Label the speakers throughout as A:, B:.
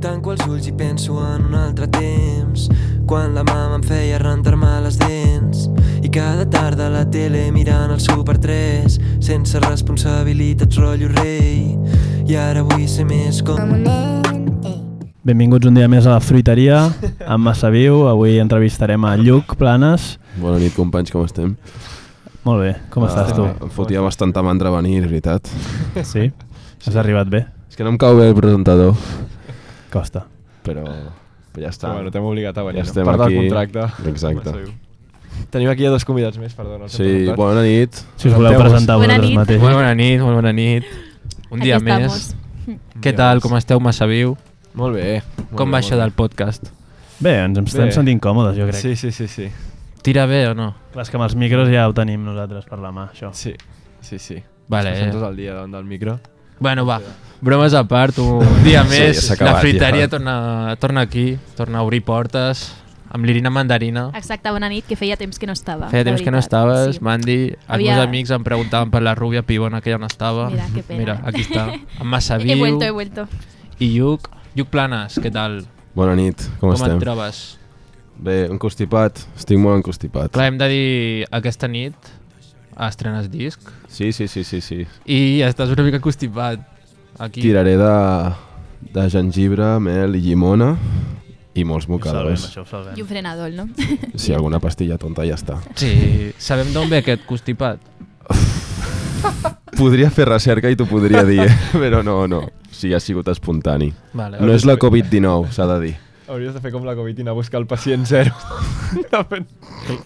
A: Tanco els ulls i penso en un altre temps Quan la mama em feia rentar-me les dents I cada tarda a la tele mirant el Super 3 Sense responsabilitats, rotllo rei I ara vull ser més com...
B: Como un nen, eh.
C: Benvinguts un dia més a la fruiteria amb Massa Viu. Avui entrevistarem a Lluc Planes.
D: Bona nit, companys, com estem? Ah,
C: Molt bé, com estàs tu?
D: Em fotia bastanta mandra venir, és veritat.
C: Sí? Has arribat bé?
D: És que no em cau bé el presentador,
C: Costa.
D: però, però ja està.
E: Bueno, t'hem obligat a venir,
D: Ja
E: ja
D: estem
E: no? part
D: aquí.
E: del contracte.
D: Exacte.
E: Massa viu. Tenim aquí a dos convidats més, perdona. els hem
D: Sí,
E: presentat.
D: bona nit.
C: Si us voleu
E: Presenteu-vos.
C: presentar
F: Bona
C: vosaltres
F: nit.
C: mateixos.
G: Molt bona nit, molt bona nit. Un dia
F: Aquí
G: més.
F: estamos.
G: Què tal, com esteu, massa viu?
E: Molt bé. Molt
G: Com
E: bé,
G: va
E: molt
G: això
E: bé.
G: del podcast?
C: Bé, ens estem
E: Bé.
C: sentint còmodes, jo crec.
E: Sí, sí, sí, sí.
G: Tira bé o no?
C: Clar, és que amb els micros ja ho tenim nosaltres per la mà, això.
E: Sí, sí, sí.
G: Vale,
E: Estem
G: eh.
E: tot el dia davant del micro.
G: Bueno, va, bromes a part, un dia
D: Sí,
G: més.
D: ja s'ha
G: la
D: acabat,
G: fruiteria
D: ja.
G: torna, torna aquí, torna a obrir portes, amb l'Irina Mandarina.
F: Exacte, bona nit, que feia temps que no estava.
G: Feia
F: de
G: temps que no
F: Ah, veritat,
G: estaves,
F: sí.
G: m'han dit, els
F: Havia-
G: meus amics em preguntaven per la rúbia pibona que ja no estava.
F: Mira, que pena.
G: Mira, aquí està, amb Massa
F: He, he
G: Viu
F: vuelto, he vuelto.
G: i Lluc. Lluc Planes, què tal?
D: Bona nit, com,
G: com et
D: estem?
G: trobes?
D: Bé, encostipat. Estic molt encostipat.
G: Clar, hem de dir, aquesta nit estrenes disc,
D: Sí, sí, sí, sí, sí.
G: I estàs una mica constipat. Aquí.
D: Tiraré de, de gengibre, mel i llimona i molts
C: Ho salvem,
D: mocadors.
C: això ho salvem.
F: I un frenador, no?
D: Si alguna pastilla tonta ja està.
G: Sí, sabem d'on ve aquest constipat.
D: Podria fer recerca i t'ho podria dir, eh? però no, no. Sí, ha sigut espontani.
G: Vale.
D: No és la Covid-19, s'ha de dir.
E: Hauries de fer com la Covid i anar a buscar el pacient zero. Anar fent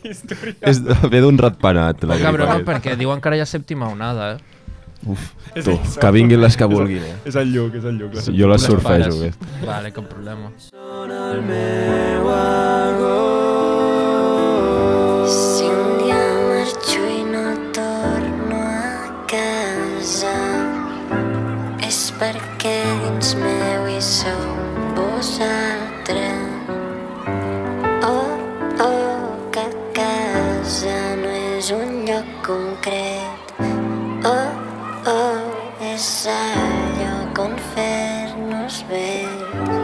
E: història.
D: És, ve d'un ratpenat, la
G: Poca broma,
D: grip.
G: Oh, perquè diuen que ara ja és sèptima onada, eh?
E: És
D: Tu,
E: el Sam.
D: que vinguin les que vulguin, eh?
E: És el Lluc, és el Lluc. la
D: Jo les
G: Les
D: surfejo, eh.
G: pares.
D: bé.
G: Vale, cap problema.
B: Si un dia marxo i no torno a casa és perquè dins meu hi sou vosaltres. Oh, oh, que casa no és un lloc concret. Oh, oh, és el lloc on fer-nos vells.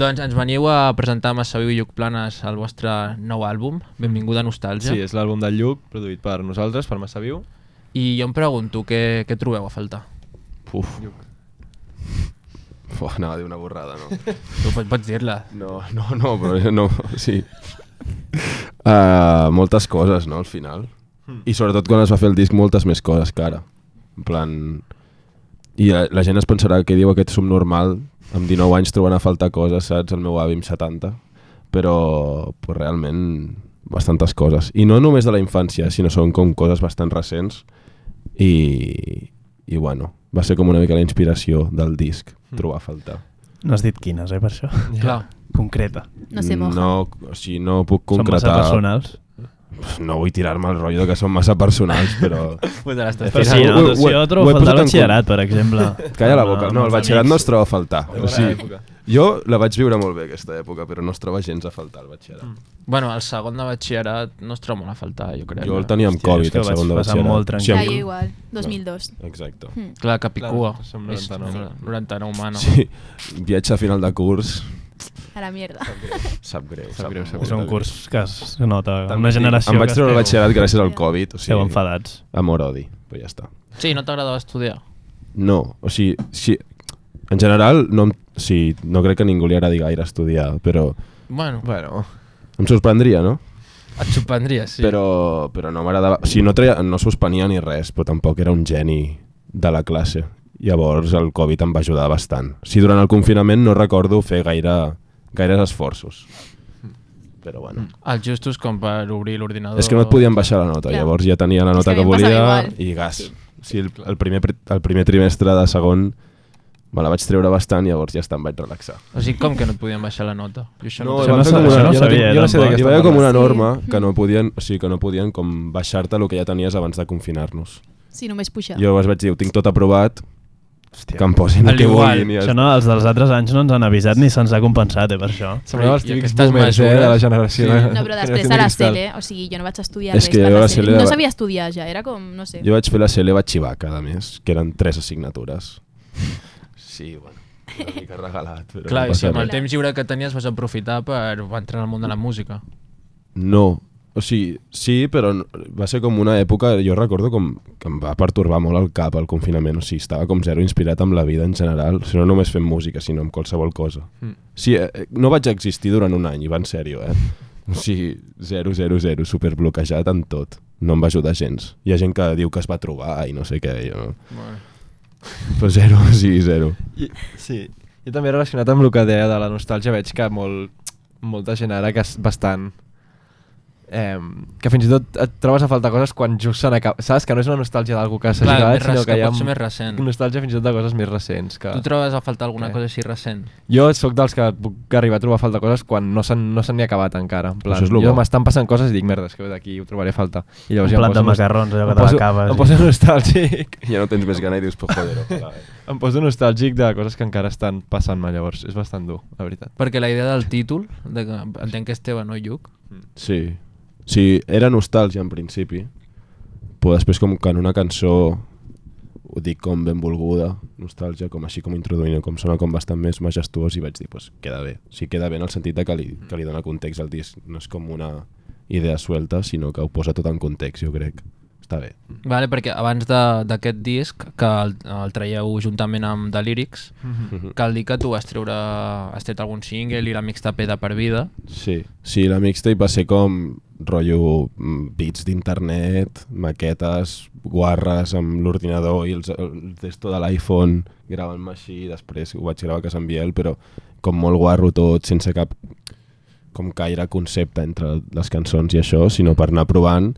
G: Doncs ens veniu a presentar amb Sabiu i Lluc Planes el vostre nou àlbum, Benvinguda Nostàlgia.
E: Sí, és l'àlbum del Lluc, produït per nosaltres, per Massa Viu.
G: I jo em pregunto, què, què trobeu a faltar?
D: Puf. Fuà, anava a dir una borrada, no?
G: Tu pots, pots dir-la.
D: No, no, no, però no, sí. Uh, moltes coses, no, al final. I sobretot quan es va fer el disc, moltes més coses que ara. En plan... I la, la gent es pensarà que diu aquest subnormal, amb 19 anys trobant a faltar coses, saps? El meu avi amb 70. Però, però realment, bastantes coses. I no només de la infància, sinó són com coses bastant recents. I, i bueno, va ser com una mica la inspiració del disc, trobar a faltar.
C: No has dit quines, eh, per això.
G: Yeah. Clar.
C: Concreta.
F: No se moja.
D: No, o sigui, no puc
C: Són massa
D: concretar.
C: personals.
D: No vull tirar-me el rotllo de que són massa personals, però...
G: Pues ara estàs
C: Però
D: Fes
C: sí,
D: algo.
C: no,
D: Ho- ho-
C: si jo
D: ho he
C: trobo faltar
D: posat
C: el
D: en
C: batxillerat, per exemple.
D: Calla la
C: Amb-
D: boca.
C: amb
D: No, el
C: els
D: batxillerat
C: amics.
D: no es troba a faltar. O
E: bona
D: sigui,
E: època.
D: jo la vaig viure molt bé, aquesta època, però no es troba gens a faltar, el batxillerat.
G: Mm. Bueno, el segon de batxillerat no es troba molt a faltar, jo crec. eh?
D: Jo el tenia amb
C: Hòstia, és
D: Covid,
C: que
D: el
C: ho vaig
D: segon de
C: passar
D: batxillerat.
C: molt
F: Ja,
D: O sigui,
C: tranquil.
F: jo igual, 2002.
D: Exacte.
F: Hmm,
G: Clar, Capicua.
E: Clar, som
G: És
E: 99.
G: 99 humano.
D: Sí, viatge a final de curs,
F: A la mierda.
D: sap greu.
E: Sap greu, sap
D: molt
C: És un
D: de greu.
C: curs que es nota,
D: També
C: una
D: et dic,
C: generació
D: Em vaig
C: que
D: treure el
C: esteu,
D: batxillerat gràcies al Covid, o
C: esteu
D: sigui,
C: enfadats.
D: amor-odi, però ja està.
G: sí no t'agradava estudiar.
D: No, o sigui, si, en general, no, em- sí, no crec que a ningú li agradi gaire estudiar, però
G: Bueno,
E: Bueno,
D: em sorprendria, no?
G: et sorprendria, sí.
D: Però, però no m'agradava... O sigui, no, treia, no suspenia ni res, però tampoc era un geni de la classe. Llavors el Covid em va ajudar bastant. O sigui, durant el confinament no recordo fer gaire, gaires esforços. Però bueno.
G: Mm. Els justos com per obrir l'ordinador...
D: És que no et podien baixar la nota,
F: Clar.
D: llavors ja tenia la
F: És
D: nota
F: que
D: que,
F: a mi em passava
D: volia
F: igual.
D: i gas. O sigui, el, el, primer, pri- el primer trimestre de segon Me la vaig treure bastant i llavors ja està, em vaig relaxar.
G: O sigui, com que no et podien baixar la nota? Jo això no,
C: Això no
G: no
D: van fer
C: sa-
D: com una-
C: això no
D: jo
C: sabia,
D: tinc- jo no sé
C: tampoc.
D: d'aquesta
E: Hi va haver
D: merda.
E: com
D: una
E: una
D: norma que no podien, o sigui, que no podien com baixar-te el que ja tenies abans de confinar-nos.
F: Sí, només pujar.
D: Jo llavors vaig dir, ho tinc tot aprovat,
C: Hòstia.
D: que em posin el
G: Al
D: que
G: igual.
D: vulguin. i Ja
C: Això no, els dels altres anys no ens han avisat ni se'ns ha compensat, eh, per això.
E: Semblava els
G: I
E: típics
G: aquestes
E: boomers, eh,
G: mesures-
E: de la generació.
G: Sí.
E: de-
F: No, però després
E: generació
F: de la
E: cristal.
F: CL, o sigui, jo no vaig estudiar
D: És
F: res
D: que
F: per
D: jo
F: la
D: la CL
F: CL. No
D: la-
F: sabia estudiar ja, era com, no sé.
D: Jo vaig fer la CL, vaig xivar cada mes, que eren tres assignatures. Sí, bueno, una mica regalat. Però
G: Clar,
D: no
G: i
D: passa
G: si amb el
D: res.
G: temps lliure que tenies vas aprofitar per entrar al món de la música.
D: No, o sigui, sí, però no- va ser com una època, jo recordo com que em va pertorbar molt el cap el confinament, o sigui, estava com zero inspirat amb la vida en general, o sigui, no només fent música, sinó amb qualsevol cosa.
G: Mm.
E: Hmm.
D: Mm. Sí, eh, eh, no vaig existir durant un any, i va en sèrio, eh? O sigui, zero, zero, zero, superbloquejat en tot. No em va ajudar gens. Hi ha gent que diu que es va trobar i no sé què, jo no.
G: Bueno.
D: Però zero, sí, zero.
E: I, sí, jo també relacionat amb el que deia de la nostàlgia veig que molt, molta gent ara que és bastant... Eh, que fins i tot et trobes a faltar coses quan just s'han acabat. Saps que no és una nostàlgia d'algú que s'ha
G: Clar,
E: acabat,
G: més res-
E: sinó que,
G: que
E: hi ha
G: pot ser més recent.
E: nostàlgia fins i tot de coses més recents. Que...
G: Tu trobes a faltar alguna
E: Què?
G: cosa així recent?
E: Jo sóc dels que puc arribar a trobar a faltar coses quan no s'han no s'han ni acabat encara. En plan,
D: Això és lo
E: jo
D: bo.
E: m'estan passant coses i dic, merda, és que d'aquí ho trobaré a faltar. I
C: Un
E: ja em
C: plat de
E: poso nost-
C: macarrons, allò que
E: em
C: te
E: poso-
C: l'acabes i-
E: Em poso nostàlgic.
D: Ja no tens més gana i dius, pues joder, ojalà.
C: eh.
E: Em poso nostàlgic de coses que encara estan passant-me, llavors. És bastant dur, la veritat.
G: Perquè la idea del títol, de que entenc que Esteve no Lluc,
D: Sí. Sí, era nostàlgia en principi, però després com que en una cançó ho dic com benvolguda, nostàlgia, com així com introduint, com sona com bastant més majestuós i vaig dir, pues queda bé. O sigui, queda bé en el sentit de que li, que li dona context al disc. No és com una idea suelta, sinó que ho posa tot en context, jo crec. Està bé.
C: Mm.
G: vale, perquè abans de- d'aquest disc, que el, el traieu juntament amb The Lyrics,
C: Mm-hmm.
G: cal dir que tu vas treure, has tret algun single i la mixtape de per vida.
D: Sí, sí, la mixtape va ser com rotllo mm, beats d'internet, maquetes, guarres amb l'ordinador i els, el testo de l'iPhone gravant-me així, després ho vaig gravar a casa en Biel, però com molt guarro tot, sense cap com caire concepte entre les cançons i això, sinó per anar provant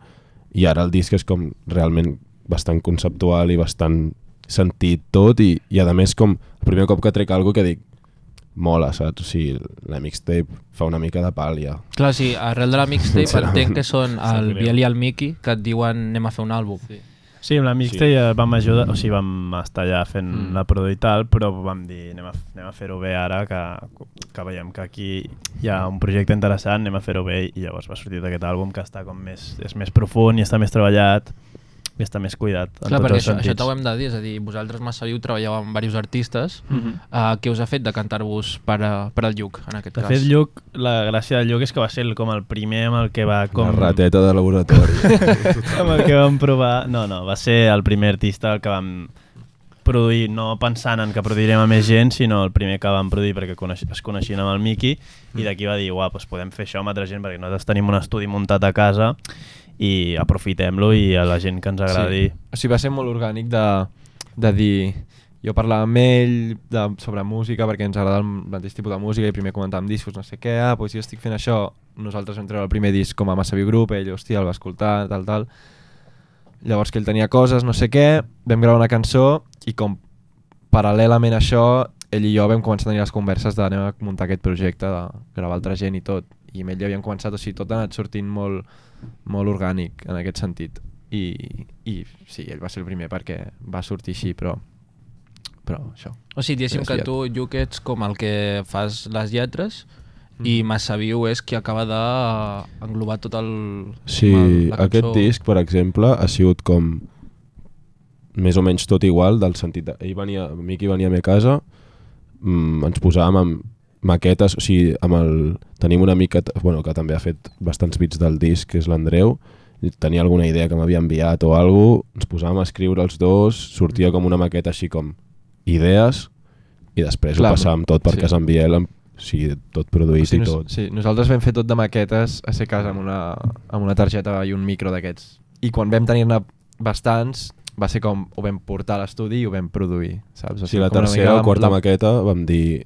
D: i ara el disc és com realment bastant conceptual i bastant sentit tot i, i a més com el primer cop que trec algo que dic mola, saps? O sigui, la mixtape fa una mica de pàl·lia.
G: Clar, sí, arrel de la mixtape
D: Sincerament.
G: entenc que són el
C: greu.
G: Biel i el Miki que et diuen anem a fer un àlbum. Sí.
C: Sí, amb la mixta sí. ja vam ajudar, o sigui, vam estar allà fent
E: Mm.
C: mm. la produ i tal, però vam dir anem a, anem a fer-ho bé ara, que, que veiem que aquí hi ha un projecte interessant, anem a fer-ho bé, i llavors va sortir aquest àlbum que està com més, és més profund i està més treballat i està més cuidat en
G: Clar,
C: tots
G: perquè
C: els
G: això, això
C: sentits.
G: t'ho hem de dir, és a dir, vosaltres massa viu treballeu amb diversos artistes. Mm
C: Mm-hmm.
G: -hmm. uh, què us ha fet de cantar-vos per, a, per al Lluc, en aquest
C: De
G: cas?
C: fet, Lluc, la gràcia del Lluc és que va ser el, com el primer amb el que va... Com...
D: Com... La rateta de laboratori.
C: amb el que vam provar... No, no, va ser el primer artista el que vam produir, no pensant en que produirem a més gent, sinó el primer que vam produir perquè coneix, es coneixien amb el Miki i d'aquí va dir, uah, doncs podem fer això amb altra gent perquè nosaltres tenim un estudi muntat a casa i aprofitem-lo i a la gent que ens agradi.
E: Sí. O sigui, va ser molt orgànic de, de dir... Jo parlava amb ell de, sobre música perquè ens agrada el mateix tipus de música i primer comentàvem discos, no sé què, ah, doncs jo estic fent això, nosaltres vam treure el primer disc com a Massa Viu Group, ell, hòstia, el va escoltar, tal, tal. Llavors que ell tenia coses, no sé què, vam gravar una cançó i com paral·lelament a això, ell i jo vam començar a tenir les converses d'anem a muntar aquest projecte, de gravar altra gent i tot. I amb ell ja havíem començat, o sigui, tot ha anat sortint molt, molt orgànic en aquest sentit. I, I sí, ell va ser el primer perquè va sortir així, però, però això.
G: O sigui, diguéssim que
E: Desviat.
G: tu, Lluc, ets com el que fas les lletres i
D: Mm.
G: Massa Viu és qui acaba d'englobar tot el...
D: Sí,
G: com el- la
D: aquest
G: cançó.
D: disc, per exemple, ha sigut com més o menys tot igual del sentit de... Ell venia, Miqui venia a mi a casa, mm, ens posàvem amb maquetes, o sigui, amb el... tenim un amic que, t- bueno, que també ha fet bastants bits del disc, que és l'Andreu, i tenia alguna idea que m'havia enviat o alguna cosa, ens posàvem a escriure els dos, sortia com una maqueta així com idees, i després
E: Clar,
D: ho passàvem tot per
E: sí.
D: sí. casa en Biel, amb, o sigui, tot produït i
E: nos-
D: tot.
E: sí, nosaltres vam fer tot de maquetes a ser casa amb una, amb una targeta i un micro d'aquests. I quan vam tenir-ne bastants, va ser com ho vam portar a l'estudi i ho vam produir, saps?
D: Sí, la
E: com una
D: tercera
E: mica
D: o quarta
E: la-
D: maqueta vam dir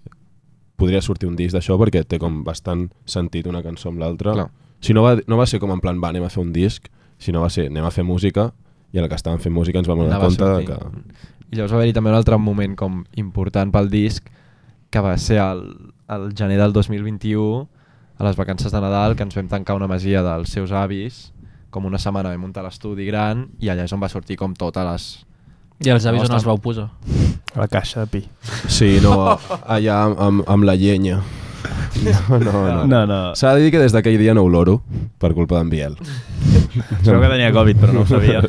D: podria sortir un disc d'això perquè té com bastant sentit una cançó amb l'altra.
E: Clar.
D: Si no va, no va ser com en plan, va, anem a fer un disc, sinó va ser, anem a fer música i a la que estàvem fent música ens vam donar
E: Anava
D: compte de que...
E: sortint. I llavors va haver-hi també un altre moment com important pel disc, que va ser el, el gener del 2021, a les vacances de Nadal, que ens vam tancar una masia dels seus avis, com una setmana vam muntar l'estudi gran, i allà és on va sortir com totes les...
G: I els avis on
E: Ostres.
G: els vau posar?
C: A la caixa de pi.
D: Sí, no, allà amb, amb, amb la llenya. No, no, no.
C: No, no.
D: S'ha de dir que des d'aquell dia no oloro, per culpa d'en Biel.
C: Sabeu que tenia Covid, però no ho sabia.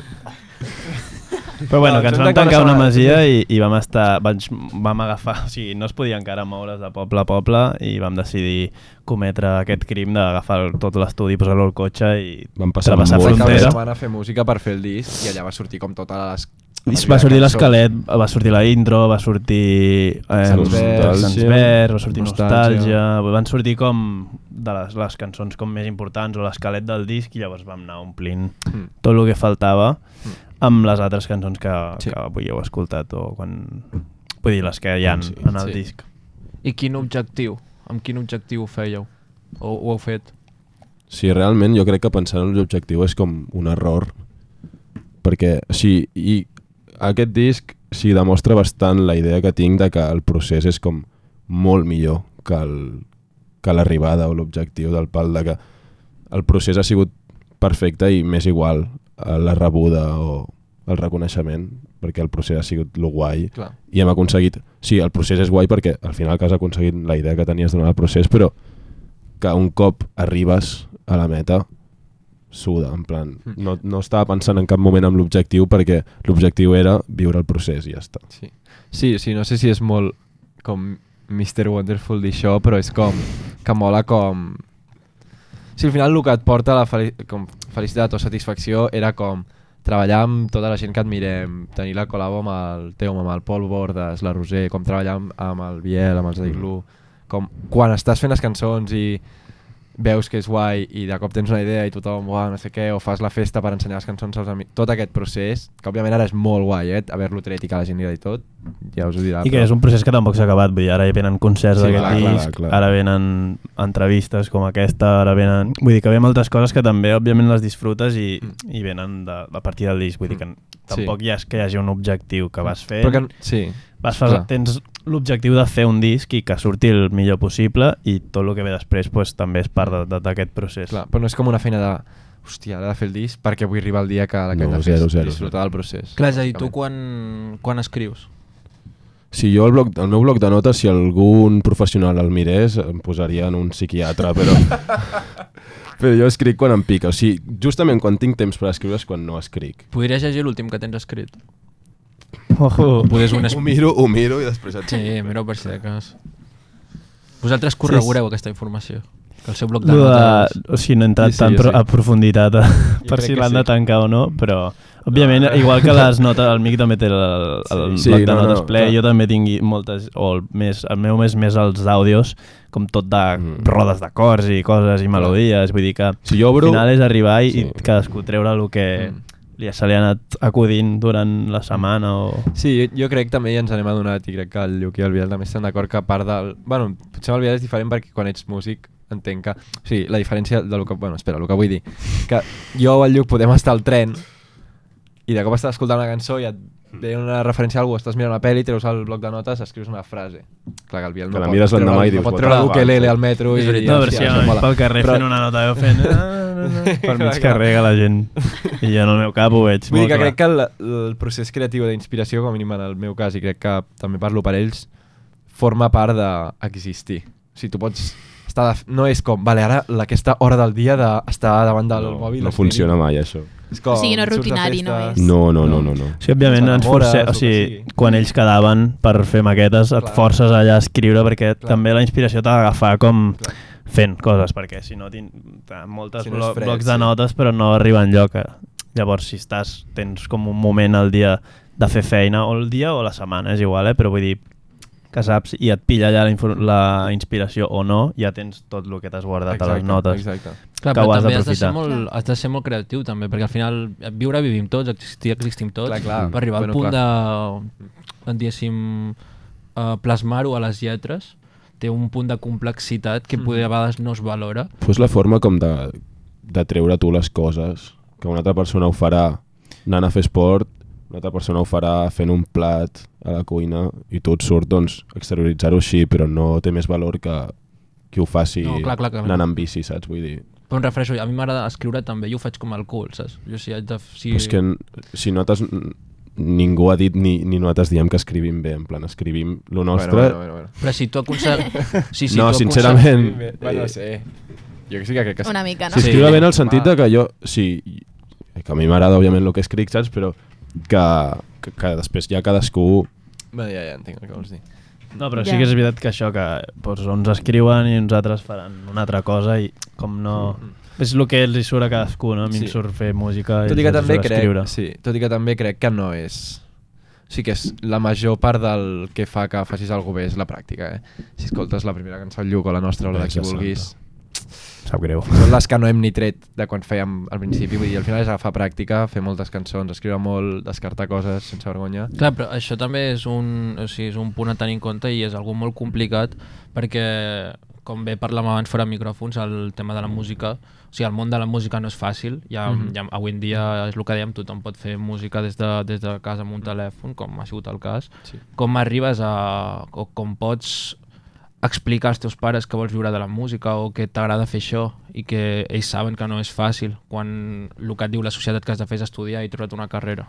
C: Però bueno,
E: No,
C: que ens
E: ens
C: vam
E: vam tancar
C: tancar
E: una
C: una
E: setmana.
C: masia i, i vam estar... Vaig, vam agafar... O sigui, no es podia encara moure's de poble a poble i vam decidir cometre aquest crim d'agafar el- tot l'estudi, posar-lo al cotxe i
D: Vam passar
C: Trapassar
D: amb
E: Vam tancar
C: frontera.
E: una setmana a fer música per fer el disc, i allà va sortir com totes les...
C: I
E: la
C: va
E: vida
C: sortir
E: de cançó.
C: l'esquelet, va sortir la intro, va sortir eh,
E: Sans Verge.
C: Sans Verge, va sortir
E: Nostàlgia.
C: Nostàlgia, van sortir com de les, les cançons com més importants o l'esquelet del disc i llavors vam anar omplint
E: Mm.
C: tot el que faltava
E: Mm.
C: amb les altres cançons que,
E: Sí. Mm.
C: que avui heu escoltat o quan... Vull dir, les que hi ha
D: Sí,
C: en el
E: sí.
C: disc.
G: I quin objectiu? Amb quin objectiu ho fèieu? O ho heu fet?
D: Sí, realment jo crec que pensar en l'objectiu és com un error. Perquè, o sigui, i aquest disc sí, demostra bastant la idea que tinc de que el procés és com molt millor que el- que l'arribada o l'objectiu del pal de que el procés ha sigut perfecte i més igual a la rebuda o el reconeixement perquè el procés ha sigut lo guai
E: Clar.
D: i hem aconseguit... Sí, el procés és guai perquè al final que has aconseguit la idea que tenies durant el procés, però que un cop arribes a la meta suda, en plan,
E: Hmm.
D: no, no estava pensant en cap moment en l'objectiu perquè l'objectiu era viure el procés i ja està.
E: Sí. sí, sí, no sé si és molt com Mr. Wonderful dir això, però és com que mola com... Sí, al final el que et porta la fel com felicitat o satisfacció era com treballar amb tota la gent que admirem, tenir la col·labo amb el Teu, amb el Pol Bordes, la Roser, com treballar amb, amb el Biel, amb els de Iglú, com quan estàs fent les cançons i veus que és guai i de cop tens una idea i tothom, uah, no sé què, o fas la festa per ensenyar les cançons als amics, tot aquest procés, que òbviament ara és molt guai, eh, haver-lo tret i que la gent li agradi tot, ja us ho dirà.
C: I que
E: Ah, però-
C: és un procés que tampoc s'ha acabat, vull dir, ara ja venen concerts
E: Sí,
C: sí, d'aquest
E: clar, clar,
C: disc,
D: clar.
C: ara venen entrevistes com aquesta, ara venen... Vull dir que venen altres coses que també, òbviament, les disfrutes i, mm. i venen de, a partir del disc, vull dir que n- tampoc hi ha, és que hi hagi un objectiu que vas fer,
E: Però que, Mm. sí,
C: vas fer
E: clar.
C: tens l'objectiu de fer un disc i que surti el millor possible i tot el que ve després pues, també és part de- de- d'aquest procés.
E: clar, però no és com una feina de hòstia, ara he de fer el disc perquè vull arribar el dia que la que
D: No,
E: hem de fer
D: zero,
E: és
D: zero,
E: disfrutar del procés.
G: Clar, és a dir, tu
E: bàsicament.
G: quan, quan escrius?
D: Si jo el, bloc, el meu bloc de notes, si algun professional el mirés, em posaria en un psiquiatre, però... però jo escric quan em pica. O sigui, justament quan tinc temps per escriure és quan no escric.
G: Podries llegir l'últim que tens escrit?
C: Ojo.
G: Podries un... es-
D: Oh. Ho miro, ho miro i després et...
G: Sí, mira per si de cas. Vosaltres corregureu sí, aquesta informació. Que el seu bloc de
C: Lo
G: notes...
C: de, o sigui, no he entrat
E: Sí,
C: sí,
E: sí,
C: sí, tan
E: jo
C: pro
E: sí.
C: a profunditat a, per
E: crec
C: si
E: que
C: l'han de
E: sí.
C: tancar o no, però òbviament, igual que les notes, el Mic també té el, el
D: Sí,
C: sí, bloc de
D: no, no,
C: notes ple,
D: clar.
C: jo també tingui moltes, o el, més, el meu més més els àudios, com tot de
D: Mm.
C: mm. rodes d'acords i coses i melodies, vull dir que
D: Si jo
C: al
D: obro...
C: final és arribar i, sí.
D: Sí.
C: i cadascú treure el que
E: Mm.
C: li se li ha anat acudint durant la setmana o...
E: Sí, jo, jo crec també i ens n'hem adonat i crec que el Lluc i el Biel també estan d'acord que a part del... Bueno, potser amb el Biel és diferent perquè quan ets músic entenc que... O sigui, la diferència del que... Bueno, espera, el que vull dir. Que jo o el Lluc podem estar al tren i de cop estàs escoltant una cançó i et ve una referència a algú, estàs mirant una pel·li, treus el bloc de notes, escrius una frase. Clar que el Biel
D: Que
E: no
D: la
E: pot
D: mires
E: treure,
D: l'endemà i
E: no
D: dius,
E: pot treure
D: "Bueno,
E: l'ukelele
D: va,
E: al metro i...
G: És veritat.
C: No, però si
E: hòstia,
C: sí,
E: això
C: sí,
E: mola.
C: pel carrer
E: Però-
C: fent una nota veu
E: eh,
C: fent... "Ah, no, no", Per mig
E: Clar, clar.
C: carrer que la gent... I jo no, el meu cap ho veig
E: Vull dir
C: molt
E: que
C: clar.
E: crec que el, el procés creatiu d'inspiració, com a mínim en el meu cas, i crec que també parlo per ells, forma part d'existir. O sigui, tu pots estar... De, no és com, vale, ara la- aquesta hora del dia d'estar davant del
D: no,
E: mòbil...
D: no
E: escrivint".
D: funciona mai, això.
E: És com,
F: O sigui, no és
E: surts de
F: rutinari, no
E: festes.
F: és.
D: No, no, no, no. no.
C: Sí, òbviament ens
E: T'enamores,
C: forcem,
E: o
C: o
E: que
C: sigui,
E: sigui.
C: quan ells quedaven per fer maquetes et
E: Clar.
C: forces allà a escriure perquè
E: Clar.
C: també la inspiració t'ha d'agafar com
E: Clar.
C: fent coses, perquè si no tin- t'ha moltes
E: Si
C: si
E: no és
C: blo
E: fred,
C: blocs de
E: sí.
C: notes però no arriba enlloc. eh. Llavors, si estàs, tens com un moment al dia de fer feina, o el dia o la setmana, és igual, eh? però vull dir que saps i et pilla allà la, infor- la inspiració o no, ja tens tot el que t'has guardat a les notes.
E: Exacte.
G: Clar,
C: que
G: però
C: ho has
G: també has de, ser
C: d'aprofitar.
G: molt, has de ser molt creatiu també, perquè al final viure vivim tots, existir existim tots,
E: Clar, clar.
G: per arribar al
E: Bueno,
G: punt
E: clar.
G: de, diguéssim, eh, plasmar-ho a les lletres, té un punt de complexitat que poder a vegades no es valora.
D: Pues la forma com de, de treure tu les coses, que una altra persona ho farà anant a fer esport, una altra persona ho farà fent un plat a la cuina i tu et surt doncs, exterioritzar-ho així, però no té més valor que qui ho faci
G: No, clar, clar, clar.
D: anant amb bici, saps? Vull dir,
G: Però em refereixo, a mi m'agrada escriure també, jo ho faig com el cul, saps? Jo si haig de... Si...
D: Però és que n- si notes, n- ningú ha dit ni, ni nosaltres diem que escrivim bé, en plan, escrivim lo nostre...
E: Bueno, bueno, bueno,
G: Però si tu aconsegues... Sí, sí,
D: no,
G: tu aconse-
D: sincerament...
E: bueno. Bé, bueno, sí. Jo que sí que crec que... sí.
F: Una mica, no?
D: Si
G: Sí.
D: escriu bé en el sentit de que jo... Sí, que a mi m'agrada, òbviament, el que escric, saps? Però que, que, que després ja cadascú...
E: Bé, ja, ja entenc el que vols dir.
C: No, però
F: Ja.
C: sí que és veritat que això, que doncs, uns escriuen i uns altres faran una altra cosa i com no... És el que els hi surt a cadascú, no? A mi
E: Mm-hmm. Sí.
C: em surt fer música i
E: Tot i que
C: ells els
E: també
C: surt
E: crec,
C: escriure.
E: sí, tot i que també crec que no és... O sigui que és la major part del que fa que facis alguna cosa bé és la pràctica, eh? Si escoltes la primera cançó del Lluc o la nostra o la de qui
D: Verge Santa.
E: vulguis,
C: Sap greu.
E: són les que no hem ni tret de quan fèiem al principi, vull dir, al final és agafar pràctica, fer moltes cançons, escriure molt, descartar coses sense vergonya.
G: Clar, però això també és un, o sigui, és un punt a tenir en compte i és algo molt complicat perquè, com bé parlàvem abans fora de micròfons, el tema de la música, o sigui, el món de la música no és fàcil. Ja, mm -hmm. ja, avui en dia és el que dèiem, tothom pot fer música des de, des de casa amb un telèfon, com ha sigut el cas.
E: Sí.
G: Com arribes a... o com pots explicar als teus pares que vols viure de la música o que t'agrada fer això i que ells saben que no és fàcil quan el que et diu la societat que has de fer és estudiar i trobar una carrera.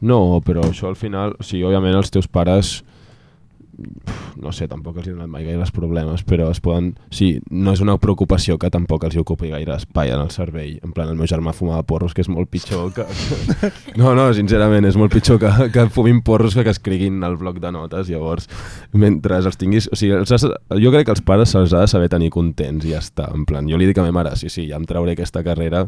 D: No, però això al final... O sigui, òbviament, els teus pares no sé, tampoc els he donat mai gaires problemes, però es poden... Sí, no és una preocupació que tampoc els hi ocupi gaire espai en el cervell. En plan, el meu germà fumava porros, que és molt pitjor que... No, no, sincerament, és molt pitjor que, que fumin porros que que escriguin al bloc de notes, llavors, mentre els tinguis... O sigui, els has, jo crec que els pares se'ls ha de saber tenir contents i ja està. En plan, jo li dic a ma mare, sí, sí, ja em trauré aquesta carrera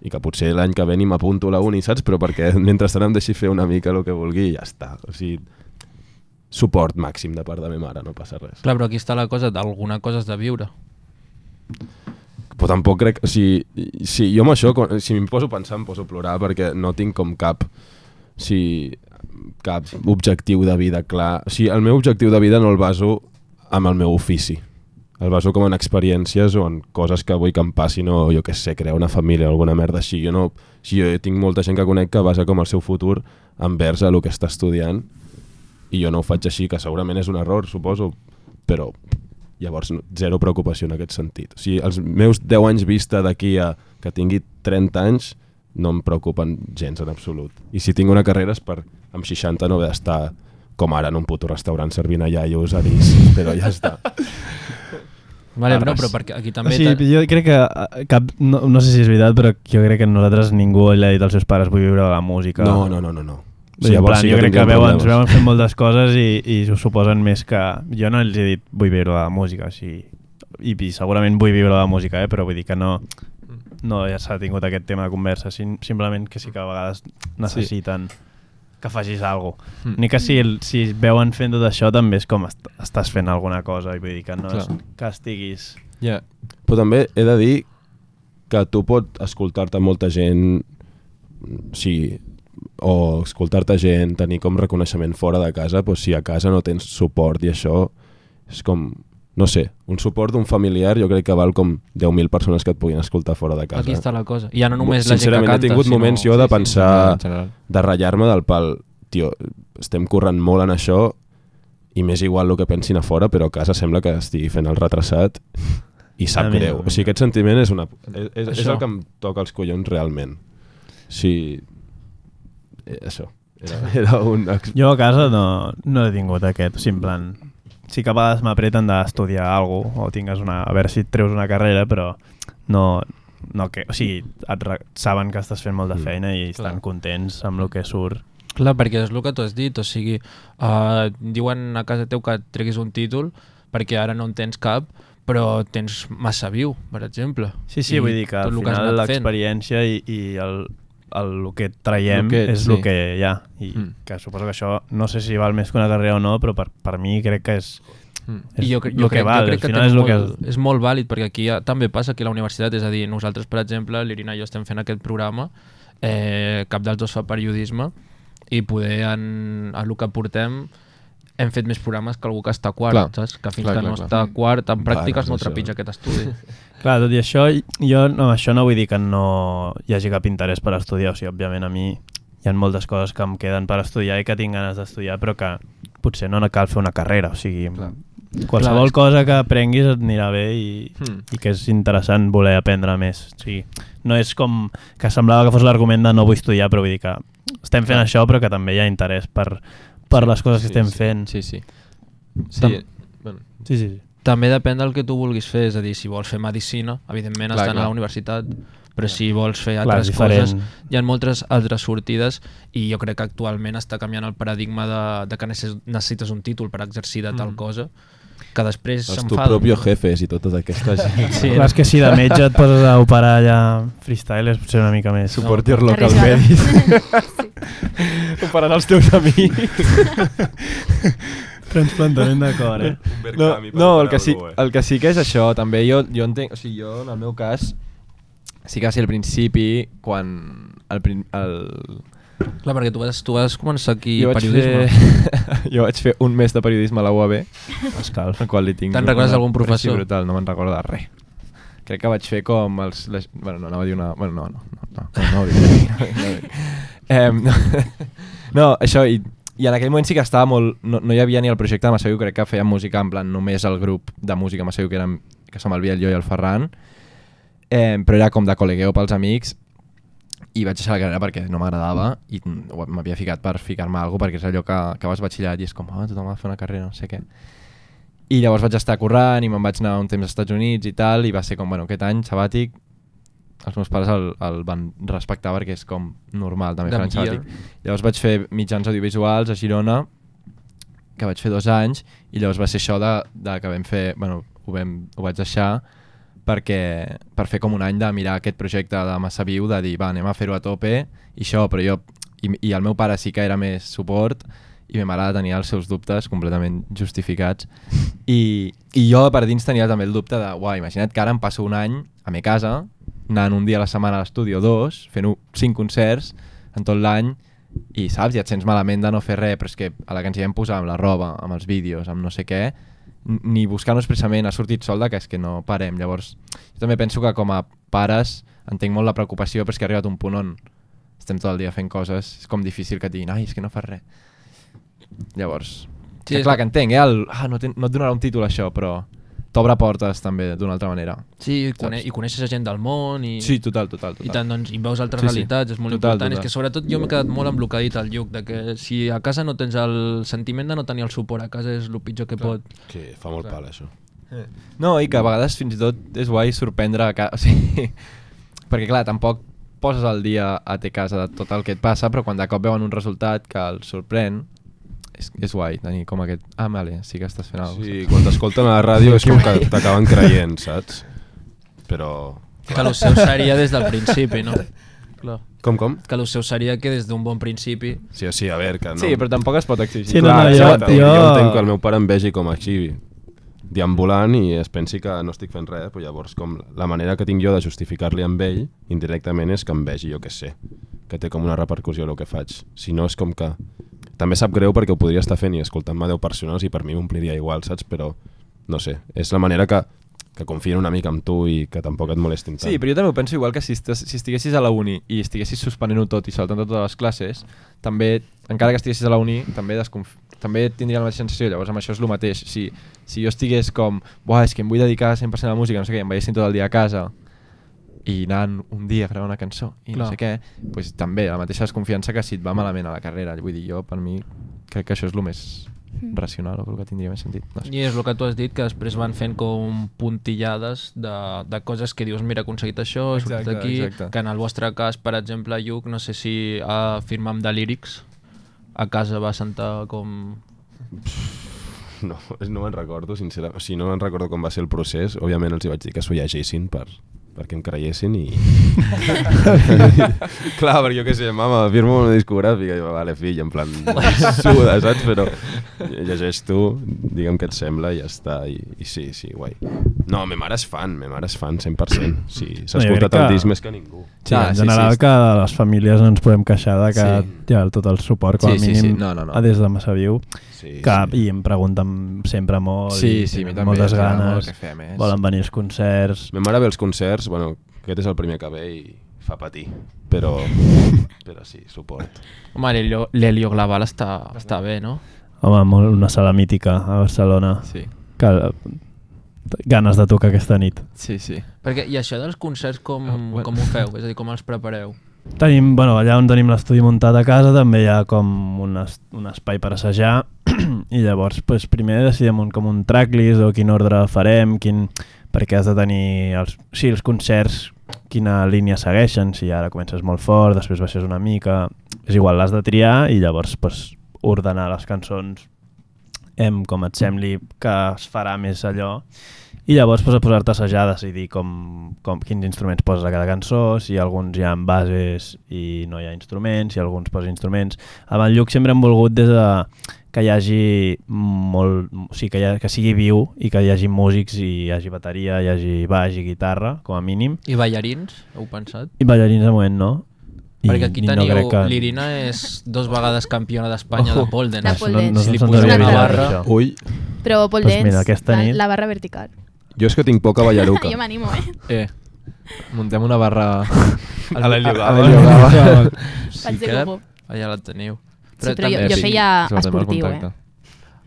D: i que potser l'any que ve ni m'apunto a la uni, saps? Però perquè mentrestant em deixi fer una mica el que vulgui i ja està. O sigui, suport màxim de part de la meva mare, no passa res.
G: Clar, però aquí està la cosa d'alguna cosa has de viure.
D: Però tampoc crec... O sigui, si jo amb això, quan- si em poso a pensar, em poso a plorar, perquè no tinc com cap... O sigui, cap objectiu de vida clar. O sigui, el meu objectiu de vida no el baso amb el meu ofici. El baso com en experiències o en coses que vull que em passin o jo què sé, crear una família o alguna merda així. Jo no... O sigui, jo tinc molta gent que conec que basa com el seu futur envers a el que està estudiant i jo no ho faig així, que segurament és un error, suposo, però llavors no- zero preocupació en aquest sentit. O sigui, els meus 10 anys vista d'aquí a que tingui 30 anys no em preocupen gens en absolut. I si tinc una carrera és per amb 60 no haver d'estar com ara en un puto restaurant servint allà i us ha dit, però ja està.
G: Vale, no,
D: Arres.
G: però perquè aquí
C: O
G: també...
C: sigui,
G: ta-
C: jo crec que eh, cap, no, no sé si és veritat, però jo crec que nosaltres ningú li ha dit als seus pares vull viure de la música.
D: No, no, no, no. no.
C: Sí, en plan, sí jo crec que
D: tindríem
C: veuen, ens
D: problemes.
C: veuen fent moltes coses i, i s'ho suposen més que... Jo no els he dit vull viure de la música, o sigui, i, i segurament vull viure de la música, eh? però vull dir que no, no ja s'ha tingut aquest tema de conversa, sin, simplement que sí que a vegades necessiten sí. que facis alguna cosa.
E: Mm.
C: Ni que si, el- si es veuen fent tot això també és com est estàs fent alguna cosa, i vull dir que no és
E: Clar.
C: que estiguis...
E: Ja,
D: Però també he de dir que tu pot escoltar-te molta gent, sí, o escoltar-te gent, tenir com reconeixement fora de casa, però si a casa no tens suport i això és com, no sé, un suport d'un familiar jo crec que val com 10.000 persones que et puguin escoltar fora de casa.
G: Aquí està la cosa. Ja no només la gent que
D: Sincerament,
G: canta,
D: he tingut
G: sinó...
D: moments jo de pensar,
E: en general.
D: de ratllar-me del pal, tio, estem corrent molt en això i m'és igual el que pensin a fora, però a casa sembla que estigui fent el retrasat i
C: A
D: sap
C: mi no,
D: greu.
C: a mi
D: O sigui,
C: no.
D: aquest sentiment és, una, és, és, és
G: Això.
D: el que em toca els collons realment. O sigui, eh, això. Era, era un... ex-
C: Jo a casa no, no he tingut aquest, o sigui, en plan... Sí que a vegades m'apreten d'estudiar alguna cosa, o tingues una... A veure si et treus una carrera, però no... no que, o sigui, et re, saben que estàs fent molta feina i estan
G: Clar.
C: contents amb el que surt.
G: Clar, perquè és el que tu has dit, o sigui, uh, diuen a casa teu que et treguis un títol perquè ara no en tens cap, però tens massa viu, per exemple.
C: Sí, sí,
G: I
C: I vull dir que
G: tot
C: al
G: el has
C: final
G: anat fent.
C: l'experiència i, i el, el, el que traiem
E: Lo
C: el
E: que-
C: que, és
E: sí.
C: sí. el que hi ha. I
E: Mm.
C: mm. que suposo que això, no sé si val més que una carrera o no, però per, per mi crec que és,
E: Mm.
C: és
G: I jo, cre-
C: el
G: jo
C: que
G: crec,
C: val.
G: jo crec
C: al final és
G: té
C: el que...
G: molt, és molt vàlid perquè aquí ja, també passa aquí a la universitat, és a dir, nosaltres, per exemple, l'Irina i jo estem fent aquest programa, eh, cap dels dos fa periodisme i poder en, en el que portem hem fet més programes que algú que està a quart,
E: Clar.
G: saps? Que fins
E: Clar,
G: que
E: clar,
G: no
E: clar.
G: està a quart en pràctiques no
D: això.
G: trepitja aquest estudi.
C: Clar, tot i això, jo no, això no vull dir que no hi hagi cap interès per estudiar, o sigui, òbviament a mi hi ha moltes coses que em queden per estudiar i que tinc ganes d'estudiar, però que potser no cal fer una carrera, o sigui,
E: Clar.
C: qualsevol cosa que aprenguis et anirà bé i,
E: Hmm.
C: i que és interessant voler aprendre més. O sigui, no és com que semblava que fos l'argument de no vull estudiar, però vull dir que estem fent això, però que també hi ha interès per, per les coses que estem
E: sí,
C: fent.
E: Sí, sí. Sí,
C: Tam-
E: bueno,
C: sí, sí. sí.
G: També depèn del que tu vulguis fer, és a dir, si vols fer medicina, evidentment
E: Clar,
G: has d'anar
E: clar.
G: a la universitat, però si vols fer
C: Clar,
G: altres
C: és
G: coses,
C: diferent.
G: hi ha moltes altres sortides i jo crec que actualment està canviant el paradigma de, de que necess- necessites un títol per exercir de
C: Mm.
G: tal cosa, que després
D: Els tu
G: s'enfada.
D: propio jefes i totes aquestes gent.
G: Sí,
C: Clar, és que si de metge et poses a operar allà freestyle és potser una mica més...
D: Supporter local
F: Arriesgada.
D: medis.
E: operant els teus amics.
C: Transplantament de cor, eh?
E: No, no el, que sí, el que sí que és això, també jo, jo entenc, o sigui, jo en el meu cas, sí que va ser al principi, quan el, prin- el,
G: Clar, perquè tu vas, tu vas començar aquí
E: jo, vaig
G: periodisme.
E: fer, jo vaig fer un mes de periodisme a la UAB,
C: Escalf.
E: el qual li tinc...
G: Te'n
E: una
G: recordes d'algun professor?
E: aprecio Brutal, no me'n recordo de res. Crec que vaig fer com els... Les, bueno, no, anava a dir una... Bueno, no, no, no, no, no, no, ho dic, no, ho dic, no, ho dic. Em, no, no, això, i, i en aquell moment sí que estava molt... No, no hi havia ni el projecte de Massaiu, crec que feia música en plan només el grup de música Massaiu, que, érem, que som el Biel, jo i el Ferran, eh, però era com de col·legueu pels amics, i vaig deixar la carrera perquè no m'agradava i mm, ho- m'havia ficat per ficar-me a alguna perquè és allò que, que vas batxillerat i és com, ah, tothom ha de fer una carrera, no sé què. I llavors vaig estar currant i me'n vaig anar un temps als Estats Units i tal, i va ser com, bueno, aquest any sabàtic, els meus pares el, el van respectar perquè és com normal també
G: De
E: fer l'any
G: millor.
E: sabàtic. Llavors vaig fer mitjans audiovisuals a Girona, que vaig fer dos anys, i llavors va ser això de, de que vam fer, bueno, ho, vam, ho vaig deixar perquè, per fer com un any de mirar aquest projecte de Massa Viu, de dir, va, anem a fer-ho a tope, i això, però jo, i, i el meu pare sí que era més suport, i ma mare tenia els seus dubtes completament justificats i, i jo per dins tenia també el dubte de uau, imagina't que ara em passo un any a mi casa, anant un dia a la setmana a l'estudi o dos, fent un- cinc concerts en tot l'any i saps, ja et sents malament de no fer res, però és que a la que ens hi vam posar amb la roba, amb els vídeos, amb no sé què, n- ni buscant-ho expressament ha sortit sol de que és que no parem. Llavors, jo també penso que com a pares entenc molt la preocupació, però és que ha arribat un punt on estem tot el dia fent coses, és com difícil que et diguin, ai, és que no fas res. Llavors,
G: Sí,
E: sí, que
G: és-
E: clar que entenc, eh? El, ah, no, ten, no et donarà un títol això, però t'obre portes també d'una altra manera.
G: Sí, i, cone i coneixes gent del món i...
E: Sí, total, total, total.
G: I tant, doncs, i veus altres
E: Sí,
G: sí,
E: sí.
G: realitats, és molt
E: Total,
G: important.
E: total.
G: És que sobretot jo m'he quedat molt amb el que ha dit el Lluc, de que si a casa no tens el sentiment de no tenir el suport a casa és el pitjor que Clar. pot.
D: Que fa molt pal, això.
E: No, i que a vegades fins i tot és guai sorprendre... Que, o sigui, perquè clar, tampoc poses el dia a te casa de tot el que et passa, però quan de cop veuen un resultat que els sorprèn, és, és guai tenir com aquest... Ah, vale, sí que estàs fent alguna
D: Sí, quan t'escolten a la ràdio és com que t'acaben creient, saps? Però...
G: Que el seu seria des del principi, no? Clar.
D: Com, com?
G: Que el seu seria que des d'un bon principi...
D: Sí, sí, a veure, que no...
E: Sí, però tampoc es pot exigir.
C: Sí, no, no,
D: Clar,
C: jo-
D: exacte, jo,
C: jo-
D: entenc que el meu pare em vegi com així, deambulant i es pensi que no estic fent res, però llavors com la manera que tinc jo de justificar-li amb ell indirectament és que em vegi, jo que sé, que té com una repercussió el que faig. Si no, és com que... També sap greu perquè ho podria estar fent i escoltant-me 10 persones i per mi m'ompliria igual, saps? Però, no sé, és la manera que, que confien una mica en tu i que tampoc et molestin tant.
E: Sí, però jo també ho penso igual que si, estàs, si estiguessis a la uni i estiguessis suspenent-ho tot i saltant totes les classes, també, encara que estiguessis a la uni, també, desconf... també tindria la mateixa sensació. Llavors, amb això és el mateix. Si, si jo estigués com, buah, és que em vull dedicar 100% a la música, no sé què, i em veiessin tot el dia a casa i anant un dia a gravar una cançó i Clar. no
G: Clar.
E: sé què, doncs també la mateixa desconfiança que si et va malament a la carrera. Vull dir, jo, per mi, crec que això és el més racional o el que tindria més sentit. No sé.
G: I és el que tu has dit, que després van fent com puntillades de, de coses que dius, mira, he aconseguit això, he sortit
E: Exacte,
G: aquí...
E: exacte.
G: Que en el vostre cas, per exemple, Lluc, no sé si a firmar amb The Lyrics a casa va sentar com...
D: No, és- no me'n recordo, sincerament. O sigui, no me'n recordo com va ser el procés. Òbviament els hi vaig dir que s'ho llegissin per, perquè em creiessin i... Clar, perquè jo què sé, mama, firmo una discogràfica. I jo, vale, fill, en plan, suda, saps? Però llegeix tu, digue'm què et sembla i ja està. I, i sí, sí, guai. No, me mare és fan, me mare és fan, 100%. Sí, s'ha
C: No, jo crec
D: escoltat el
C: que-
E: Ah,
D: disc més que ningú. Ah,
C: Sí, en general que de les famílies no ens podem queixar de que
E: Sí.
C: ja el- tot el suport, com
E: Sí,
C: a
E: sí,
C: mínim,
E: sí. No, no, no.
C: a des de Massa Viu,
D: Sí,
C: que, i em pregunten sempre molt,
E: Sí,
C: i
E: sí, a mi
C: tenen
E: també, ens
C: moltes
E: agrada molt el
C: ganes,
E: que fem, eh?
C: volen venir als concerts...
D: Ma mare ve als concerts, bueno, aquest és el primer que ve i fa patir, però, però sí, suport.
G: Home, l'Helio- l'Helio Glaval està, està bé, no?
C: Home, molt, una sala mítica a Barcelona,
E: Sí,
C: que ganes de tocar aquesta nit.
E: sí, sí.
G: Perquè, I això dels concerts com,
E: Ah, bueno.
G: com ho feu? És a dir, com els prepareu?
C: Tenim, bueno, allà on tenim l'estudi muntat a casa també hi ha com un, es, un espai per assajar i llavors pues, primer decidim un, com un tracklist o quin ordre farem, quin, perquè has de tenir els, sí, els concerts, quina línia segueixen, si ara comences molt fort, després baixes una mica, és igual, l'has de triar i llavors pues, ordenar les cançons em, com et sembli que es farà més allò i llavors pues, a posar-te a assajar, a decidir com, com, quins instruments poses a cada cançó, si alguns hi ha bases i no hi ha instruments, si alguns posen instruments. Amb el Lluc sempre hem volgut des de que hi hagi molt, o sigui, que, hi ha, que sigui viu i que hi hagi músics i hi hagi bateria, hi hagi baix i guitarra, com a mínim.
G: I ballarins, heu pensat?
C: I ballarins de moment no. I,
G: Perquè aquí
C: i
G: teniu...
C: crec
G: que... L'Irina és dos vegades campiona d'Espanya de pole dance.
F: De pole dance.
C: No, no,
G: Si li
C: no,
G: posem
F: una
G: una
F: barra-
G: barra...
D: Ui,
F: Però pole
C: Doncs
F: dance,
C: mira, aquesta
F: la,
C: nit-
F: la barra vertical.
D: jo és que tinc por que ballaruca.
F: Jo m'animo, eh?
E: Eh, muntem una barra...
G: A l'Helio
E: a- a
G: Glaval.
E: l'Helio Glaval.
F: Faig de
G: que
F: gobo.
G: Allà la teniu.
F: Sí, però jo,
G: també-
F: jo
E: sí.
F: feia
E: Sobre el tema del
F: esportiu, eh?
E: contacte.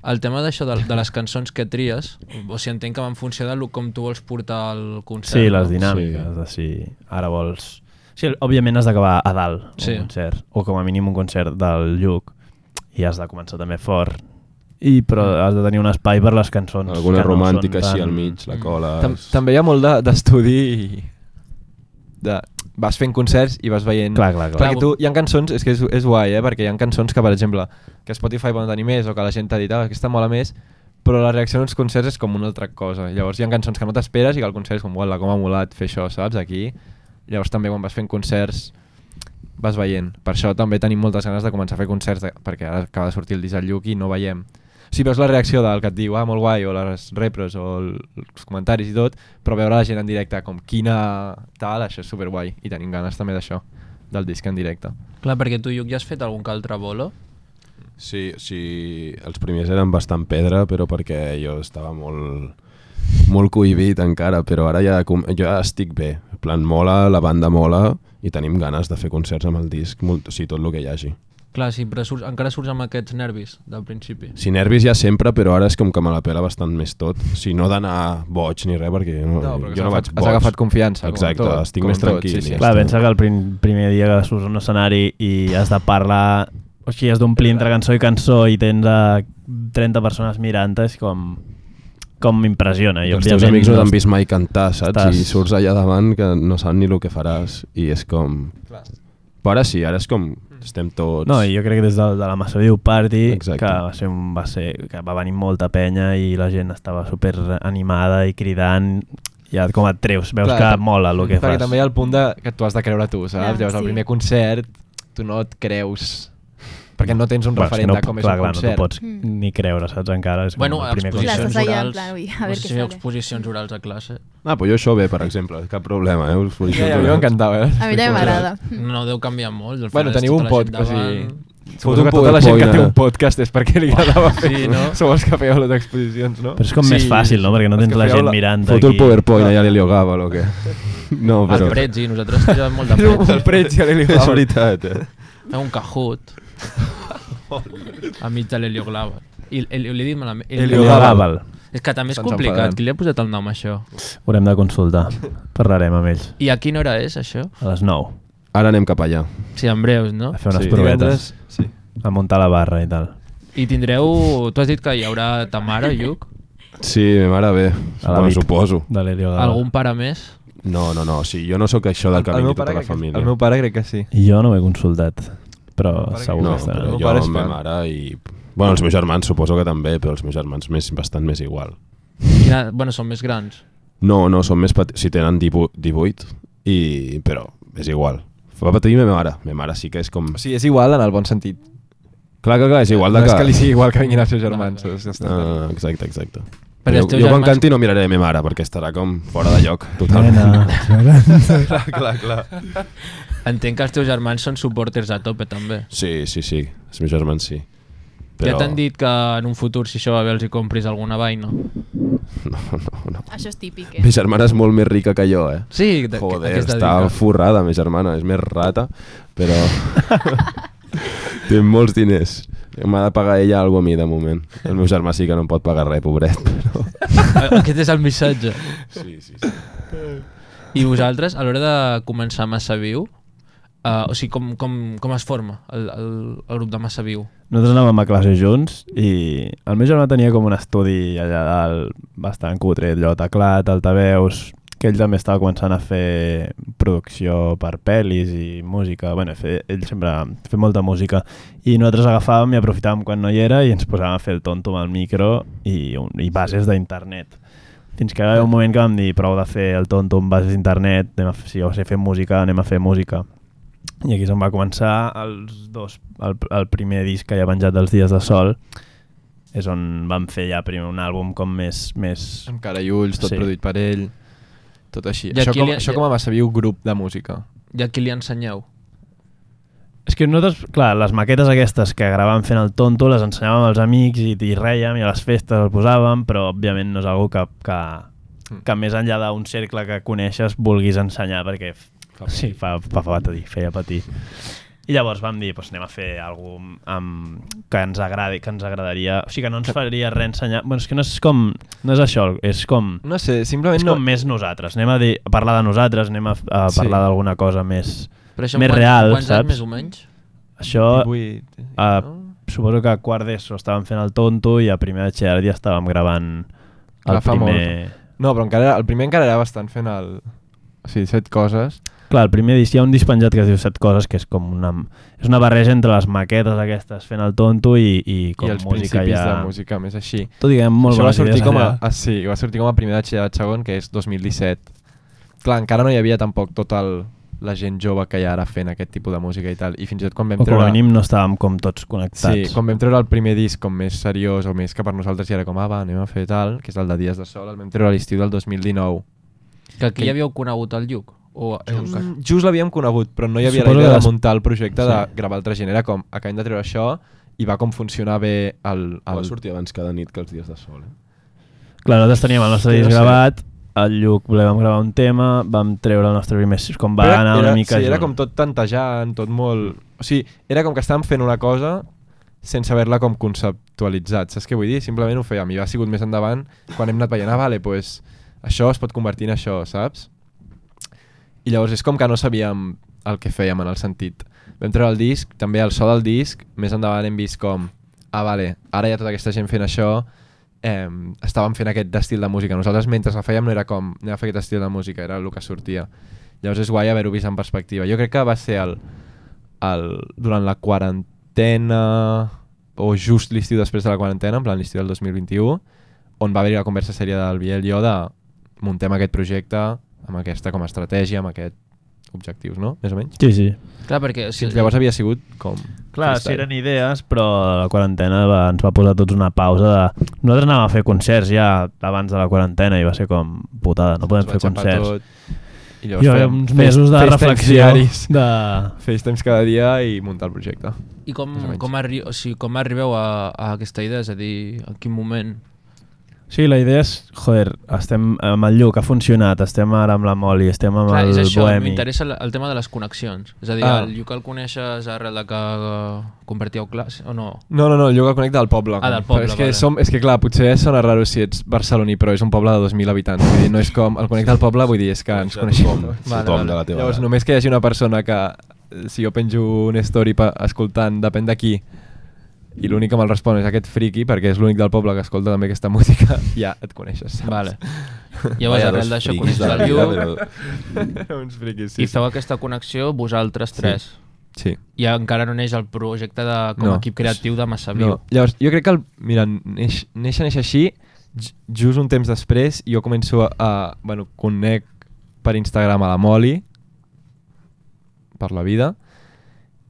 G: El tema d'això de, de les cançons que tries, o sigui, entenc que va en funció de lo- com tu vols portar el concert.
C: Sí,
G: no?
C: les dinàmiques, eh. sí. de si ara vols... Sí, òbviament has d'acabar a dalt sí.
G: Sí.
C: un concert, o com a mínim un concert del Lluc, i has de començar també fort, i però
E: Mm.
C: has de tenir un espai per les cançons.
D: Alguna
C: que no
D: romàntica
C: són
D: així
C: tan- Mm.
D: al mig, la cola...
E: Tam També hi ha molt de- d'estudi i... De, vas fent concerts i vas veient...
C: Clar, clar, clar.
E: Perquè tu, hi ha cançons, és que és, és guai, eh? perquè hi ha cançons que, per exemple, que Spotify poden tenir més o que la gent t'ha dit, ah, aquesta mola més, però la reacció en uns concerts és com una altra cosa. Llavors hi ha cançons que no t'esperes i que el concert és com, uala, com ha molat fer això, saps, aquí. Llavors també quan vas fent concerts vas veient. Per això també tenim moltes ganes de començar a fer concerts, de, perquè ara acaba de sortir el disc al Lluc i no veiem. Si veus la reacció del que et diu, ah, molt guai, o les repros, o el- els comentaris i tot, però veure la gent en directe com quina tal, això és superguai. I tenim ganes també d'això, del disc en directe.
G: Clar, perquè tu, Lluc, ja has fet algun que altre bolo?
D: Sí, sí, els primers eren bastant pedra, però perquè jo estava molt, molt cohibit encara, però ara ja, com- ja estic bé. En plan, mola, la banda mola, i tenim ganes de fer concerts amb el disc, molt, o sigui, tot el que hi hagi.
G: Clar, sí, però surts, encara surts amb aquests nervis del principi.
D: Si nervis ja sempre, però ara és com que me la pela bastant més tot. Si no d'anar boig ni res, perquè no,
E: No, però que
D: jo
E: s'ha
D: no vaig
E: agafat-
D: boig.
E: has agafat confiança, com
D: Exacte,
E: tot,
D: estic
E: com
D: més
E: tot,
D: tranquil.
E: sí, sí.
D: i ja
C: Clar,
D: està.
C: pensa que el prim, primer dia que surts a un escenari i has de parlar... O sigui, has d'omplir entre cançó i cançó i tens a 30 persones mirant és com, com m'impressiona. i
D: I els Doncs teus
C: òbviament
D: amics no t'han
C: es-
D: vist mai cantar, saps?
C: Estàs-
D: I surts allà davant que no saben ni el que faràs. I és com...
E: Clar.
D: Però ara sí, ara és com... Estem tots...
C: No, i jo crec que des de, de la Massaviu Party,
D: Exacte.
C: que va, ser un, va ser, que va venir molta penya i la gent estava super animada i cridant, ja com et treus, veus Clar, que mola el que
E: perquè
C: fas.
E: també hi ha el punt de, que tu has de creure tu, saps?
F: Clar,
E: Llavors,
F: sí.
E: al primer concert, tu no et creus perquè no tens un
C: Bueno, és que
E: referent
C: no,
E: de com és
C: clar,
E: un
C: clar,
E: concert.
C: no t'ho pots
F: Mm.
C: ni creure, saps, encara. És com
G: Bueno,
C: el primer
F: Clar,
G: exposicions
F: estàs allà, en
G: orals...
F: plan, ui, a
G: no
F: veure
G: sé
F: què
G: si feu
F: sale.
G: exposicions orals a classe.
D: Ah, però jo això bé, per exemple, cap problema, eh? Us vull
E: Ja, ja, a mi m'encantava. Eh?
F: A mi també m'agrada.
G: No deu canviar molt. al
E: Bueno,
G: final és
E: teniu un
G: tota la gent
E: podcast, o sigui...
G: davant.
E: Suposo que
D: un
E: tota la gent que té un
D: PowerPoint, ara.
E: podcast és perquè li agradava fer...
G: Sí, no?
E: Sou els que fèieu les exposicions, no?
C: Però és com sí, més fàcil, no? Perquè no
E: els
C: tens
E: que
C: la
E: feu
C: gent
E: la-
C: mirant
D: Foto el
C: aquí.
D: PowerPoint allà a l'Helio Gaval o què? No, però...
G: El Prezi, nosaltres tirem molt de
E: És un, un
G: Prezi.
E: preig, ja li
D: És veritat, eh?
G: Fem un cajut. a mig de l'Helio Glaval. I el- l'he dit malament.
E: Helio
C: Helio Gaval.
G: És que també és
E: Se'ns
G: complicat.
E: enfaden.
G: Qui li ha posat el nom, això?
C: Haurem de consultar. Parlarem amb ells
G: I a quina hora és, això?
C: a les 9,
D: Ara anem cap allà.
G: Sí, en breus, no?
C: a fer unes
D: Sí.
C: sí, provetes,
E: Sí.
C: a muntar la barra i tal.
G: I tindreu... Tu has dit que hi haurà ta mare, Lluc?
D: Sí, ma mare bé.
C: A la
D: Bueno,
C: VIP.
D: suposo.
C: De l'Helio Gaval.
G: Algun pare més?
D: No, no, no, sí, jo no sóc això del que vingui tota la
E: crec que,
D: família.
E: el meu pare crec que sí.
C: Jo no ho he consultat, però
E: pare
C: segur
D: No,
C: que
E: El
C: estarà.
D: però
E: meu
D: jo,
E: pare és
D: ma
E: fan.
D: mare i... Bueno, els meus germans suposo que també, però els meus germans més, bastant més igual.
G: Quina... Bueno, són més grans.
D: No, no, són més petits, si tenen 18, 18 i... però és igual. Va patir ma mare, ma mare sí que és com...
E: O sigui, és igual en el bon sentit.
D: Clar que, clar, és igual de
E: no
D: que...
E: és que li sigui igual que vinguin els seus germans. saps? Ja està.
D: Ah, exacte, exacte.
G: Perquè
D: jo,
G: els teus
D: jo quan
G: germans-
D: canti no miraré a mi mare, perquè estarà com fora de lloc,
H: Nena,
D: totalment.
H: Joan.
D: clar, clar.
G: Entenc que els teus germans són supporters a tope, també.
D: Sí, sí, sí, els meus germans sí.
G: Però... Ja t'han dit que en un futur, si això va bé, els hi compris alguna vaina.
D: No, no, no.
F: Això és típic,
D: Mi
F: eh?
D: germana és molt més rica que jo, eh?
G: Sí, de-
D: Joder,
G: aquesta
D: està
G: dica.
D: forrada, mi germana, és més rata, però... Té molts diners. M'ha de pagar ella alguna a mi, de moment. El meu germà sí que no em pot pagar res, pobret, però...
G: Eh, Aquest és el missatge.
D: Sí, sí, sí.
G: I vosaltres, a l'hora de començar Massa Viu, uh, o sigui, com, com, com es forma el, el, el grup de Massa Viu?
C: Nosaltres anàvem a classe junts i el meu germà tenia com un estudi allà dalt bastant cutre, allò teclat, altaveus, que ell també estava començant a fer producció per pel·lis i música. Bé, fer, ell sempre fer molta música. I nosaltres agafàvem i aprofitàvem quan no hi era i ens posàvem a fer el tonto amb el micro i, un, i bases d'internet. Fins que va haver un moment que vam dir prou de fer el tonto amb bases d'internet, anem a fer, si jo sé fer música, anem a fer música. I aquí és on va començar els dos, el, el primer disc que hi ha penjat dels Dies de Sol, és on vam fer ja primer un àlbum com més... més...
E: Amb cara i ulls, tot
C: Sí.
E: sí. produït per ell, tot així.
G: I
E: Això
G: aquí
E: com,
G: li-
E: això com a massa viu grup de música.
G: I a qui li ensenyeu?
C: És que nosaltres, clar, les maquetes aquestes que gravàvem fent el tonto les ensenyàvem als amics i, i rèiem i a les festes el posàvem, però òbviament no és algo que, que, que més enllà d'un cercle que coneixes vulguis ensenyar perquè f- sí, fa, fa, fa patir, feia patir. I llavors vam dir, doncs anem a fer alguna amb... que ens agradi, que ens agradaria... O sigui, que no ens faria res ensenyar... Bueno, és que no és com... No és això, és com...
E: No sé, simplement
C: És
E: no...
C: com més nosaltres. Anem a, dir, a parlar de nosaltres, anem a, a
E: Sí.
C: parlar d'alguna cosa més...
G: Però això
C: Més
G: en quants,
C: real,
G: en quants anys,
C: saps?
G: més o menys?
C: Això...
E: 18,
C: Ah,
E: no?
C: suposo que a quart d'ESO estàvem fent el tonto i a primer de Gerard ja estàvem gravant el
E: Clar, fa molt.
C: primer...
E: no, però encara, el primer encara era bastant fent el... O sigui, set coses.
C: Clar, el primer disc hi ha un disc penjat que es diu Set Coses, que és com una... És una barreja entre les maquetes aquestes fent el tonto i, i com
E: I els
C: música
E: principis
C: ja...
E: de música, més així.
C: Tot i que hi ha molt
E: Això va
C: bones
E: sortir,
C: idees
E: com a, ah,
C: allà.
E: sí, va sortir com a primer batxillerat segon, que és 2017. Clar, encara no hi havia tampoc tot el, la gent jove que hi ha ara fent aquest tipus de música i tal. I fins i tot quan vam
C: O com
E: treure...
C: a mínim no estàvem com tots
E: sí,
C: connectats.
E: quan vam treure el primer disc com més seriós o més que per nosaltres ja era com, ah, va, anem a fer tal, que és el de Dies de Sol, el vam treure a l'estiu del 2019.
G: Que aquí ja havíeu conegut el Lluc? O... eh,
E: Mm, Just l'havíem conegut, però no hi havia la
C: Suposo que
E: idea de
C: les-
E: muntar el projecte sí.
C: Sí.
E: de gravar altra gent. Era com, acabem de treure això i va com funcionar bé el...
D: Va
E: el...
D: sortir abans cada nit que els dies de sol, eh?
C: Clar, nosaltres teníem el nostre
E: Sí, no
C: disc
E: sé.
C: gravat, el Lluc li vam gravar un tema, vam treure el nostre primer... Com va
E: Però
C: anar una mica...
E: Sí, era
C: junt.
E: com tot tantejant, tot molt... O sigui, era com que estàvem fent una cosa sense haver-la com conceptualitzat, saps què vull dir? Simplement ho fèiem i ha sigut més endavant quan hem anat veient, ah, vale, pues, això es pot convertir en això, saps? I llavors és com que no sabíem el que fèiem en el sentit. Vam treure el disc, també el so del disc, més endavant hem vist com, ah, vale, ara hi ha tota aquesta gent fent això, eh, estàvem fent aquest estil de música. Nosaltres mentre la fèiem no era com, anem a fer aquest estil de música, era el que sortia. Llavors és guai haver-ho vist en perspectiva. Jo crec que va ser el, el, durant la quarantena o just l'estiu després de la quarantena, en plan l'estiu del 2021, on va haver-hi la conversa sèria del Biel i jo de muntem aquest projecte amb aquesta com a estratègia, amb aquest objectius, no? Més o menys.
C: Sí, sí.
G: Clar, perquè...
E: Fins llavors havia sigut com...
C: Clar, sí,
E: freestyle.
C: eren idees, però la quarantena va, ens va posar tots una pausa de... Nosaltres anàvem a fer concerts ja abans de la quarantena i va ser com, putada, no podem
E: Ens va
C: fer
E: xapar
C: concerts.
E: tot, I
C: Jo havia uns mesos de reflexió, de...
E: FaceTimes cada dia i muntar el projecte.
G: I com,
E: Més o menys.
G: com, arri o sigui, com arribeu a, a aquesta idea? És a dir, en quin moment?
C: Sí, la idea és, joder, estem amb el Lluc, ha funcionat, estem ara amb la Moli, estem amb
G: Clar,
C: el
G: és això,
C: Bohemi.
G: m'interessa el, el tema de les connexions. És a dir,
E: Ah.
G: ah. el Lluc el coneixes arrel de que eh, compartíeu classe, o no?
E: No, no, no, el lloc el connecta del poble.
G: Ah, del
E: com. Però
G: poble,
E: és que,
G: vale.
E: som, és que clar, potser sona raro si ets barceloní, però és un poble de 2.000 habitants. Vull dir, no és com... El connecta del poble, vull dir, és que ens coneixem.
D: Tothom,
E: tots.
D: tothom de la teva
E: Llavors,
D: edat.
E: només que hi hagi una persona que, eh, si jo penjo una story pa, escoltant, depèn de qui, i l'únic que me'l respon és aquest friki, perquè és l'únic del poble que escolta també aquesta música, ja et coneixes, saps?
G: Vale. Llavors,
D: Vaya,
E: doncs
G: arrel
D: dos
G: d'això,
D: friquis
G: coneixes
D: de la
G: el
D: vida,
G: Lluc
D: però-
E: Uns friquis,
G: i
E: sí.
G: feu aquesta connexió vosaltres tres.
E: Sí.
G: I encara no neix el projecte de, com a
E: No.
G: equip creatiu de Massaviu.
E: No. Llavors, jo crec que, el, mira, neix, neix, neix així, ju- just un temps després, jo començo a, a bueno, conec per Instagram a la Moli, per la vida,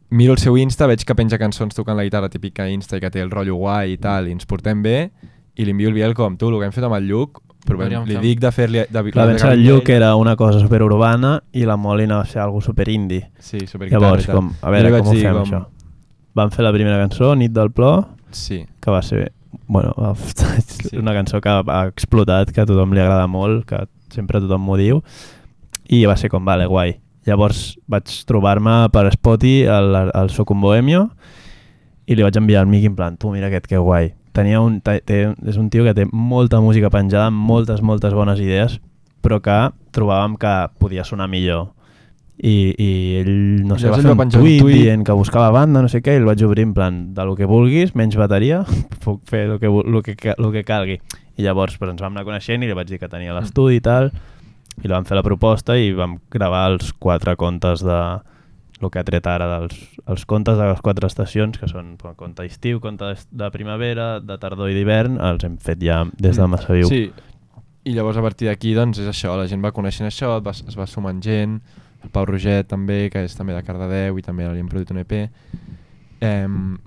E: miro el seu Insta, veig que penja cançons tocant la guitarra típica Insta i que té el rotllo guai i tal, i ens portem bé, i li envio el Biel com tu, el que hem fet amb el Lluc, però
G: Podríem
E: li
G: fer-
E: dic de fer-li... De, de,
C: La
E: de
C: vença del Lluc era una cosa superurbana i la Molina va ser algo superindi.
E: Sí, superguitarra
C: Llavors,
E: i tal.
C: com, a
E: Jo
C: veure
E: li vaig
C: com ho
E: dir
C: fem, això. Vam fer la primera cançó, Nit del Plor,
E: Sí,
C: que va ser bueno, una cançó que ha explotat, que a tothom li agrada molt, que sempre tothom m'ho diu, i va ser com, vale, guai. Llavors vaig trobar-me per Spotify el, el Socum Bohemio i li vaig enviar al Miqui en plan, tu mira aquest que guai. Tenia un, te, te, és un tio que té molta música penjada, moltes, moltes bones idees, però que trobàvem que podia sonar millor. I, i ell, no sé,
E: Llavors
C: va
E: ell
C: fer
E: va
C: un
E: penjar un
C: tuit,
E: tuit.
C: dient que buscava banda, no sé què, i el vaig obrir en plan, de lo que vulguis, menys bateria, puc fer el que, vu- lo que, ca- lo que calgui. I llavors pues, ens vam anar coneixent i li vaig dir que tenia l'estudi i tal, i li vam fer la proposta i vam gravar els quatre contes de el que ha tret ara dels els contes de les quatre estacions, que són pues, conte d'estiu, conte d'est- de primavera, de tardor i d'hivern, els hem fet ja des de
E: Mm.
C: Massaviu.
E: sí. I llavors a partir d'aquí, doncs, és això, la gent va coneixent això, et va, es va sumant gent, el Pau Roget també, que és també de Cardedeu i també li hem produït un EP. Em,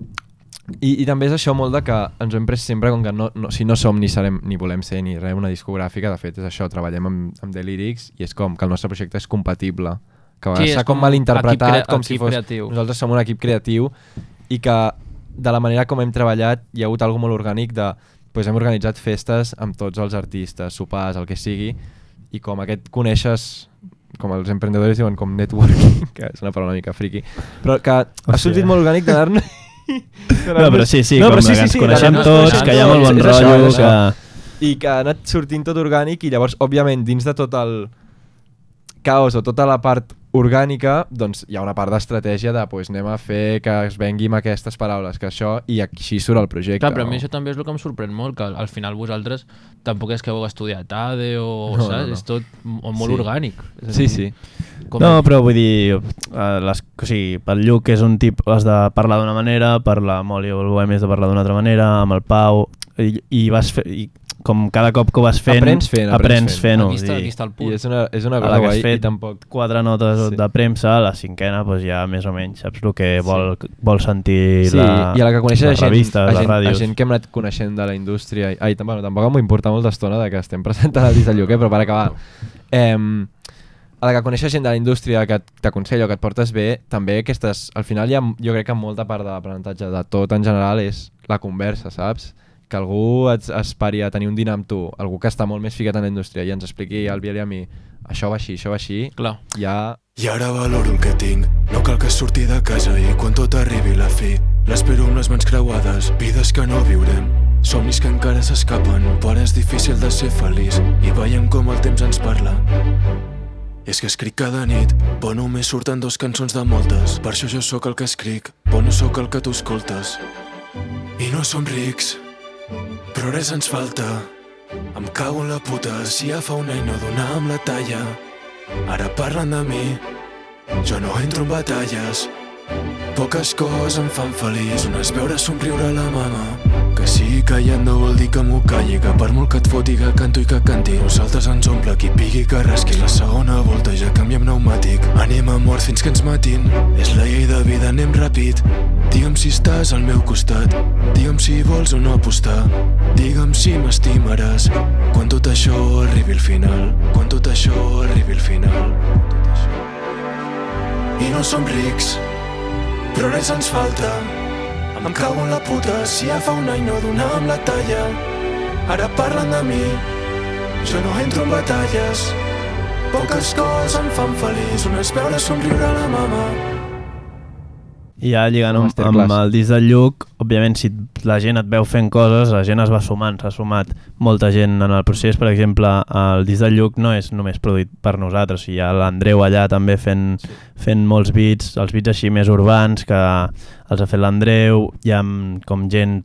E: i, I també és això molt de que ens ho hem pres sempre com que no, no, si no som ni serem ni volem ser ni res una discogràfica, de fet és això, treballem amb, amb The Lyrics i és com que el nostre projecte és compatible que a
G: Sí,
E: vegades
G: és
E: s'ha com
G: com
E: mal interpretat
G: equip crea-
E: com si
G: equip
E: fos
G: creatiu.
E: nosaltres som un equip creatiu i que de la manera com hem treballat hi ha hagut alguna molt orgànic de doncs hem organitzat festes amb tots els artistes, sopars, el que sigui i com aquest coneixes com els emprendedors diuen com networking que és una paraula una mica friki però que ha sortit molt orgànic d'anar-nos
C: No, però sí, sí, no, com sí, que ens sí, coneixem
G: d'anar-nos
C: tots,
G: coneixent
C: que hi ha molt
G: tots,
C: bon
G: és
E: això,
C: rotllo,
E: és
C: que...
E: això. i que ha anat sortint tot orgànic i llavors, òbviament, dins de tot el caos o tota la part orgànica, doncs hi ha una part d'estratègia de pues, anem a fer que es vengui amb aquestes paraules, que això, i així surt el projecte.
G: Clar, però a
E: no?
G: mi això també és el que em sorprèn molt, que al final vosaltres tampoc és que heu estudiat ADE o,
E: No, no,
G: saps?
E: no.
G: És tot m- molt
E: Sí.
G: orgànic. És a
E: Sí,
G: dir,
E: sí.
G: Com
C: No, però vull dir, eh, les, o sigui, pel Lluc és un tip, has de parlar d'una manera, per la Moli o el Bohem has de parlar d'una altra manera, amb el Pau, i, i vas fer, i com cada cop que ho vas fent,
E: Aprens fent, aprens
C: aprens
E: fent.
C: fent,
G: aquí,
C: o
G: està,
C: sigui,
G: aquí està el
E: I
G: punt.
E: és una, és una
C: a la
E: cosa
C: que has
E: guai i
C: fet
E: tampoc...
C: quatre notes
E: Sí.
C: de premsa, la cinquena pues, ja més o menys saps el que vol, vol sentir
E: Sí,
C: la,
E: i a la que coneixes a
C: les
E: gent,
C: revistes,
E: a,
C: les
E: gent, a
C: ràdios.
E: gent que hem anat coneixent de la indústria. i- Ai, tam- bueno, tampoc m'ho importa molt d'estona de que estem presentant el disc del Lluquer, però per acabar... Em, a la que coneixes gent de la indústria que t'aconsella o que et portes bé, també aquestes... Al final hi ha, jo crec que molta part de l'aprenentatge de tot en general és la conversa, saps? Que algú et, es pari a tenir un dinar amb tu, algú que està molt més ficat en la indústria i ens expliqui al Biel i a mi això va així, això va així,
G: Clar.
E: ja...
H: I ara valoro el que tinc, no cal que surti de casa i quan tot arribi la fi. L'espero amb les mans creuades, vides que no viurem. Somnis que encara s'escapen, però és difícil de ser feliç i veiem com el temps ens parla. I és que escric cada nit, però només surten dos cançons de moltes. Per això jo sóc el que escric, però no sóc el que tu escoltes. I no som rics, però res ens falta. Em cago en la puta, si ja fa un any no donàvem la talla. Ara parlen de mi, jo no entro en batalles. Poques coses em fan feliç, una és veure somriure la mama. Que sigui callant no vol dir que m'ho calli, que per molt que et foti que canto i que canti, nosaltres ens omple qui pigui que rasqui. La segona volta ja canviem pneumàtic, anem a mort fins que ens matin. És la llei de vida, anem ràpid. Digue'm si estàs al meu costat, digue'm si vols o no apostar, digue'm si m'estimaràs. Quan tot això arribi al final, quan tot això arribi al final. I no som rics, però res ens falta. Em cago en la puta si ja fa un any no donàvem la talla. Ara parlen de mi, jo no entro en batalles. Poques coses em fan feliç, una és veure somriure la mama.
C: I ja lligant amb,
E: Masterclass.
C: amb el disc del Lluc, òbviament si la gent et veu fent coses, la gent es va sumant, s'ha sumat molta gent en el procés, per exemple, el disc del Lluc no és només produït per nosaltres, o sigui, hi ha l'Andreu allà també fent, sí. fent molts beats, els beats així més urbans que els ha fet l'Andreu, hi ha mm, com gent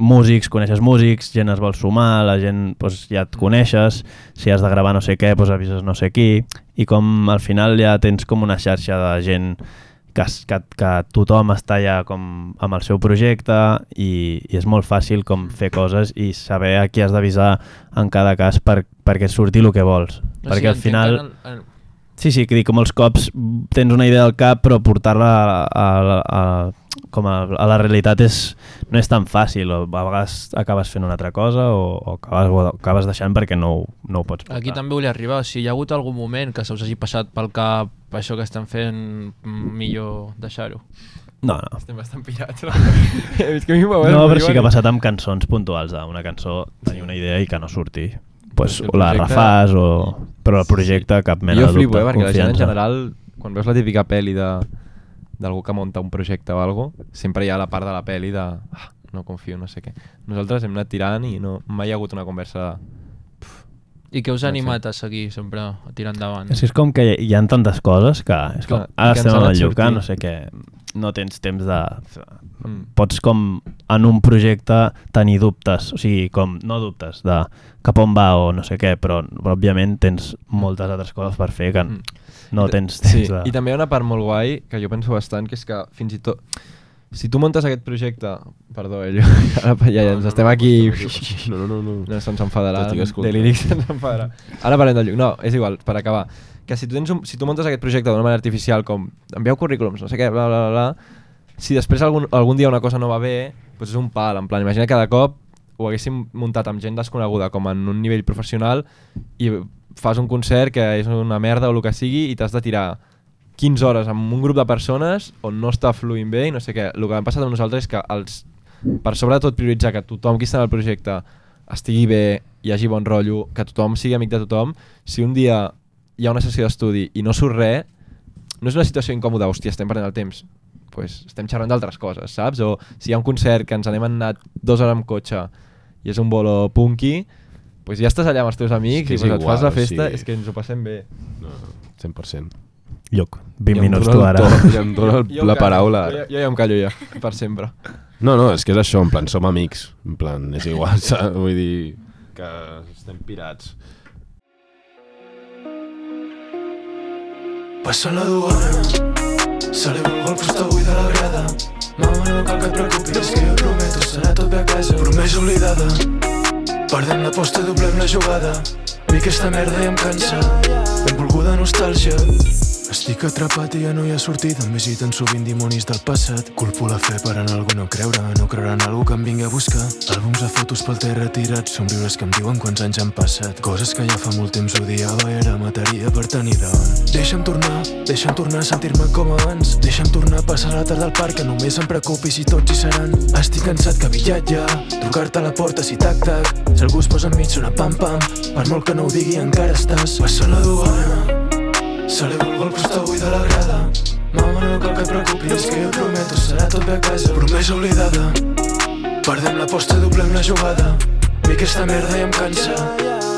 C: músics, coneixes músics, gent es vol sumar, la gent doncs, ja et coneixes, si has de gravar no sé què, doncs avises no sé qui, i com al final ja tens com una xarxa de gent que, es- que, que tothom està ja com amb el seu projecte i, i és molt fàcil com fer coses i saber a qui has d'avisar en cada cas per, perquè et surti el que vols.
G: O
C: perquè
G: sigui,
C: al final...
G: entenc que En el, en,
C: Sí, sí, que dic, com els cops tens una idea al cap, però portar-la a, a, a, com a, a la realitat és, no és tan fàcil. O a vegades acabes fent una altra cosa o, o, acabes, o acabes deixant perquè no, ho- no ho pots portar.
G: Aquí també volia arribar, si hi ha hagut algun moment que se us hagi passat pel cap això que estem fent, mm, millor deixar-ho.
C: No, no.
E: Estem bastant pirats. la veritat. He vist que a mi m'ho
C: No, però sí que ha passat amb cançons puntuals d'una cançó, tenir una idea i que no surti. Pues,
E: El
C: o la
E: projecte-
C: refàs o... Però el projecte, cap mena
E: jo
C: de
E: flipo,
C: dubte.
E: eh, perquè la gent en
C: confiança.
E: general, quan veus la típica pel·li de d'algú que munta un projecte o algo, sempre hi ha la part de la pel·li de ah, no confio, no sé què. Nosaltres hem anat tirant i no, mai hi ha hagut una conversa de...
G: I què us ha
E: No sé.
G: animat a seguir sempre a tirar endavant?
C: És que és com que hi ha tantes coses que... És com,
E: Clar, i
C: ara
E: que ens
C: estem
E: han
C: amb el
E: anat
C: Lluc,
E: sortint.
C: no sé què... No tens temps de...
E: Mm.
C: Pots com en un projecte tenir dubtes, o sigui, com no dubtes de cap on va o no sé què, però, però òbviament tens moltes altres coses per fer que
E: Mm.
C: no
E: I ta-
C: tens temps
E: Sí,
C: de...
E: i també hi ha una part molt guai que jo penso bastant, que és que fins i tot... Si tu muntes aquest projecte... Perdó, eh, jo, ara ja, ja ens estem aquí...
D: No, no, no. no.
E: No, se'ns enfadarà.
D: T'estic escoltant.
E: De lírics se'ns enfadarà. Ara parlem del Lluc. No, és igual, per acabar. Que si tu, tens un, si tu muntes aquest projecte d'una manera artificial com envieu currículums, no sé què, bla, bla, bla, bla si després algun, algun dia una cosa no va bé, doncs és un pal. En plan, imagina cada cop ho haguéssim muntat amb gent desconeguda, com en un nivell professional, i fas un concert que és una merda o el que sigui i t'has de tirar 15 hores amb un grup de persones on no està fluint bé i no sé què. El que hem passat amb nosaltres és que els, per sobre de tot prioritzar que tothom qui està en el projecte estigui bé, hi hagi bon rotllo, que tothom sigui amic de tothom, si un dia hi ha una sessió d'estudi i no surt res, no és una situació incòmoda, hòstia, estem perdent el temps, pues, estem xerrant d'altres coses, saps? O si hi ha un concert que ens n'hem anat dues hores amb cotxe i és un bolo punky, pues ja estàs allà amb els teus amics
D: que
E: i
D: és
E: pues, et
D: igual,
E: fas la
D: o
E: festa,
D: sigui-
E: és que ens ho passem bé.
D: no, 100%.
C: Lluc,
D: Ja
C: 20
D: em
C: minuts
D: dóna
C: tu
D: el
C: ara.
D: to, Ja em dóna el-
E: Jo em
D: la
E: callo,
D: paraula.
E: Jo,
D: ara.
E: jo ja em callo ja, per sempre.
D: No, no, és que és això, en plan, som amics. En plan, és igual, saps? Vull dir que estem pirats.
H: Passa la duana Celebro el gol que està avui de la grada Mama, no cal que et preocupis que jo prometo serà tot bé a casa Promesa oblidada Perdem l'aposta, doblem la jugada Mi aquesta merda ja em cansa Benvolguda nostàlgia estic atrapat i ja no hi ha sortida. Em visiten sovint dimonis del passat. Culpo la fe per en algú no creure, no creure en algú que em vingui a buscar. Àlbums de fotos pel terra tirats, somriures que em diuen quants anys han passat. Coses que ja fa molt temps odiava i ara mataria per tenir davant. Deixa'm tornar, deixa'm tornar a sentir-me com abans. Deixa'm tornar a passar la tarda al parc, que només em preocupi si tots hi seran. Estic cansat que billat ja, trucar-te a la porta si tac-tac. Si algú es posa enmig sona pam-pam, per molt que no ho digui encara estàs. Passa la duana, Celebro el gol que està avui de la grada Mama, no cal que et preocupis que jo prometo serà tot bé a casa Promesa oblidada Perdem l'aposta, doblem la jugada Mi aquesta merda ja em cansa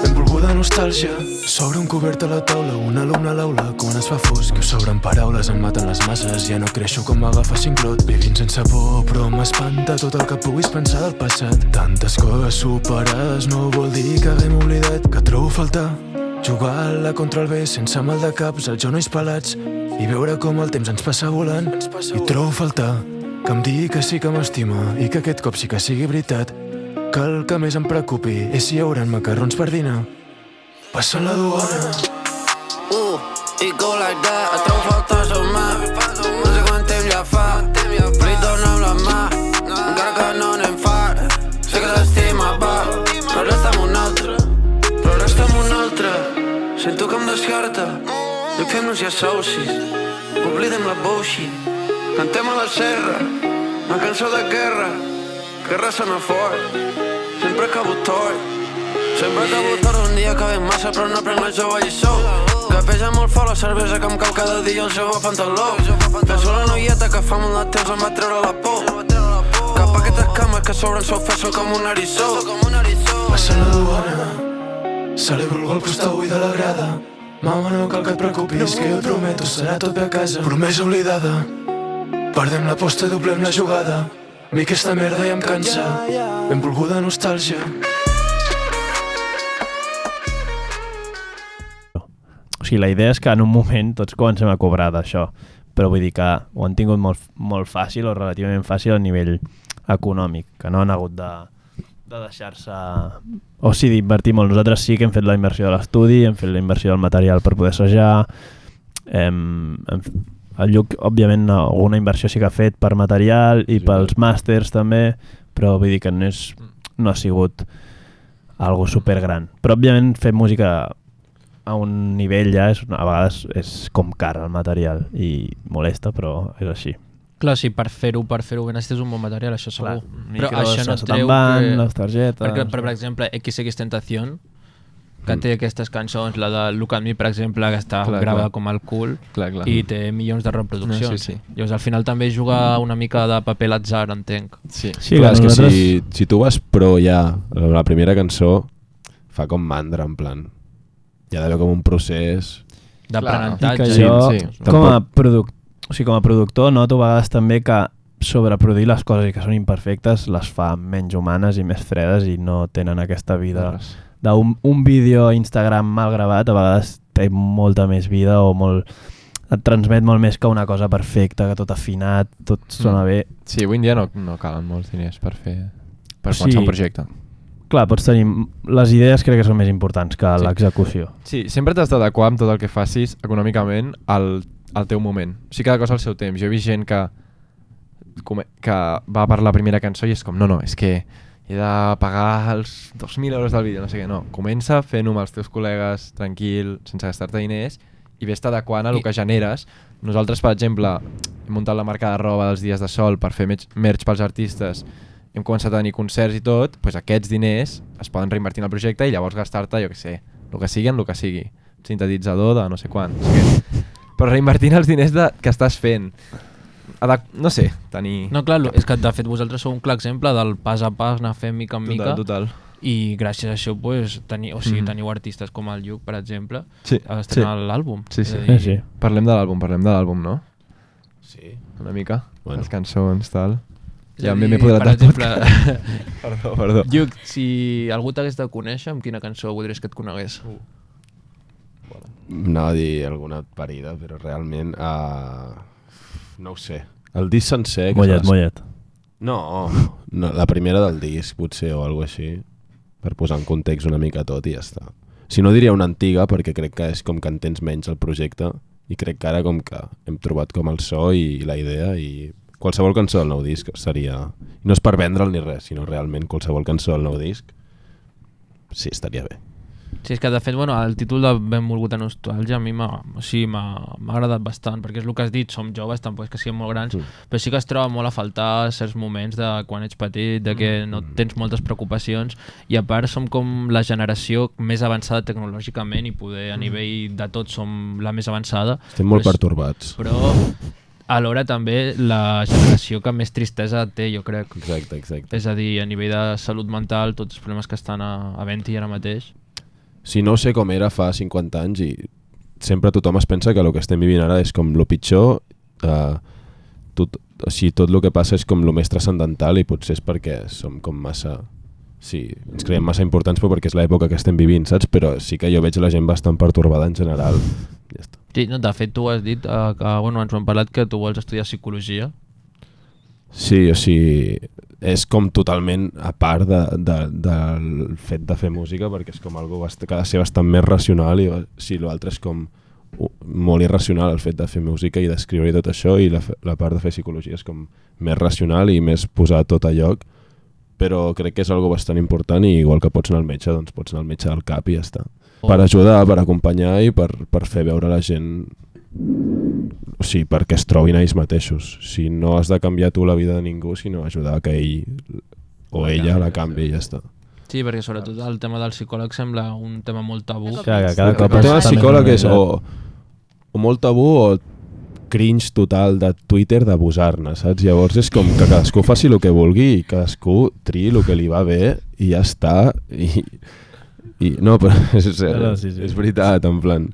H: Benvolguda nostàlgia S'obre un cobert a la taula, un alumne a l'aula Quan es fa fosc, us sobren paraules, em maten les masses Ja no creixo com m'agafa cinclot Vivint sense por, però m'espanta tot el que puguis pensar del passat Tantes coses superades no vol dir que haguem oblidat Que trobo a faltar Jugar a la contra el bé sense mal de caps, els genolls pelats i veure com el temps ens passa volant. I trobo a faltar que em digui que sí que m'estima i que aquest cop sí que sigui veritat. Que el que més em preocupi és si hi haurà macarrons per dinar. Passa la duana.
I: Uh, i go like that, et trobo falta sumar. No sé quant temps ja fa, li dona'm la mà, encara que no anem fart. Sé que t'estima, va, però ara està amb un altre, però ara està amb un altre. Sento que em descarta, no fem-nos ja socis, oblidem la bullshit. Cantem a la serra, una cançó de guerra, guerra sona fort, sempre acabo tort. Sempre que votar un dia que ve massa però no prenc la jove lliçó Que pesa molt fort la cervesa que em cau cada dia el seu pantaló Que sóc la noieta que fa molt de temps em va treure la por Cap a aquestes cames que sobre ens ofessen com un eriçó
H: Passa la duana. Celebro el gol que està avui de la grada. Mama, no cal que et preocupis, que jo prometo serà tot bé a casa. Promesa oblidada. Perdem l'aposta, doblem la jugada. A mi aquesta merda ja em cansa. Benvolguda nostàlgia.
C: O sigui, la idea és que en un moment tots comencem a cobrar d'això, però vull dir que ho han tingut molt, molt fàcil o relativament fàcil a nivell econòmic, que no han hagut de, de deixar-se... O sigui, d'invertir molt. Nosaltres sí que hem fet la inversió de l'estudi, hem fet la inversió del material per poder assajar, Em, em, el Lluc, òbviament, alguna inversió sí que ha fet per material i pels màsters també, però vull dir que no, és, no ha sigut algo super gran. Però, òbviament, fer música a un nivell ja és, a vegades és com car el material i molesta, però és així.
G: Clar, sí, per fer-ho, per fer-ho ben necessites un bon material, això segur.
C: micros, sota band, les targetes.
G: Perquè, per, per exemple, XX Tentación, que té aquestes cançons, la de Look at Me, per exemple, que està
E: Mm. Clar,
G: clar, gravada
E: clar.
G: com el cul
E: Clar, clar.
G: i té milions de reproduccions.
E: No, sí, sí.
G: Llavors, al final també juga una mica de paper l'atzar, entenc.
E: Sí.
C: Sí,
D: Clar, és que si, si tu vas pro ja a la primera cançó, fa com mandra, en plan. Hi ha d'haver com un procés...
E: I que
G: D'aprenentatge.
C: Sí, jo,
E: sí.
C: sí. com, a produc o sigui, com a productor noto a vegades també que sobreproduir les coses i que són imperfectes les fa menys humanes i més fredes i no tenen aquesta vida d'un un vídeo a Instagram mal gravat a vegades té molta més vida o molt et transmet molt més que una cosa perfecta, que tot afinat, tot sona
E: Mm.
C: mm. bé.
E: Sí, avui en dia no, no calen molts diners per fer per
C: Sí.
E: sí. començar un projecte.
C: Clar, pots tenir... Les idees crec que són més importants que
E: Sí.
C: l'execució.
E: Sí, sempre t'has d'adequar amb tot el que facis econòmicament al, al teu moment. O sigui, cada cosa al seu temps. Jo he vist gent que, come- que va per la primera cançó i és com, no, no, és que he de pagar els 2.000 euros del vídeo, no sé què, no. Comença fent-ho amb els teus col·legues, tranquil, sense gastar-te diners, i vés adequant a el
G: I-
E: que generes. Nosaltres, per exemple, hem muntat la marca de roba dels dies de sol per fer merch- merch pels artistes, hem començat a tenir concerts i tot, doncs aquests diners es poden reinvertir en el projecte i llavors gastar-te, jo què sé, el que sigui en el que sigui. Sintetitzador de no sé quant. no sé què. Però reinvertint els diners de, que estàs fent. Adec no sé, tenir...
G: No, clar, lo- és que de fet vosaltres sou un clar exemple del pas a pas anar fent mica en
E: total,
G: mica
E: total.
G: i gràcies a això pues, teni, o sigui,
E: Mhm.
G: teniu artistes com el Lluc, per exemple,
E: Sí,
G: estrenant sí. l'àlbum.
E: Sí, sí.
G: És a
C: Sí,
G: dir,
C: sí.
E: Parlem de l'àlbum, parlem de l'àlbum, no?
D: Sí.
E: Una mica.
D: Bueno.
E: Bueno. Les cançons, tal.
G: és
E: Ja
G: a
E: m'he
G: dir,
E: m'he podrat
G: Per
E: del
G: exemple,
E: podcast. Perdó, perdó.
G: Lluc, si algú t'hagués de conèixer, amb quina cançó voldries que et conegués?
D: Anava a dir alguna parida, però realment... Uh, no ho sé. El disc sencer... que se
C: Mollet,
D: l'es-
C: mollet.
D: No, no, la primera del disc, potser, o alguna així, per posar en context una mica tot i ja està. Si no, diria una antiga, perquè crec que és com que entens menys el projecte i crec que ara com que hem trobat com el so i la idea i qualsevol cançó del nou disc seria... No és per vendre'l ni res, sinó realment qualsevol cançó del nou disc sí, estaria bé.
G: Sí, és que de fet, bueno, el títol de Benvolgut a Nostàlgia a mi m'ha o sigui, m'ha m'ha agradat bastant, perquè és el que has dit, som joves, tampoc és que siguem molt grans, mm. però sí que es troba molt a faltar certs moments de quan ets petit, de que no
D: Mm.
G: tens moltes preocupacions, i a part som com la generació més avançada tecnològicament i poder a nivell de tot som la més avançada.
D: Mm. Estem molt
G: però és-
D: pertorbats.
G: Però alhora també la generació que més tristesa té, jo crec.
D: Exacte, exacte.
G: És a dir, a nivell de salut mental, tots els problemes que estan a, a venti ara mateix.
D: si no sé com era fa 50 anys i sempre tothom es pensa que el que estem vivint ara és com lo pitjor eh, tot, o sigui, tot el que passa és com lo més transcendental i potser és perquè som com massa sí, ens creiem massa importants però perquè és l'època que estem vivint, saps? Però sí que jo veig la gent bastant pertorbada en general ja està.
G: Sí, no, de fet, tu has dit eh, que, bueno, ens ho hem parlat, que tu vols estudiar psicologia.
D: Sí, o sigui, és com totalment a part de, de, del fet de fer música, perquè és com algo bast- que ha de ser bastant més racional, i si sí, l'altre és com u- molt irracional el fet de fer música i d'escriure i tot això, i la, fe- la part de fer psicologia és com més racional i més posar tot a lloc, però crec que és algo bastant important i igual que pots anar al metge, doncs pots anar al metge del cap i ja està. Per ajudar, per acompanyar i per, per fer veure la gent o sigui, perquè es trobin a ells mateixos. Si no has de canviar tu la vida de ningú, sinó ajudar a que ell o ella la canvi i ja està.
G: Sí, perquè sobretot el tema del psicòleg sembla un tema molt tabú.
F: De cop-
C: Clar, que cada
D: El
C: cop
F: Però
D: tema
C: està més
D: psicòleg és
C: normalitzat.
D: o, o molt tabú o cringe total de Twitter d'abusar-ne, saps? Llavors és com que cadascú faci el que vulgui i cadascú triï el que li va bé i ja està. I, i no, però és, és,
C: No, no, sí, sí.
D: és veritat, en plan...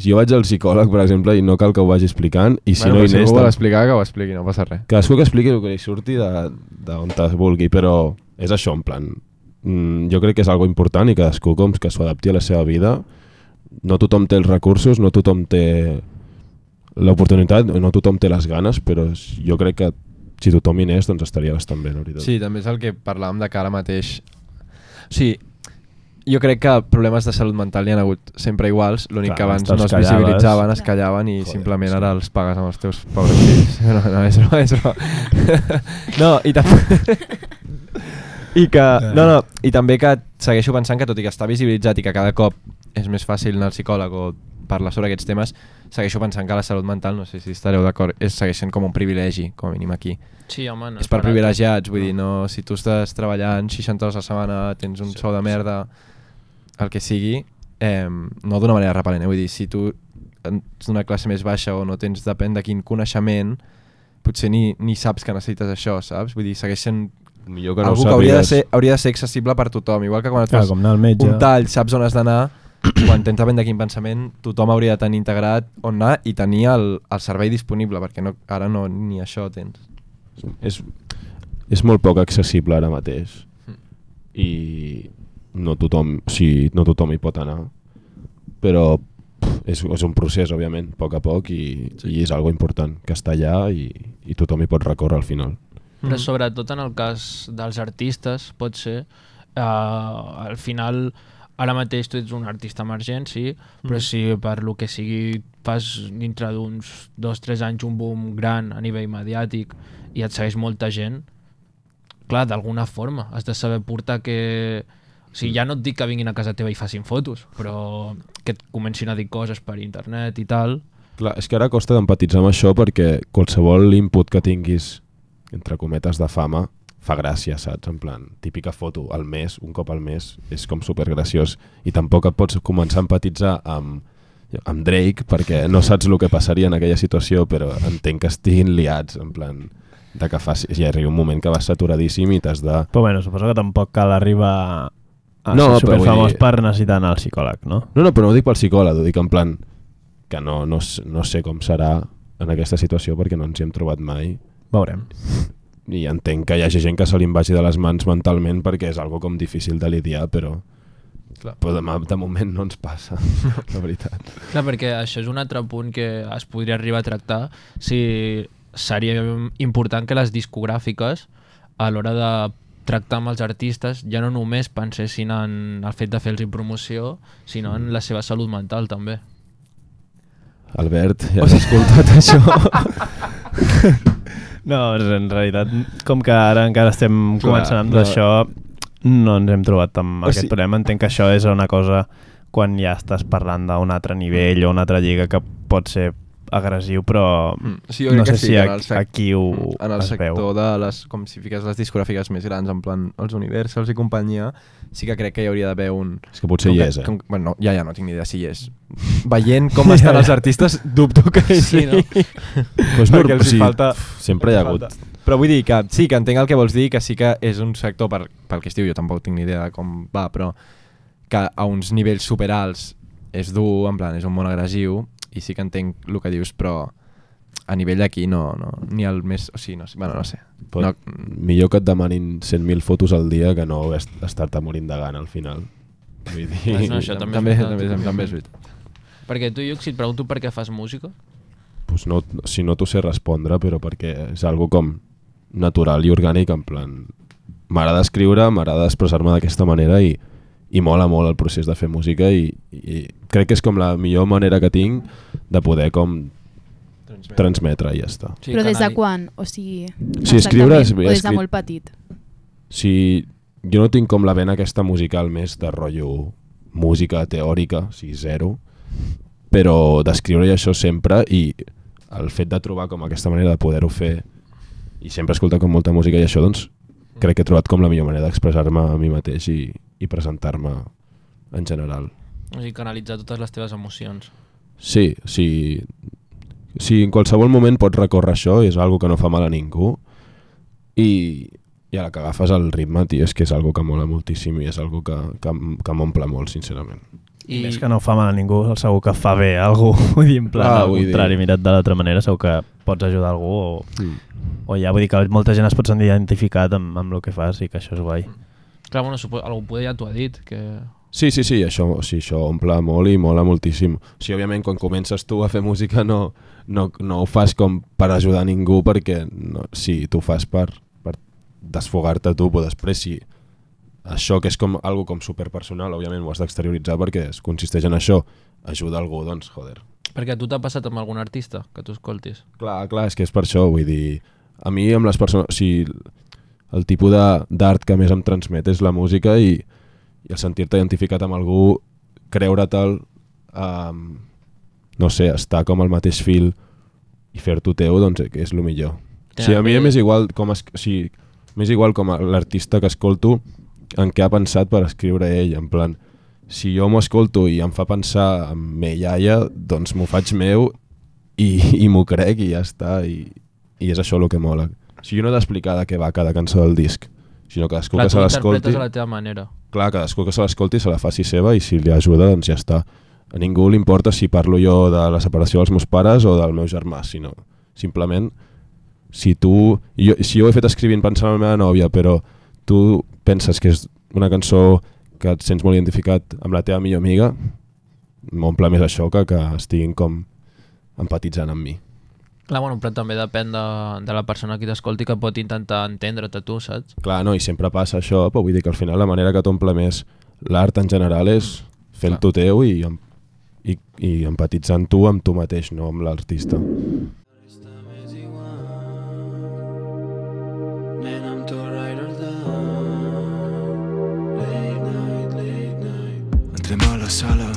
D: Si jo vaig al psicòleg, per exemple, i no cal que ho vagi explicant, i si
E: bueno,
D: no
E: però
D: hi
E: si
D: n'és...
E: algú vol
D: tampoc.
E: explicar, que ho expliqui, no passa res.
D: Cadascú que expliqui el que li surti de- d'on te vulgui, però és això, en plan... Mm, jo crec que és algo important i cadascú com que s'ho adapti a la seva vida. No tothom té els recursos, no tothom té l'oportunitat, no tothom té les ganes, però és- jo crec que si tothom hi n'és, doncs estaria bastant bé, la veritat.
E: Sí, també és el que parlàvem de que ara mateix... O sigui, jo crec que problemes de salut mental hi ha hagut sempre iguals, l'únic
C: Clar,
E: que abans
C: te'ls
E: no es
C: callaves.
E: visibilitzaven, es
F: Clar.
E: callaven i
D: Joder,
E: simplement
D: sí.
E: ara els pagues amb els teus pobres fills. No, no, és broma, és broma. No, i també... I que, no, no, i també que segueixo pensant que tot i que està visibilitzat i que cada cop és més fàcil anar al psicòleg o parlar sobre aquests temes, segueixo pensant que la salut mental, no sé si estareu d'acord, és segueix sent com un privilegi, com a mínim aquí.
G: Sí, home, no
E: és per
G: barat.
E: privilegiats, vull dir, no, si tu estàs treballant 60 hores a la setmana, tens un sou de merda, el que sigui, eh, no d'una manera repel·lent, eh? vull dir, si tu ets d'una classe més baixa o no tens, depèn de quin coneixement, potser ni, ni saps que necessites això, saps? Vull dir, segueix sent
D: Millor que
E: que
D: no
E: algú
D: ho
E: que hauria de,
D: sàpigues.
E: ser, hauria de ser accessible per tothom, igual que quan et
C: Clar,
E: fas
C: com anar al metge.
E: un tall, saps on has d'anar, quan tens depèn de quin pensament, tothom hauria de tenir integrat on anar i tenir el, el servei disponible, perquè no, ara no ni això tens.
D: és, és molt poc accessible ara mateix i no tothom, o sigui, no tothom hi pot anar però pff, és, és un procés òbviament, a poc a poc i, sí. i és algo important que està allà i, i tothom hi pot recórrer al final
G: Però sobretot en el cas dels artistes, pot ser, eh, al final ara mateix tu ets un artista emergent, sí, però si per lo que sigui fas dintre d'uns dos, tres anys un boom gran a nivell mediàtic i et segueix molta gent, clar, d'alguna forma has de saber portar que... O sigui, ja no et dic que vinguin a casa teva i facin fotos, però que et comencin a dir coses per internet i tal.
D: Clar, és que ara costa d'empatitzar amb això perquè qualsevol input que tinguis, entre cometes, de fama, fa gràcia, saps? En plan, típica foto al mes, un cop al mes, és com supergraciós. I tampoc et pots començar a empatitzar amb, amb Drake perquè no saps el que passaria en aquella situació, però entenc que estiguin liats, en plan, de que faci... Ja arriba un moment que vas saturadíssim i t'has de...
C: Però bueno, suposo que tampoc cal arribar a
D: No,
C: no,
D: però
C: ser superfamós
D: vull dir-
C: per necessitar anar al psicòleg, no?
D: No, no, però no ho dic pel psicòleg, ho dic en plan que no, no, s- no sé com serà en aquesta situació perquè no ens hi hem trobat mai
C: Veurem.
D: i entenc que hi hagi gent que se li en vagi de les mans mentalment perquè és algo com difícil de lidiar, però
E: Clar.
D: però de, ma- de moment no ens passa, la veritat.
G: Clar, perquè això és un altre punt que es podria arribar a tractar si seria important que les discogràfiques a l'hora de tractar amb els artistes ja no només pensessin en el fet de fer-los promoció, sinó en la seva salut mental també.
D: Albert, ja has escoltat això?
C: No, és- en realitat, com que ara encara estem
D: Clar,
C: Clar, començant amb
D: no.
C: no. això, no ens hem trobat amb
D: O
C: o aquest
D: sigui-
C: problema. Entenc que això és una cosa quan ja estàs parlant d'un altre nivell o una altra lliga que pot ser agressiu, però
E: Mm, sí, jo
C: no
E: crec
C: sé
E: que sí,
C: si
E: en
C: a,
E: el sec- mm,
C: aquí ho
E: en el
C: es
E: sector
C: veu.
E: de les, com si fiques les discogràfiques més grans, en plan els Universals i companyia, sí que crec que hi hauria d'haver un...
D: és que potser
E: com
D: hi
E: que-
D: és, eh?
E: Com, bueno, ja, ja, no tinc ni idea si hi és. Veient com estan els artistes, dubto que hi
G: Sí, no?
E: sigui.
D: Però
E: perquè
D: és norm-
E: els
D: sí,
E: hi falta...
D: Sempre hi ha hagut.
E: falta. Però vull dir que sí, que entenc el que vols dir, que sí que és un sector, per, pel que es diu, jo tampoc tinc ni idea de com va, però que a uns nivells superalts és dur, en plan, és un món agressiu, i sí que entenc el que dius, però a nivell d'aquí no, no, ni el més... O sigui, no sé, bueno, no sé.
D: Pot,
E: No,
D: Millor que et demanin 100.000 fotos al dia que no est- estar-te morint de gana al final. Vull dir...
G: Doncs no, això també és
E: també,
G: veritat.
E: també, també, també és veritat.
G: Perquè tu, Lluc, si et pregunto per què fas música,
D: pues no, si no t'ho sé respondre, però perquè és algo com natural i orgànic, en plan... M'agrada escriure, m'agrada expressar-me d'aquesta manera i, i mola molt el procés de fer música i, i crec que és com la millor manera que tinc de poder com transmetre i ja està.
G: sí,
F: Però des de
G: canali-
F: quan? O sigui,
D: Sí, escriure és-
F: exactament, o des de
D: escrit-
F: molt petit.
D: si jo no tinc com la vena aquesta musical més de rotllo música teòrica, o sigui, zero, però d'escriure i això sempre i el fet de trobar com aquesta manera de poder-ho fer i sempre escoltar com molta música i això, doncs crec que he trobat com la millor manera d'expressar-me a mi mateix i, i presentar-me en general.
G: O sigui, canalitzar totes les teves emocions.
D: Sí, sí. Si en qualsevol moment pots recórrer això, és algo que no fa mal a ningú, i, i a la que agafes el ritme, tio, és que és algo que mola moltíssim i és algo que, que, m- que m'omple molt, sincerament.
C: I... Més que no fa mal a ningú, segur que fa bé a algú. Vull dir, en plan,
D: Ah,
C: ah, al
D: vull dir-
C: contrari, mirat de l'altra manera, segur que pots ajudar algú o,
D: Mm.
C: o ja, vull dir que molta gent es pot sentir identificat amb, amb el que fas i que això és guai.
G: Clar, bueno, supo... algú poder ja t'ho ha dit, que...
D: Sí, sí, sí, això, sí, això omple molt i mola moltíssim. O sigui, òbviament, quan comences tu a fer música no, no, no ho fas com per ajudar ningú, perquè no, sí, tu ho fas per, per desfogar-te tu, però després, si això que és com algo com superpersonal, òbviament ho has d'exterioritzar perquè es consisteix en això, ajuda algú, doncs, joder.
G: Perquè a tu t'ha passat amb algun artista que tu escoltis.
D: Clar, Ah, clar, és que és per això, vull dir, a mi amb les persones, o sigui, el tipus de- d'art que més em transmet és la música i, i el sentir-te identificat amb algú, creure-te'l, um, no sé, estar com al mateix fil i fer-t'ho teu, doncs eh, que és el millor.
G: Clar,
D: o sigui, a mi
G: bé.
D: m'és igual com es, o sigui, m'és igual com a l'artista que escolto en què ha pensat per escriure ell, en plan, si jo m'ho escolto i em fa pensar en me iaia, doncs m'ho faig meu i, i m'ho crec i ja està i, i és això el que mola o sigui, jo no he d'explicar de què va cada cançó del disc sinó que cadascú
G: Clar,
D: que
G: tu
D: se
G: ho
D: l'escolti
G: interpretes a la teva manera.
D: clar, cadascú que se l'escolti se la faci seva i si li ajuda doncs ja està a ningú li importa si parlo jo de la separació dels meus pares o del meu germà sinó simplement si tu, jo, si jo ho he fet escrivint pensant en la meva nòvia però tu penses que és una cançó que et sents molt identificat amb la teva millor amiga m'omple més això que que estiguin com empatitzant amb mi
G: Clar, bueno, però també depèn de, de la persona que t'escolti que pot intentar entendre-te tu, saps?
D: Clar, no, i sempre passa això, però vull dir que al final la manera que t'omple més l'art en general és
E: Mm,
D: fent-ho teu i, em- i, i empatitzant tu amb tu mateix, no amb l'artista.
I: Man, I'm too right or down. Late night, late night.
H: Entrem a la sala,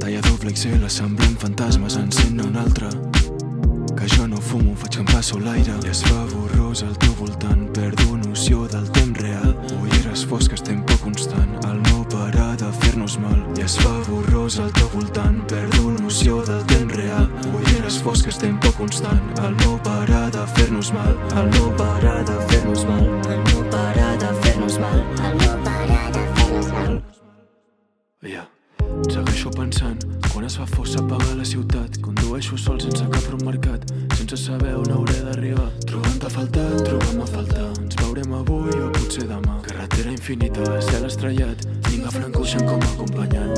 H: talla doble XL, semblem fantasmes, encén un altre. Que jo no fumo, faig que em passo l'aire. I es fa borrós al teu voltant, perdo noció del temps real. Ulleres fosques, tempo constant, el no parar de fer-nos mal. I es fa borrós al teu voltant, perdo noció del temps real. Ulleres fosques, tempo constant, el no parar de fer-nos mal. El no parar de fer-nos mal. El no parar de fer-nos mal.
B: Al no parar de fer-nos mal.
H: Yeah. Segueixo pensant, quan es fa fos s'apaga la ciutat, condueixo sol sense cap rumb marcat, sense saber on hauré d'arribar. Trobant-te a faltar, trobant-me a faltar, ens veurem avui o potser demà. Carretera infinita, cel estrellat, tinc a Frank Ocean com a acompanyant.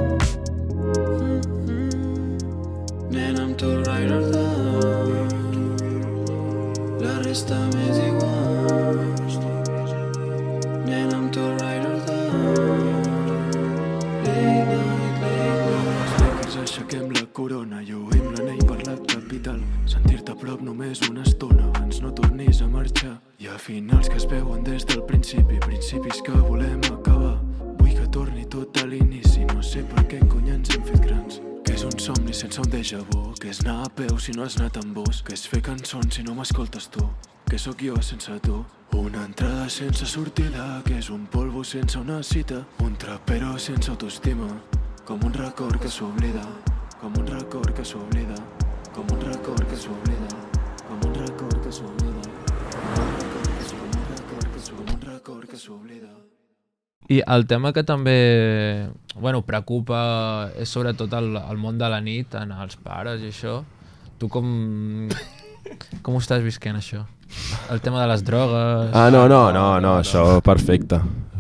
I: Nen, I'm too right or down. La resta m'és igual. Nen, I'm too right or down. Late night, late night.
H: Els Lakers aixequem la corona, lluïm l'anell per la capital. Sentir-te a prop només una estona abans no tornis a marxar. Hi ha finals que es veuen des del principi, principis que volem acabar. Vull que torni tot a l'inici, no sé per què cony ens hem fet grans. Que és un somni sense un déjà vu, que és anar a peu si no has anat amb vos, que és fer cançons si no m'escoltes tu, que sóc jo sense tu. Una entrada sense sortida, que és un polvo sense una cita, un trapero sense autoestima, com un record que s'oblida, com un record que s'oblida, com un record que s'oblida, com un record que s'oblida, com un record que s'oblida, com un record que s'oblida.
G: I el tema que també bueno, preocupa és sobretot el, el món de la nit, en els pares i això. Tu com... Com ho estàs visquent, això? El tema de les drogues...
D: Ah, no, no, no, no, això perfecte,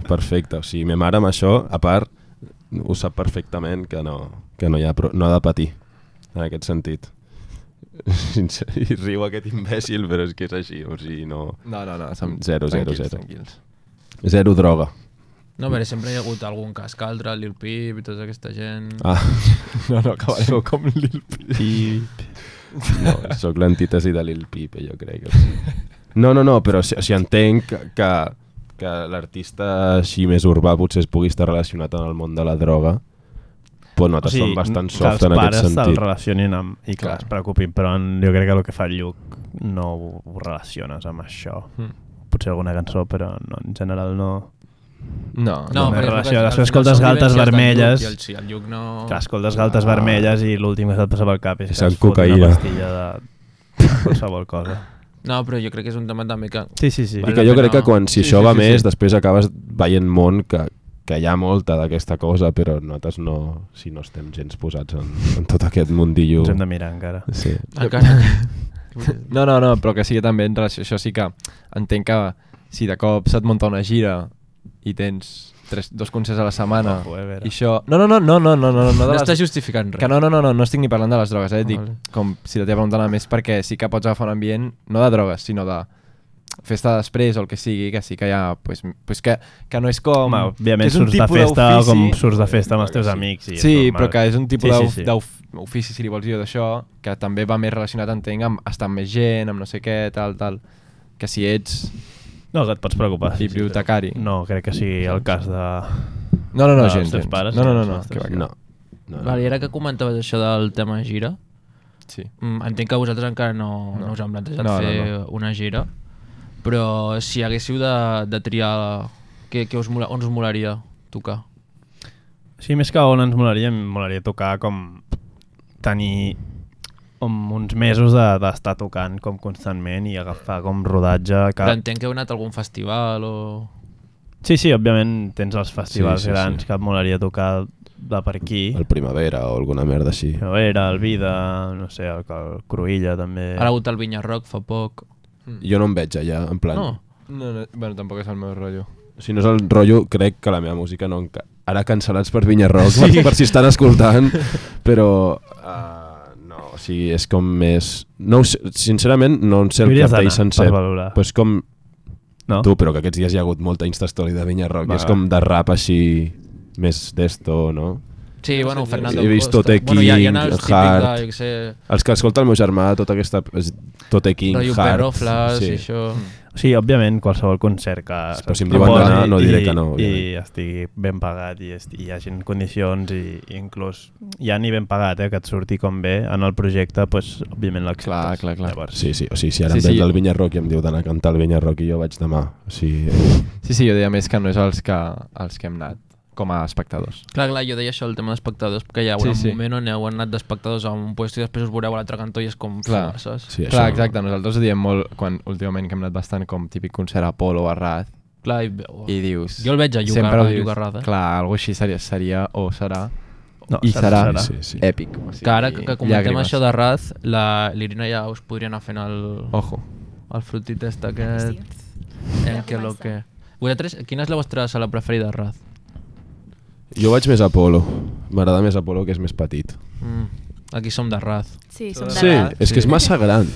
D: perfecte. O sigui, ma mare amb això, a part, ho sap perfectament que no, que no, hi ha, pro- no ha de patir, en aquest sentit. Sincer- I riu aquest imbècil, però és que és així, o sigui, no...
E: No, no, no, som
D: Zero, zero,
E: tranquils,
D: zero.
E: tranquils.
D: Zero droga.
G: No, però sempre hi ha hagut algun cas que altre, Lil Peep i tota aquesta gent...
D: Ah,
E: No, no, acabarem com Lil
D: Pip. No, sóc l'antítesi de Lil Pipe, jo crec. o sigui. No, no, no, però o si- o sigui, entenc que, que, que l'artista així més urbà potser es pugui estar relacionat amb el món de la droga, però no, t'has sí, bastant soft
C: que
D: en
C: els
D: aquest
C: pares se'l
D: sentit.
C: relacionin amb, i que
E: Clar.
C: es preocupin, però en, jo crec que el que fa el Lluc no ho, ho relaciones amb això.
E: Mm.
C: Potser alguna cançó, però no, en general no...
E: No,
C: No,
G: però és
C: relació,
G: el que-
C: després
G: al final
C: escoltes
G: són
C: galtes
G: vivències del
C: vermelles.
G: Lluc i El, sí, el Lluc no...
C: Que escoltes galtes vermelles i l'últim que se't passa pel cap és que
D: És en
C: es fot
D: cocaïna.
C: una pastilla de qualsevol cosa.
G: No, però jo crec que és un tema també que...
C: Sí, sí, sí.
D: I
G: Vale
D: que
G: la
D: jo
G: pena-
D: crec que quan si
E: Sí,
D: sí, això
E: sí,
D: va
E: sí,
D: sí, més,
E: sí.
D: sí. després acabes veient món que, que hi ha molta d'aquesta cosa, però nosaltres no, si no estem gens posats en, en tot aquest mundillo.
C: Ens hem de mirar encara.
D: Sí.
G: Encara...
E: No, no, no, però que sigui també en relació... Això sí que entenc que si de cop se't munta una gira i tens tres, dos concerts a la setmana
C: Ojo, eh, Vera.
E: i això... No, no, no, no, no, no, no, no, no,
G: No
E: de
G: està
E: les...
G: justificant res.
E: Que no, no, no, no, no estic ni parlant de les drogues, eh? Dic,
G: Vale.
E: com si la teva pregunta anava més perquè sí que pots agafar un ambient, no de drogues, sinó de festa després o el que sigui, que sí que hi ha... Pues, pues que, que no és com...
C: Home, òbviament
E: que és un
C: surts de
E: tipus
C: festa
E: d'ofici-
C: com surts de festa amb els teus amics. I
E: Sí,
C: és
E: sí
C: normal.
E: però que és un tipus
C: Sí,
E: sí,
C: sí, sí.
E: d'ofici, si li vols dir, o d'això, que també va més relacionat, entenc, amb estar amb més gent, amb no sé què, tal, tal. Que si ets...
C: No, que et pots preocupar. sí, sí, però-
E: Bibliotecari.
C: No, crec que sigui el cas de...
E: No, no, no,
C: dels
E: gens,
C: teus
E: gens.
C: pares,
E: no, no, no,
C: dels
E: no,
C: nostres.
E: que va, que va.
D: No. no, no.
G: Val, I ara que comentaves això del tema gira,
E: Sí.
G: mm, entenc que vosaltres encara no, no.
E: No.
G: no us han plantejat
E: No, no,
G: fer
E: no.
G: una gira, però si haguéssiu de, de triar què, què us mola, on us molaria tocar?
C: Sí, més que on ens molaria, em molaria tocar com tenir com uns mesos de- d'estar de, tocant com constantment i agafar com rodatge.
G: Però
C: Cada...
G: entenc que heu anat a algun festival o...
C: Sí, sí, òbviament tens els festivals
D: Sí,
C: sí, sí,
D: sí,
C: grans
D: sí.
C: sí. que et molaria tocar de per aquí.
D: El Primavera o alguna merda així.
C: No era el Vida, no sé, el, el Cruïlla també.
G: Ara ha hagut el Vinya Rock fa poc.
D: Jo no em veig allà, en plan...
G: No,
E: No, no, bueno, tampoc és el meu rotllo.
D: Si no és el rotllo, crec que la meva música no... enca- Ara cancel·lats per Vinya Rock, sí. per si estan escoltant, però... Uh, no, o sigui, és com més... No, ho sé, sincerament, no en sé el
C: Hauries
D: cartell
C: d'anar
D: sencer.
C: per valorar.
D: Pues com
C: no?
D: tu, però que aquests dies hi ha hagut molta Instastory de Vinya Rock,
C: Va,
D: i és com de rap així, més d'esto, no?
G: Sí, bueno, Fernando
D: He vist
G: Costa.
D: Tote
G: bueno, hi ha, hi ha
D: King,
G: els típics
D: Hart.
G: de, jo què sé,
D: Els que escolta el meu germà, tota aquesta... és Tote King,
G: rotllo
D: Hart...
G: Perroflas sí. i això.
C: Sí, òbviament, qualsevol concert que...
D: Però si em diuen
C: proposi
D: d'anar, no diré
C: i-
D: que no,
C: I
D: òbviament.
C: estigui ben pagat i, esti- i hi hagi condicions i, i inclús ja ni ben pagat, eh, que et surti com bé en el projecte, doncs, òbviament l'acceptes.
E: Clar, clar, clar.
C: Llavors,
D: Sí, sí, o sigui, si ara sí,
E: Sí,
D: em veig
E: sí.
D: del Vinya Rock i em diu d'anar a cantar al Vinya Rock i jo vaig demà, o sigui... eh,
E: Sí, sí, jo deia més que no és els que, els que hem anat com a espectadors.
G: Clar, clar, jo deia això, el tema d'espectadors, que hi ha
E: Sí,
G: un
E: sí.
G: moment on heu anat d'espectadors a un puesto i després us veureu a l'altre cantó i és com,
E: Clar.
G: fua, saps?
D: Sí,
E: Clar,
D: això-
E: exacte, nosaltres ho diem molt quan últimament que hem anat bastant com típic concert a Polo o a Raz
G: Clar, i, oh.
E: i dius...
G: Jo el veig a Yuga-
E: sempre ho
G: a
E: dius,
G: Yuga Raz, eh?
E: Clar, alguna així seria, seria o serà
C: No,
E: i
C: serà,
E: serà,
C: serà.
D: Sí, sí.
E: èpic. O sigui,
G: que ara que, que comentem
E: llàgrimes.
G: això de Raz, la l'Irina ja us podria anar fent el,
E: Ojo.
G: el frutit este aquest.
F: Ja
G: El que lo
F: comença.
G: que... Vosaltres, quina és la vostra sala preferida de Raz?
D: Jo vaig més a Polo. M'agrada més a Polo, que és més petit.
G: Mm. Aquí som de Raz.
F: Sí, som de
D: Sí,
F: Raz.
D: és que és massa gran.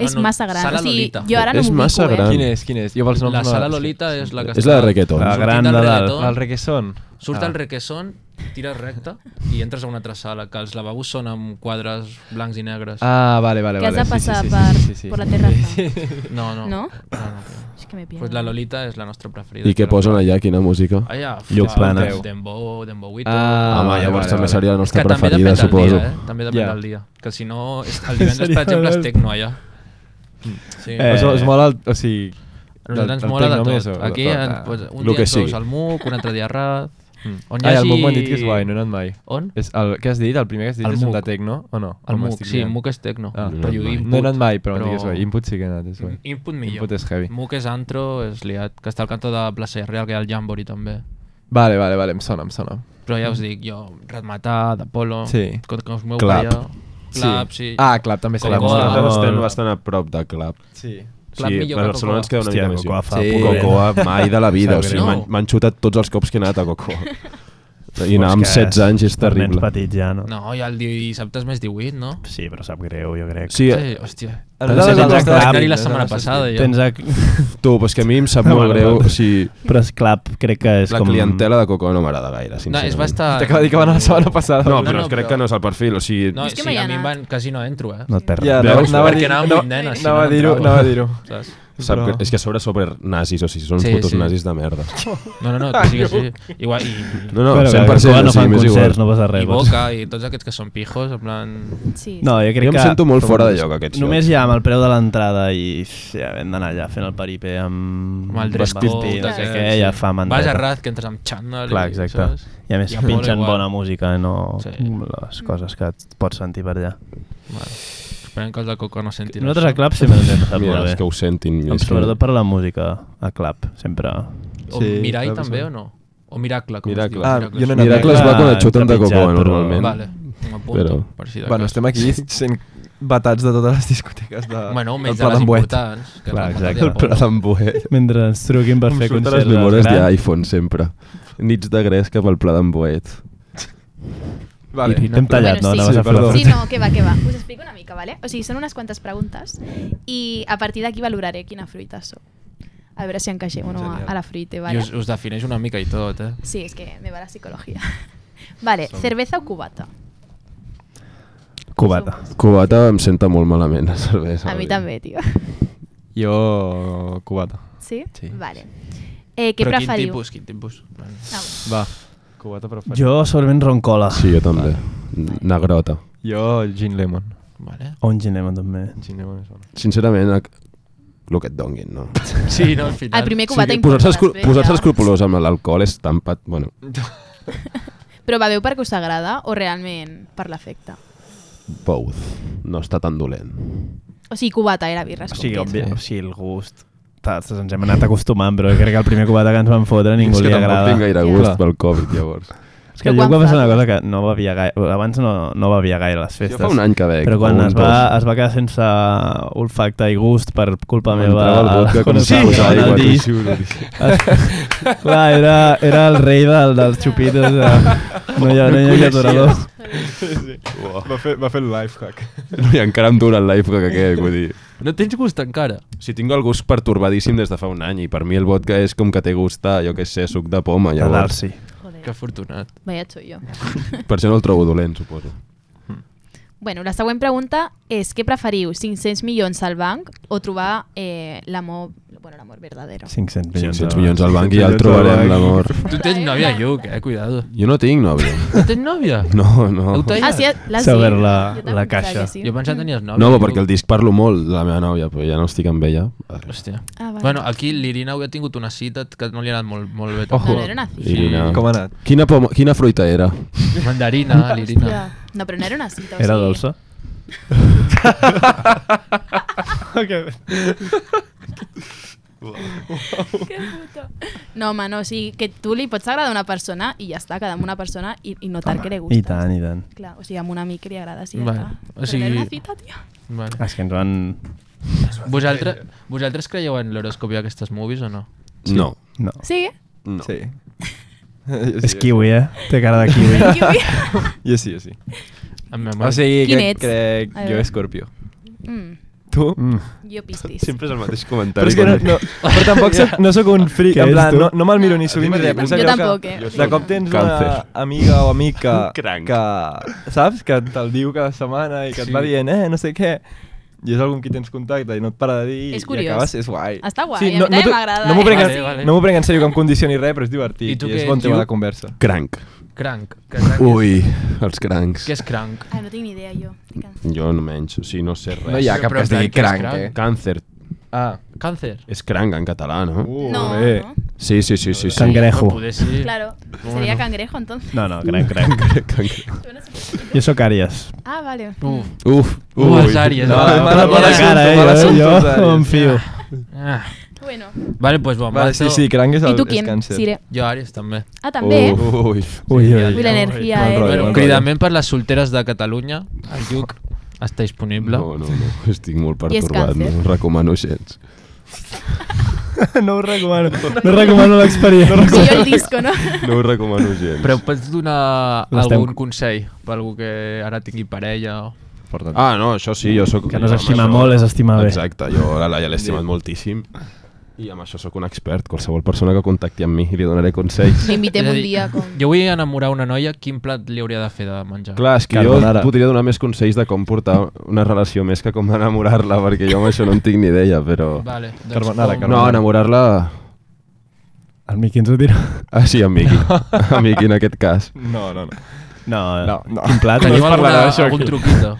F: És
G: Ah, no,
F: massa gran.
G: Sala
F: o sigui,
G: Lolita.
F: jo ara no
D: És
F: m'ho eh?
D: massa
F: ubico,
D: gran.
E: Quin és, quin és? Jo pels noms
G: La
E: no-
G: sala
E: sí,
G: Lolita
E: sí,
G: és la que
D: És la de
G: està-
D: reggaeton.
C: La
G: Sortint
C: gran
G: del
C: de dalt.
G: reggaeton.
E: El requesón.
G: Surt ah. el requesón, tires recte i entres a una altra sala, que els lavabos són amb quadres blancs i negres.
E: Ah, vale, vale.
F: Que has
E: vale.
F: de passar per, per la terrassa.
G: No, no.
F: No?
G: no, no.
F: És que me pierdo.
G: Pues la Lolita és la nostra preferida.
D: I què posen allà? Quina música?
G: Allà,
C: Lloc Planes.
G: Dembow, Dembow
E: Ah,
D: Home,
E: vale,
D: llavors
E: vale, vale.
D: també seria la
G: És que
D: nostra
G: també
D: preferida,
G: depèn del
D: suposo.
G: dia, eh? També depèn
E: Ja.
G: del dia. Que si no, és- el divendres, per exemple, és Tecno allà. Sí.
C: Eh,
E: Es, es mola, el, o sigui...
G: A nosaltres ens
E: el
G: mola de
E: tecno més,
G: tot.
E: o-
G: Aquí,
E: tot,
G: en,
E: ah.
G: pues, un
D: Lo
G: dia
D: que
G: ens veus
D: sigui.
G: al MUC, un altre dia a Raz... On hi
E: Ai,
G: hagi...
E: Ah, el MUC m'han dit que és guai, no he anat mai.
G: On?
E: És el que has dit, el primer que has dit
G: El
E: és el
G: MUC.
E: de Tecno, o no? O
G: El MUC,
E: m'estic
G: sí,
E: liant?
G: MUC és Tecno.
E: Ah.
G: Però jo
D: No he anat
G: input,
E: No he anat mai, però, però...
G: però-
E: digues guai. Input sí que he anat, és guai.
G: Input millor. Mm.
E: Input és heavy.
G: MUC és antro, és liat, que està al cantó de Plaça Real, que hi ha el Jambori també.
E: Vale, vale, vale, em sona, em sona.
G: Però ja us dic, jo, Ratmatà, d'Apolo,
E: Mm. Sí.
G: com, com us meu
D: Clap.
G: Clap, Clap, sí.
E: Ah, Clap també
G: Com
E: seria
G: Coa.
E: molt
D: Nosaltres
C: Oh.
D: estem bastant a prop de Club.
E: Sí.
G: Clap millor que
D: per Barcelona ens
G: Cocoa.
D: queda una
C: Hòstia,
D: mica més
C: Cocoa
D: lluny.
C: fa
E: Sí.
C: poc.
D: Cocoa mai de la vida,
C: Sap
D: o sigui,
G: greu.
D: m'han- m'han xutat tots els cops que he anat a Cocoa. I
C: Pues
D: anar amb
C: que
D: 16 anys és
C: Nens
D: terrible.
C: petits ja, no?
G: No, ja el dissabte és més 18, no?
C: Sí, però sap greu, jo crec.
D: Sí, eh.
G: Sí, hòstia.
C: Nosaltres ens
G: Vaig anar
C: Clap.
G: a anar-hi la setmana passada, jo.
C: Tens a...
D: tu, però és que a mi em sap
C: No,
D: molt
C: no,
D: greu.
C: no.
D: O sigui,
C: però és clar, crec que és
D: la
C: com...
D: clientela de Cocoa no m'agrada gaire,
G: No,
D: sincerament.
G: és bastant...
E: T'acaba de dir que va anar la setmana passada.
D: No,
G: No,
D: però
G: no,
D: crec
G: però-
D: que no és el perfil, o sigui...
G: No,
F: És que
G: sí,
F: mai
G: a mi em
F: anat.
G: van... Quasi no entro, eh?
C: No et perds.
E: Ja,
C: res.
E: anava,
D: Veus?
E: anava a
G: Perquè
E: dir...
G: anàvem
E: No,
G: vuit nenes, si
E: anava
G: no
E: a dir-ho,
G: entrava.
E: anava a dir-ho.
G: Saps?
D: Sap
E: Però-
D: que, és que a sobre sobre nazis, o sigui, són uns
G: Sí,
D: putos
G: sí.
D: nazis de merda.
G: No, no, no, que sí que sí. Igual, i,
D: No, no,
C: Però que
D: 100%,
C: Cocoa
D: o
C: no
D: sigui,
C: fan
D: m'és igual.
C: concerts, no passa res.
G: i
C: vols.
G: Boca i tots aquests que són pijos, en plan...
F: Sí.
C: No, jo crec
D: Jo em
C: que...
D: sento molt fora de lloc, a aquests
C: Només
D: llocs.
C: ja amb el preu de l'entrada i ja hem d'anar allà fent el peripé amb...
G: Amb el dress
C: vestit
G: code,
C: i no sé
G: aquest,
C: què, ja fa mandra.
G: Vas a Raz, que entres amb xandall...
C: Clar,
G: i-
C: exacte.
G: saps?
C: I a més
G: molt
C: pinxen
G: igual.
C: bona música, eh, no
G: Sí.
C: sí. les coses que et pots sentir per allà.
G: Bueno, esperem que els de Coco no sentin
C: Nosaltres a
G: això.
C: Clap sempre ens hem passat
D: Mira,
C: molt
D: els
C: bé.
D: que ho sentin.
C: Amb
D: és que-
C: sobretot per la música a Clap, sempre.
G: O
E: Sí,
G: Mirai
E: clar que
G: també,
E: sí.
G: o no? O Miracle, com
D: Miracle.
E: Ah,
G: es diu?
E: jo no he anat
D: Miracle es va quan et xuten de
C: Trepitjat,
D: cocoa,
C: però-
D: normalment.
G: Vale, m'apunto,
D: Però-
G: però... per si de
E: Bueno,
G: cas.
E: estem aquí sent batats de totes les discoteques de...
G: Bueno,
E: del
G: menys de
E: Pla
G: les
E: d'en Boet.
G: importants. Que
C: Clar,
G: clar,
C: exacte.
G: exacte.
C: El Pla
D: d'embuet.
C: Mentre ens truquin per
D: Em
C: fer
D: surten les
C: concerts
D: memòries
C: grans.
D: d'iPhone, sempre. Nits de gres cap al pla d'embuet.
E: Vale,
C: I t'hem tallat, no?
F: Bueno,
C: Anaves
E: Sí,
C: a fer la
E: perdó.
F: Sí,
C: pregunta.
F: no, que va, que va. Us explico una mica, vale? O sigui, són unes quantes preguntes i a partir d'aquí valoraré quina fruita sou. A veure si encaixem o no a,
E: Genial.
F: a la fruita,
G: I
F: vale?
G: us, us defineix una mica i tot, eh?
F: Sí, és que me va la psicologia. Vale,
E: Som-
F: cerveza o cubata?
C: Cubata.
D: Cubata em senta molt malament, la cervesa.
F: A mi
D: vull dir.
F: també, tio.
E: Jo, cubata.
F: Sí?
E: Sí.
F: Vale. Eh, què
G: Però quin
F: preferiu?
G: tipus, quin tipus?
F: No.
E: Va, cubata preferit.
C: Jo segurament roncola.
D: Sí, jo també. Negrota.
E: Jo, gin lemon.
G: Vale.
C: O un ginema, també.
E: Gin lemon és bona.
D: Sincerament, ac- el que et donguin, no?
G: Sí, no, al final.
F: El primer cubata sí,
D: Posar-se escru posar escrupulós amb l'alcohol és tan pat... Bueno,
F: Però beveu perquè us agrada o realment per l'efecte?
D: both. No està tan dolent.
F: O sigui, cubata era birra,
C: O
F: es
C: sigui, obvi,
F: comprèn.
C: o sigui el gust... Tots ens hem anat acostumant, però crec que el primer cubata que ens van fotre a ningú
D: és
C: li
D: que tampoc
C: agrada.
D: tinc gaire
F: Ja.
D: gust
E: Clar.
D: pel Covid, llavors.
C: És que
F: Però
C: jo
F: quan
C: va passar
F: fa?
C: una cosa que no bevia gaire... Abans no, no bevia gaire a les festes.
D: Jo fa un any que bec.
C: Però quan
D: o un,
C: es va,
D: dos.
C: es va quedar sense olfacte i gust per culpa meva...
D: M'entrava el vodka com
C: quan
D: si
C: estava
D: fos
C: posant
D: aigua,
C: el
D: tu.
C: disc. Clar, era, era el rei del, dels xupitos. Eh? No hi ha, no hi havia aturador.
E: Va fer, va fer el lifehack.
D: No, I encara em dura el life que aquest, vull dir.
G: No tens gust encara.
D: Si tinc el gust pertorbadíssim des de fa un any i per mi el vodka és com que té gust a, jo què sé, suc de poma,
C: De dalt,
D: llavors.
C: sí.
F: Joder,
G: Que afortunat.
F: vaya xullo.
D: Per això no el trobo dolent, suposo.
F: Bueno, la següent pregunta és què preferiu, 500 milions al banc o trobar eh, l'amor bueno, l'amor verdadero?
C: 500 milions.
D: 500
C: d'euros.
D: milions al banc i ja el
E: 500 al
D: trobarem,
E: banc.
D: l'amor.
G: Tu tens nòvia, Lluc, eh? Cuidado.
D: Jo no tinc nòvia.
G: No tens nòvia?
D: No, no.
G: Heu tallat?
F: Ah, sí, l'has dit.
C: Saber la-
F: Jo també
C: la
F: pensava
C: caixa.
F: que Sí.
G: Jo pensava que tenies nòvia.
D: No,
G: Lluc.
D: perquè el disc parlo molt, de la meva nòvia, però ja no estic amb ella.
G: Hòstia.
F: Ah, vale.
G: Bueno, aquí l'Irina avui ha tingut una cita que no li ha anat molt, molt bé.
F: No,
G: tampoc.
F: no era una cita.
D: Irina.
E: Com ha anat?
D: Quina, poma, quina fruita era?
G: Mandarina, l'Irina.
F: No, però no era una cita. O
C: Era
F: sigui,
C: dolça?
F: No, home, no, o sigui, que tu li pots agradar a una persona i ja està, quedar amb una persona i, i notar que li gusta.
C: I tant, i tant.
F: Clar, o sigui, amb un amic li agrada, sí, ja
G: Vale.
F: està.
G: O
F: Però no
G: sigui-
F: era una cita, tio.
G: Vale.
C: Ah, És que ens van...
G: Vosaltres, vosaltres creieu en l'horoscopi d'aquestes movies o no?
D: Sí. No.
C: No.
F: Sí?
D: no.
E: Sí.
C: És kiwi, eh? Té cara de kiwi.
E: Jo sí, jo sí.
G: En
E: O sigui,
F: Quin
E: crec,
F: ets?
E: crec
F: A
E: jo
F: veure.
E: Escorpio.
F: Mm,
E: Tu?
C: Mm.
F: jo pistis.
D: és el mateix
E: Però
D: comentari.
E: és que no, no, però tampoc soc, no sóc un fric,
C: Què
E: en
C: ets
E: plan,
C: tu?
E: no, no me'l miro ni sovint ni res.
F: Jo
E: però és allò
F: tampoc, eh.
E: De cop tens
D: Càncer.
E: una amiga o amic que,
D: Un cranc.
E: que saps? Que te'l diu cada setmana i que
G: Sí.
E: et va dient, eh, no sé què. I és algú amb qui tens contacte i no et para de dir
F: És
E: i
F: curiós.
E: acabes, és guai.
F: Està guai, a mi
E: no,
F: també
E: t'ho-
F: m'agrada,
E: No m'ho
F: eh?
E: prenc,
G: Vale,
E: en-
G: vale.
E: no m'ho prenc en sèrio que em condicioni res, però és divertit.
G: I tu
E: I, és
G: què
E: bon
G: ets,
E: tema
G: Lluc?
E: de conversa.
D: Cranc.
G: Cranc. que cranc
D: Ui, els crancs.
G: És, què és cranc?
F: Ah, no tinc ni idea, jo. Estic cansada.
D: Jo no menys, o sigui, no sé res.
E: No hi ha
G: Però,
E: cap
G: però,
E: que es digui
G: què és
E: cranc,
G: cranc?
E: eh?
D: Càncer.
E: Ah,
G: Càncer.
D: És cranc en català, no? Uh.
E: uh,
F: No,
E: bé.
F: no.
D: Sí, sí, sí, sí. sí.
C: Cangrejo.
G: Bueno, poder sí.
F: Claro, sería
G: Bueno.
F: cangrejo entonces.
C: No, no, cranc, cranc.
D: Cangre-
C: Jo sóc àries.
F: Ah, vale.
G: Uf.
D: Uf,
G: Uh,
D: ui.
G: les àries.
E: No,
G: eh?
E: mala-
C: Mala
E: assumpte,
C: cara, eh?
E: mal
C: Jo,
E: assumpte, els àries.
C: jo em fio.
G: Ah.
F: Bueno,
G: Vale, pues bon,
E: Vale, sí, sí, cranc és
F: ¿y
E: el
F: tú
E: és
F: quién,
E: càncer.
F: Sire?
G: Jo Àries també.
F: Ah, també.
D: Uf, ui.
C: Ui, ui.
F: Vull l'energia,
E: Mal
F: eh?
E: rotllo,
G: Bueno,
E: mal
F: de-
E: rotllo.
G: cridament per les solteres de Catalunya. El Lluc està disponible.
D: No, no, no, estic molt
F: I és
D: pertorbat, no
F: càncer.
D: us recomano gens.
C: No ho recomano. No recomano l'experiència.
F: Sí, yo el disco, ¿no?
D: No us recomano gens.
G: Però pots donar
C: L'estem-
G: algun consell per algú que ara tingui parella? o-
D: Ah, no, això sí, jo sóc...
C: Que no s'estima molt és estimar bé.
D: Exacte, jo a la Laia l'he estimat moltíssim i amb això sóc un expert. Qualsevol persona que contacti amb mi li donaré consells.
F: Lo invité
G: És a
F: un
G: dir,
F: día con...
G: Jo vull enamorar una noia, quin plat li hauria de fer de menjar?
D: Clar, és que
E: Carbonara.
D: jo podria donar més consells de com portar una relació més que com enamorar-la, perquè jo amb això no en tinc ni idea, però...
G: Vale, doncs
E: Carbonara,
G: com-
D: No, enamorar-la...
C: El Miqui ens ho dirà.
D: Ah, sí, amb Miqui. Amb Miqui, en aquest cas.
E: No, no, no.
C: No, no,
E: No, no.
C: quin plat?
G: Teniu
E: es parlarà
G: alguna,
E: d'això
G: algun
E: aquí.
G: truquito?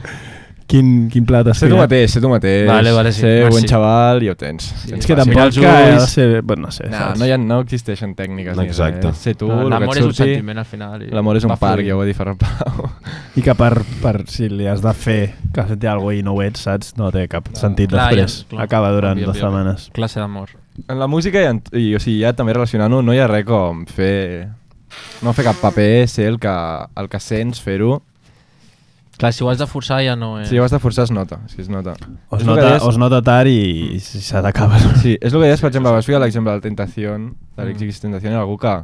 C: Quin, quin plat has
E: Sé tu mateix, sé tu mateix.
G: Vale, vale, sí.
E: Sé
G: Merci.
E: bon xaval i ho tens.
C: És que
G: Sí,
C: tampoc
G: els
C: que ha de
G: ulls.
C: ser... Bueno, no sé,
E: No,
C: saps?
E: no, hi ha, no existeixen tècniques ni
D: Exacte.
E: res. Sé tu,
G: No,
E: el
G: L'amor
E: que
G: és
E: et
G: un
E: surti.
G: sentiment al final. i
E: L'amor és un
G: va
E: parc,
G: fluir.
E: ja ho va dir Ferran Pau.
C: I que per, per si li has de fer que has de fer alguna cosa i no ho ets, saps? No té cap sentit
G: Ah, Clar,
C: després.
G: ja, clar.
C: Acaba durant
G: Òbviament.
C: dues setmanes.
G: Classe d'amor.
E: En la música, i, en, i o sigui, ja també relacionant-ho, no hi ha res com fer... No fer cap paper, ser el que, el que sents, fer-ho.
G: Clar, si ho has de forçar ja no... Eh?
E: Si ho has de forçar, es nota. És que es nota.
C: O
E: És el
C: es,
E: que
C: nota,
E: deies-
C: o es nota tard i, i s'ha d'acabar.
E: Sí, és el que deies, per exemple, vas ficar l'exemple del Tentación, de
G: Mm.
E: l'Exigis Tentación, era algú que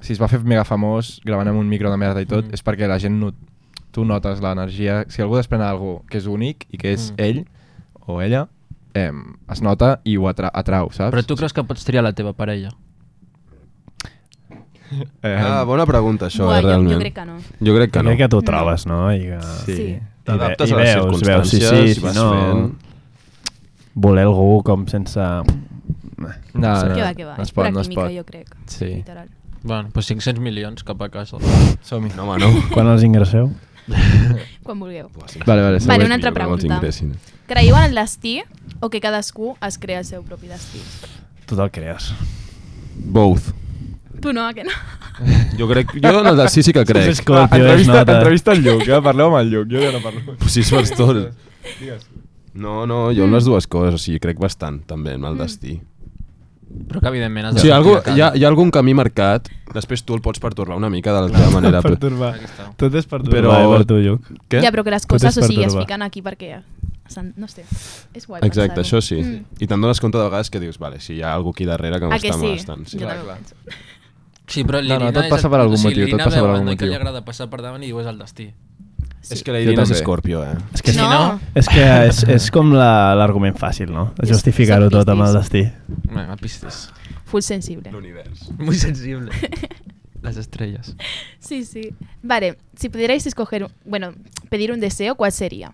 E: si es va fer mega famós gravant amb un micro de merda i tot,
G: Mm.
E: mm. és perquè la gent no, tu notes l'energia. Si algú desprèn algú que és únic i que és
G: Mm.
E: mm. ell o ella, eh, es nota i ho atra atrau, saps?
G: Però tu creus que pots triar la teva parella?
E: Eh,
D: Ah, bona pregunta, això,
F: Buah,
D: eh,
F: jo- jo
D: realment.
F: crec que no.
D: Jo crec que no.
C: Crec que t'ho trobes, no? I que...
F: Sí.
D: T'adaptes
C: I
D: a les
C: veus, veus, sí,
D: circumstàncies,
C: sí,
D: i
C: si
D: vas
C: no...
D: fent.
C: Voler algú com sense...
E: no, no,
F: Que va, que va.
E: No
F: És
E: es pot,
F: pura
E: no es
F: química,
E: pot.
F: jo crec.
E: Sí.
F: Literal.
G: Bueno, doncs 500 milions cap a casa.
E: Som-hi.
D: No, home, no.
C: Quan els ingresseu?
F: Quan vulgueu.
E: Vale, vale,
F: Vale,
E: següent.
F: una altra
D: millor que no els
F: pregunta.
D: ingressin.
F: Creieu en el destí o que cadascú es crea el seu propi destí?
C: Tu te'l crees.
D: Both.
F: Tu no, que no.
D: Jo crec... Jo en el del sí sí que crec. Ah,
C: és Escolta,
E: entrevista,
C: es nota.
E: entrevista al Lluc, eh? parleu amb el Lluc, jo ja no parlo.
D: Sí, és bastant. No, no, jo
F: Mm.
D: en les dues coses, o sigui, crec bastant també en el destí.
G: Però que evidentment has
D: O sigui, algú,
G: triar cada-
D: hi, ha, hi ha algun camí marcat, després tu el pots pertorbar una mica de la teva manera. Però...
C: pertorbar.
G: Aquí està.
C: Tot és pertorbar
D: Però-
C: per tu, Lluc.
D: Què?
F: Ja, però que les
C: Tot és
F: coses, o sigui, es
C: pertorbar.
F: fiquen aquí perquè... s'han- No sé, és guai
D: Exacte,
F: pensar-ho.
D: això sí. I te'n dones compte de vegades que dius, vale, si hi ha algú aquí darrere que
F: Mm. Ah, que
D: m'està
F: sí?
D: molestant.
F: Jo també ho
E: clar.
F: penso.
G: Sí,
E: No, no,
G: però l'Irina...
E: tot
G: és
E: passa
G: el-
E: per algun
G: o sigui,
E: motiu, tot
G: l'Irina
E: passa
G: veu
E: per
G: el
E: algú
G: noi que li
E: motiu.
G: agrada passar per davant i diu és el destí.
F: Sí.
D: És que la Irina és
E: també.
D: Escorpio, eh?
C: És que,
F: No. no-
C: és, que és, és com la- l'argument la, fàcil, no?
F: Jo
C: Justificar-ho
F: soc
C: tot amb el destí.
G: Vinga, pistes.
F: Full sensible.
D: L'univers.
G: Muy sensible. Las estrellas.
F: Sí, sí. Vale, si pudierais escoger, un- bueno, pedir un deseo, ¿cuál sería?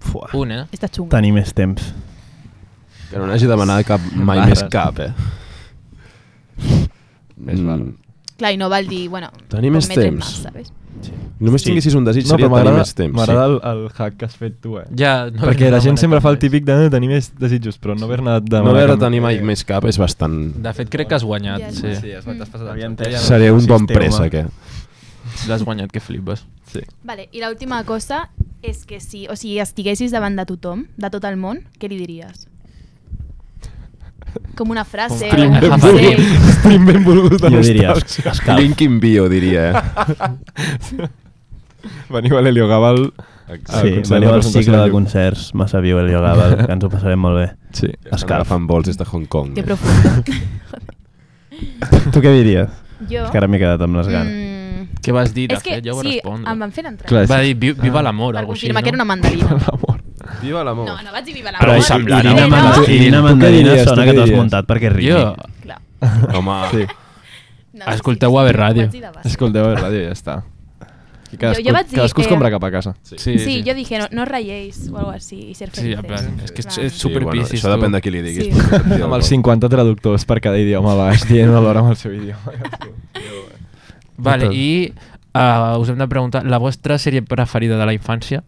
C: Fuà.
G: Un, eh?
F: Está chungo.
C: Tenir més temps.
D: Que no n'hagi demanat cap, mai
E: Barres.
D: més cap, eh? Mm.
E: Més val.
F: Claro, y no Valdi, bueno,
D: Tenir
F: pues
D: més
F: metres
D: temps.
F: más, ¿sabes?
D: Només
C: Sí.
D: tinguessis un desig
E: No,
D: seria
E: però
D: tenir
E: m'agrada
D: més temps.
E: m'agrada el, el hack que has fet tu, eh?
G: Ja, no
E: Perquè la
G: haver-ne
E: gent sempre fa el
G: demanat cap
E: típic de "Eh, tenir més desitjos, però no haver-ne de...
D: No haver de tenir mai més cap és bastant...
G: més. De fet, crec que has guanyat,
F: Ja,
G: sí.
E: Sí, has t'has passat.
C: Havia
E: el
C: entès.
E: joc.
D: Seré un bon
C: Sistema.
D: préssec, eh?
G: L'has guanyat, que flipes.
E: Sí.
F: Vale, y la última cosa es que si, o si estiguessis davant de tothom, de tot el món, què li diries? Com una frase,
G: Prim
F: un
G: ben
F: consell.
G: volgut.
E: Prim ben volgut de
C: Jo
E: les
C: diria,
E: taps.
C: escalf.
D: Link in bio, diria, eh?
E: Veniu a l'Helio Gabal.
C: Sí,
E: concert de
C: veniu al
E: presentació
C: cicle
E: de
C: de
E: Lluc.
C: concerts massa viu Elio Gabal, que ens ho passarem molt bé.
E: Sí.
C: Escalf.
D: Agafen vols des de Hong Kong.
F: Que
D: eh?
F: profundo.
C: Tu què diries?
F: Jo...
C: És que ara m'he quedat amb les ganes.
F: Mm,
G: Què vas dir, de
F: és que
G: fet? Ja ho
F: sí,
G: respondre.
F: em van fer entrar.
E: Clar,
G: Va dir, "Vi- viva l'amor,
F: per
G: alguna cosa així,
F: confirmar que era una
G: no?
F: mandarina.
E: L'amor.
D: Viva l'amor.
F: No, no vaig dir viva
D: Ah,
F: la
C: Però
F: mort.
D: semblant,
F: Diré,
C: Irina
D: no?
C: Mandarina,
E: Tu-
C: Irina
E: tu què
C: Mandarina
E: diries,
C: sona
E: tu què
C: que t'has
E: diries?
C: muntat perquè rigui.
G: Jo,
F: Clar.
D: Home,
E: Sí.
F: No,
G: Escolteu a ver ràdio.
F: ho vaig dir de base.
E: Escolteu el ràdio i ja està. I
F: Jo- jo vaig dir,
E: cadascú es
F: eh,
E: compra cap a casa.
F: Sí, yo dije, no, no rayéis o algo así y ser
G: Sí,
F: felices.
G: en plan, és que és,
F: Clar.
G: és super
D: sí, bueno,
G: piscis,
D: això
G: tu.
D: depèn de qui li diguis.
F: Sí.
D: Sí.
E: Amb els 50 traductors per cada idioma baix, dient alhora amb el seu idioma.
G: Vale, i uh, us hem de preguntar, la vostra sèrie preferida de la infància?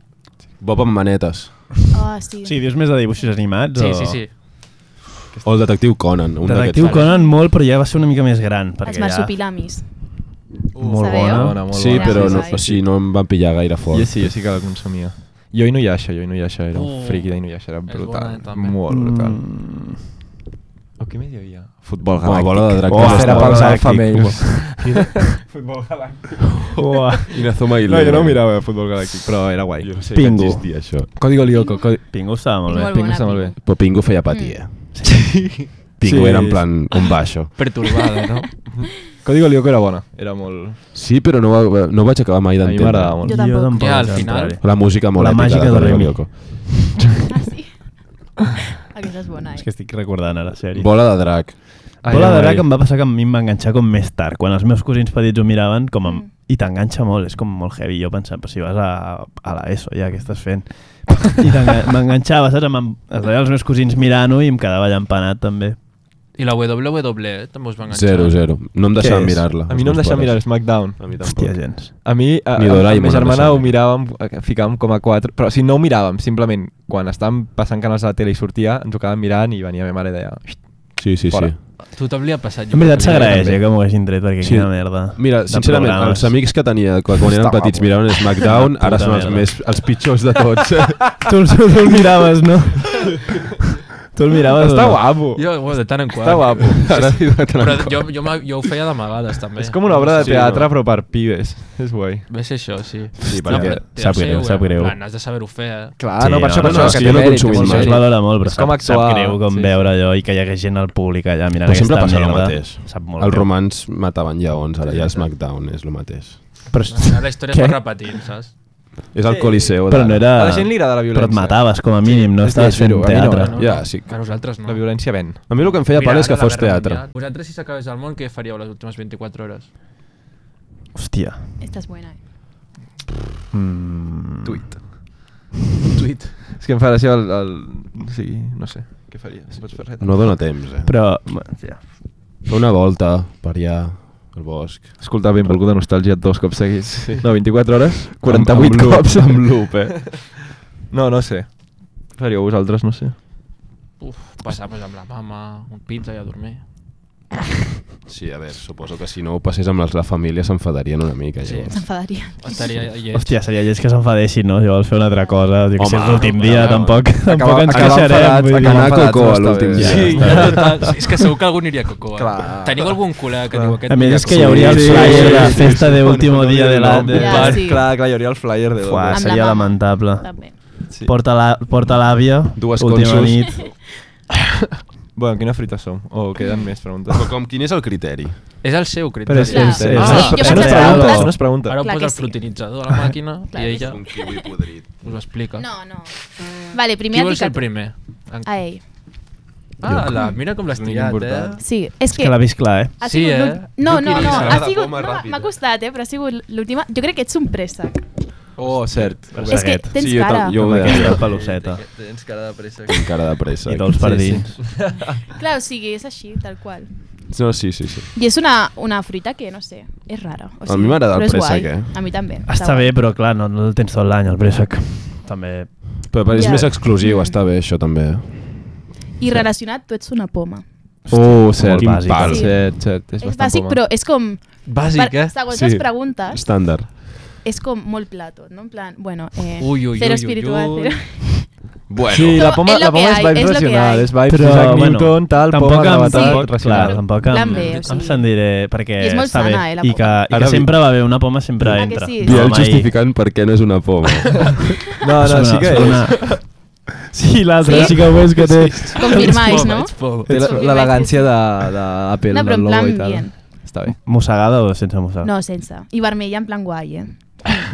D: Bob amb manetes.
F: Ah, sí.
C: Sí, dius més de dibuixos animats?
G: Sí,
C: o...
G: sí, sí.
D: O el detectiu Conan. Un
C: Detectiu
D: d'aquests.
C: Conan molt, però ja va ser una mica més gran.
F: Els
C: Perquè ja...
F: marsupilamis.
C: Molt
F: Sabeu?
C: bona.
E: Bona, molt
D: Sí,
E: bona.
D: però
F: Sí,
D: no,
F: sí,
D: o sigui, no em van pillar gaire fort.
E: Jo sí, jo sí que la consumia. Jo i Nuyasha, jo i Nuyasha, era un
G: Uh,
E: friki d'Inuyasha, era
G: és
E: brutal,
G: bona, eh, també.
E: molt brutal.
C: Mm.
E: O què més hi havia? Futbol
D: Home,
E: galàctic.
D: bola de drac.
E: Oh,
C: Bola
E: era pels
C: galàctic.
E: alfa males.
C: Uah.
D: Inazuma
E: No, jo no mirava futbol galàctic, però era guai.
D: Jo no sé que
C: Pingu.
D: existia això.
E: Código Lyoko, Código...
C: Pingu estava molt bé.
F: Molt
E: Pingu
F: bona,
E: està molt bé.
F: Pingu.
D: Però Pingu feia
F: Mm.
D: patir, eh? Pingu
E: Sí.
D: era en plan un baixo.
G: Perturbada, no?
E: Código Lyoko era bona, era molt...
D: Sí, però no, va- no vaig acabar mai
E: A mi
D: d'entendre.
E: m'agradava molt.
F: Jo tampoc.
C: tampoc
G: Ja, al
C: vaig
G: final.
C: entrar-hi.
D: La música molt
C: La
D: èpica
C: màgica de
D: Código
C: Remy.
D: Lyoko.
F: Ah, sí. Aquesta és bona,
C: És que
F: eh?
C: estic recordant a la sèrie.
D: Bola de drac.
E: Ai,
C: Bola de
E: ai,
C: drac
E: ai.
C: em va passar que a mi em va enganxar com més tard, quan els meus cosins petits ho miraven com amb...
F: Mm.
C: i t'enganxa molt, és com molt heavy. Jo pensava, però si vas a, a la ESO ja, què estàs fent? I t'enga- m'enganxava, saps? Em, es veia els meus cosins mirant-ho i em quedava llampanat també.
G: I la WWE eh, també us va enganxar.
D: Zero, zero. No em deixava
C: Què és?
D: mirar-la.
E: A mi no em deixava mirar SmackDown.
D: A mi
C: Hòstia,
D: tampoc.
C: gens.
E: A mi, a, a,
D: Ni
E: a,
D: Doraemon
E: ma
D: em
E: germana
D: deixava.
E: ho miràvem, eh, ficàvem com a quatre, però si no ho miràvem, simplement, quan estàvem passant canals a la tele i sortia, ens ho quedàvem mirant i venia ma mare i deia... "Xt,
D: Sí, sí,
E: Fora.
D: sí.
G: Tothom li ha passat. jo
C: En veritat
G: crec.
C: s'agraeix, eh, que m'ho hagin tret, perquè
D: Sí.
C: sí. quina merda.
D: Mira,
C: de
D: sincerament,
C: programes.
D: els amics que tenia quan, quan eren
E: Està
D: petits
E: guapo.
D: miraven SmackDown,
C: Puta
D: ara són els,
C: merda.
D: més, els pitjors de tots.
C: Tu, tu, tu el miraves, no? Tu el miraves
E: Està
C: o no?
E: guapo.
G: Jo, bueno, de tant en quart.
E: Està guapo.
D: Ara sí, de tant en
G: Però
D: cop.
G: jo, jo, m'ha- jo ho feia d'amagades, també.
E: És com una obra de
D: Sí,
E: teatre,
D: no?
E: però per pibes. És guai.
G: Va ser això, sí.
D: Sí, perquè
G: però té
C: sap
G: el seu,
C: greu,
G: eh?
C: sap greu.
G: En plan, Has de saber-ho fer, eh?
E: Clar,
C: Sí,
E: no, per
C: no,
E: això, per
C: no,
E: això,
D: és que
E: que
D: jo
E: té
D: no
E: mèrit.
D: consumim
E: que
C: Això
E: vol
C: es
E: dir.
D: mai.
C: valora molt, però
E: És com
C: sap, sap
E: actuar.
C: greu com
E: Sí, sí.
C: veure allò i que hi hagués gent al públic allà mirant
D: Però sempre
C: aquesta
D: passa el
C: merda.
D: mateix.
C: Sap molt
D: Els
C: greu.
D: romans mataven lleons, ara ja SmackDown és el mateix.
G: Ara La història es va repetint, saps?
D: És el Coliseu
C: Però no era...
E: A la gent li agrada la violència.
C: Però et mataves, com a mínim, no
E: és
C: estaves fent
E: lleugero, a mi no, eh?
C: teatre.
D: no. Ja, sí.
G: A nosaltres no.
E: La violència ven.
D: A mi el que em feia
G: Mira,
D: pal és
G: ara
D: que
G: la
D: fos
G: guerra
D: teatre.
G: mundial. Vosaltres, si s'acabés el món, què faríeu les últimes 24 hores?
C: Hòstia.
F: Estàs buena, eh?
C: Mm.
E: Tuit. Tuit. És que em farà ser el... el... O sigui, no sé. Què faria? Si pots fer res.
D: No dona temps, eh?
C: Però... bueno, ja.
D: Fer una volta per allà, al bosc.
E: Escoltar Benvolguda Nostàlgia dos cops seguits. Sí. No, 24 hores,
D: Amb-
E: 48
D: amb loop,
E: cops.
D: amb loop, eh?
E: No, no sé. Faríeu vosaltres, no sé.
G: Uf, passar pues, amb la mama, un pizza i a dormir.
D: Sí, a veure, suposo que si no ho passés amb les- la família s'enfadarien una mica. Sí.
F: S'enfadaria.
G: Estaria lleig.
C: Hòstia, seria lleig que s'enfadessin, no? Si vols fer una altra cosa, jo que
D: Home,
C: sé, és l'últim dia,
D: clar,
C: tampoc, tampoc ens
E: acabar enfadats,
C: queixarem. vull dir.
E: acabar
D: Anar a
E: enfadats
D: Cocoa
E: no està
D: l'últim
E: bé.
D: dia.
G: Sí,
D: Ja
G: ja,
D: està.
G: total. Sí, És que segur que algú aniria a Cocoa.
E: Clar.
G: Eh? Teniu algun col·lega que diu aquest...
C: A més,
G: dia
C: és que
G: Cocoa?
C: hi hauria el
E: Sí,
C: flyer
E: sí,
C: de
E: sí, sí,
C: festa
E: sí.
C: de último
E: Bueno,
C: dia
E: no
C: de la...
E: diré
C: De...
E: el
F: nom,
C: Fuà,
F: Ja, sí.
E: Clar, clar, hi hauria el flyer de
C: Fuà,
F: Amb
E: dos.
F: la
C: seria
F: mama.
C: lamentable.
F: També.
E: Sí.
C: Porta la- Porta l'àvia,
D: Dues
C: última
D: consos.
C: nit.
E: Bueno, quina frita som? O oh, queden més preguntes?
D: Però com, quin és el criteri?
G: És el seu
C: Però
G: criteri.
C: és,
F: Clar.
C: és, és,
F: Ah,
C: és,
F: jo
C: és,
F: pensava que
C: real.
F: preguntes,
E: no es pregunta.
G: Ara ho
F: Clar
G: posa
F: que
G: el
F: sí.
G: flotinitzador a la màquina
F: Clar
G: i
F: que
G: ella
F: sí.
D: kiwi podrit.
G: us ho explica.
F: No, no. Vale, primer
G: Qui
F: ha
G: vol ser el
F: picat-
G: primer? En-
F: A ell.
G: Ah, la, mira com l'has
E: És un
G: triat, eh?
E: important.
F: Sí, és que...
C: que l'ha vist clar, eh?
F: ha
G: Sí,
F: sigut
G: eh?
F: l'últim- No, no, no,
D: M'agrada
F: ha
D: la
F: sigut...
D: poma
F: No,
D: ràpida.
F: m'ha costat, eh? Però ha sigut l'última... Jo crec que ets un préssec.
E: Oh, cert.
F: És que
C: Seguet.
F: tens
D: Sí, jo tam-
F: cara.
D: jo ho
C: Amb
D: deia.
C: aquesta peluceta.
E: Tens cara de pressa.
D: Cara de pressa.
C: I dolç per dins.
F: Clar, o sigui, és així, tal qual.
D: No, sí, sí, sí.
F: I és una, una fruita que, no sé, és rara. O
D: A
F: sigui,
D: mi m'agrada el
F: però és
D: préssec,
F: guai.
D: eh?
F: A mi també.
C: Està bé, però clar, no, no el tens tot l'any, el préssec. També...
D: Però, però és
F: Ja.
D: més exclusiu, està bé això també. eh?
F: I relacionat, tu ets una poma.
E: Oh, cert.
C: Molt bàsic.
D: Pal.
F: Sí.
E: Cert, cert.
F: És,
E: És,
F: bàsic,
E: bastant
F: però és com...
G: Bàsic, eh?
F: Segons
D: Sí.
F: les preguntes,
D: Estàndard.
F: és com molt plato, no? En plan, bueno, eh,
G: Ui, ui,
F: cero
G: ui, ui,
F: espiritual,
G: ui.
F: cero...
D: Bueno,
E: Sí, la
F: No,
E: poma,
F: és lo
E: la poma
F: que
E: és
F: hay,
E: vibes
F: és lo que
E: racional,
F: hay.
E: és vibes però, Isaac Newton, tal,
C: tampoc
E: poma,
C: em,
E: gravetat,
C: tampoc,
E: racional.
C: clar, tampoc em,
F: Plan B, o
C: em
F: sigui.
C: sentiré, perquè
F: I és molt
C: està
F: sana,
C: bé.
F: eh, la
C: I que, i
D: Ara
C: que
D: vi-
C: sempre va bé, una poma sempre
F: Ah, que
C: entra.
F: sí?
D: Biel
C: Home, i-
D: justificant per què no és una poma.
E: No, no, sí que és.
C: Una... Sí, l'altra
F: Sí?
C: sí? que ho és, que té...
F: Confirmáis, no?
E: Té la-
F: Ets com
E: l'elegància
F: que
E: de, de Apple,
F: No, però
E: del
F: en
E: logo
F: plan
E: i tal.
F: bien.
E: Està bé.
C: Mossegada o sense mossegar?
F: No, sense. I vermella en plan guai, eh?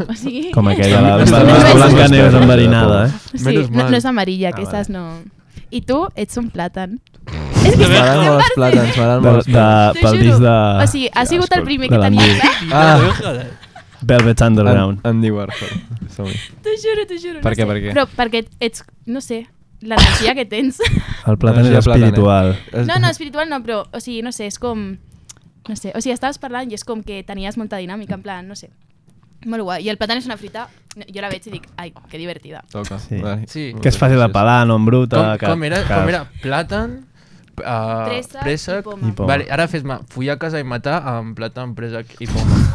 F: O sigui...
C: Com aquella, la, la,
F: No,
C: la,
F: no és-
C: blanca neus enverinada, eh?
F: Sí,
G: Menos
F: no,
G: mal.
F: no és amarilla,
C: Ah,
F: aquestes
C: vale.
F: no... I tu ets un plàtan. És que
E: M'agraden molt els plàtans, m'agraden
C: De,
E: molt els
C: de,
E: plàtans.
F: T'ho
C: pel
F: juro.
C: disc de...
F: O sigui, ha sigut el primer que
C: de
F: tenia.
C: l'Andy.
E: Ah,
C: Velvet
E: An-
C: Underground.
E: Andy Warhol. Som-hi.
F: T'ho juro, t'ho juro.
E: Per
F: no
E: què,
F: sé.
E: per què?
F: Però perquè ets, no sé, l'energia que tens.
C: El plàtan
E: Energia
C: és
E: plàtan, eh?
C: espiritual.
F: No, no, espiritual no, però, o sigui, no sé, és com... No sé, o sigui, estaves parlant i és com que tenies molta dinàmica, en plan, no sé. Molt guai. I el plàtan és una fruita, no, jo la veig i dic, ai, que divertida.
E: Toca.
C: Sí.
E: Vale.
G: Sí.
C: Que és fàcil de pelar, no en bruta...
G: Com,
C: que,
G: com, era,
C: que...
G: com era? Plàtan, uh,
F: Préssec i
G: préssec
F: poma.
C: I poma.
G: Vale, ara fes-me follar a casa i matar amb plàtan, préssec i poma.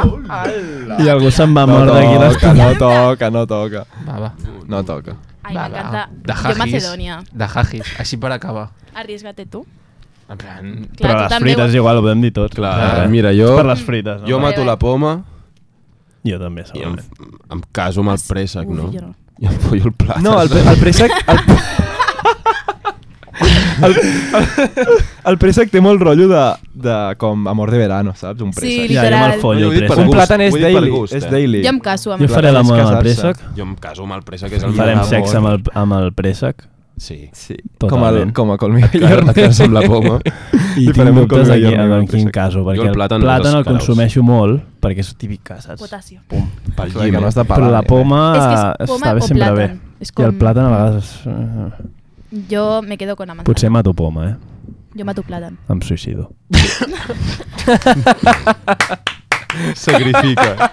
C: I algú se'n va mort d'aquí
E: no toca,
C: l'estona.
E: no toca, no toca.
G: Va, va.
E: No toca.
F: Ai,
G: va,
F: m'encanta.
G: De
F: Jo
G: hagis.
F: Macedònia.
G: De hagis, així per acabar.
F: Arriesga-te tu.
G: En plan...
C: Però
F: tu
C: les
F: també
C: frites
F: ho-
C: igual ho podem dir tot.
D: Clar, eh, mira, jo,
C: És per les frites, no?
D: jo mato la poma
C: Jo també,
D: i em,
C: segurament.
D: em caso amb el préssec,
F: Uf,
D: no?
F: jo no.
D: I em follo el plat.
E: No, el, pre- el préssec... El, el, el préssec té molt rotllo de, de com amor de verano, saps? Un
F: Sí,
E: préssec.
C: Ja, jo
F: literal.
C: me'l follo
D: Ho
C: el
D: he dit per
E: un
D: gust,
C: préssec.
E: plàtan és
D: ho he dit per
E: daily,
D: gust,
E: és
D: eh?
E: daily.
F: Jo em caso amb
C: Jo
F: el
E: plàtan
C: faré
E: és
C: l'amor amb el
E: casar-se.
C: préssec.
D: Jo em caso amb el préssec, és el
C: Farem
D: meu amor.
C: sexe amb el, amb el préssec.
D: Sí.
E: Sí, com el,
C: Totalment.
E: com a Call Me By Your
D: Clar, et caso amb la
E: Name.
D: poma.
C: I
E: Li
C: tinc
E: farem un
C: dubtes
E: col·lega
C: aquí
E: jo,
C: en,
E: no,
C: en quin
E: préssec.
C: cas, perquè
D: el
C: el plàtan,
D: plàtan no
C: el
D: descaraus.
C: consumeixo molt, perquè és típic que saps.
F: Potasio.
D: Pel
E: Clar, que no has de
C: Però la
E: eh?
C: poma,
F: És que és poma
C: està bé
F: o
C: sempre bé.
F: plàtan. És
C: I el
F: com-
C: plàtan a vegades... eh,
F: Jo me quedo con la manzana.
C: Potser mato poma, eh?
F: Jo mato plàtan.
C: Em suïcido.
D: Sacrifica.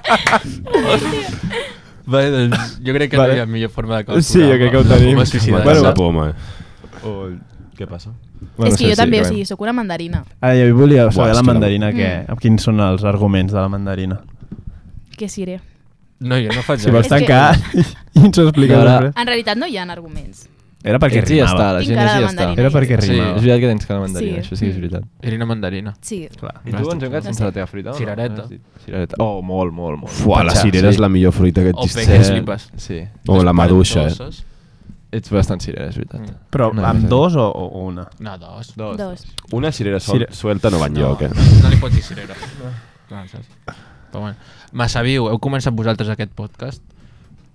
G: Vale, doncs jo crec que
E: Vale.
G: vale. no hi ha millor forma de calcular.
E: Sí, jo crec que ho
G: la
E: tenim.
G: forma suïcidal.
E: Bueno,
D: la
E: va.
D: poma.
E: O el-
D: Què passa?
E: Bueno,
F: és que jo
E: sí,
F: també, o
E: acabem.
F: sigui, sóc una mandarina.
C: Ah, jo volia saber
D: és
C: la
D: que la-
C: mandarina, que,
F: Mm.
C: quins són els arguments de la mandarina.
F: Què siré?
G: No, jo no faig
C: Si
G: res.
C: vols
F: És que-
C: tancar, i ens ho expliques
E: Ara-
C: després.
F: En realitat no hi ha arguments.
C: Era perquè
E: Ets i ja està,
C: rimava.
E: la
F: Tinc
E: gent
F: cara
E: és i
F: de
E: ja està.
F: mandarina.
C: Era perquè
G: Sí.
C: rimava.
E: És veritat que tens cara de mandarina,
F: Sí.
E: això sí que és veritat.
G: Irina Mandarina.
F: Sí.
C: Clar.
E: I tu ens hem quedat
F: No
E: sense
F: sé.
E: la teva fruita? no?
G: Cirereta.
E: No has dit. Cirereta. Oh, molt, molt, molt.
D: Fuà, la cirera és la millor fruita que
G: O
D: existeix.
G: pegues. que flipes.
E: Sí.
D: O la maduixa, eh?
G: Dolces.
E: Ets bastant cirera, és veritat.
G: Mm.
C: Però
E: Una
C: amb
E: mica.
C: dos o, o una?
G: No, dos.
E: Dos.
F: Dos.
D: Una cirera
C: sol- Cire-
D: suelta no va enlloc, eh?
G: No li pots dir cirera. No. saps? Però bueno. Massa viu, heu començat vosaltres aquest podcast.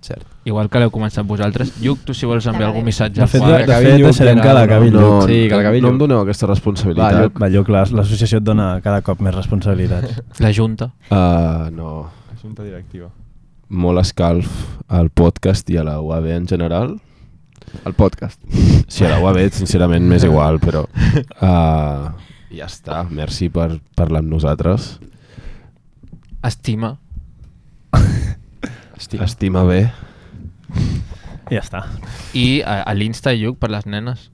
E: Cert.
G: Igual que l'heu començat vosaltres. Lluc, tu si vols enviar algun missatge
C: De
G: al
C: fet,
G: Juan,
C: de- fet, deixarem que l'acabi
D: No,
E: Sí, que l'acabi
D: no em
E: Lluc.
D: doneu aquesta responsabilitat.
E: Va, Lluc.
C: Va, jo, clar, l'associació et dona cada cop més responsabilitats.
G: la Junta.
D: Ah, no.
E: Assumpta directiva.
D: Molt escalf al podcast i a la UAB en general.
E: El podcast.
D: Si a la UAB, sincerament, m'és igual, però... Uh, ja està, merci per parlar amb nosaltres.
G: Estima.
E: Estima.
D: Estima bé.
C: I ja està.
G: I a, a l'Insta Lluc per les nenes.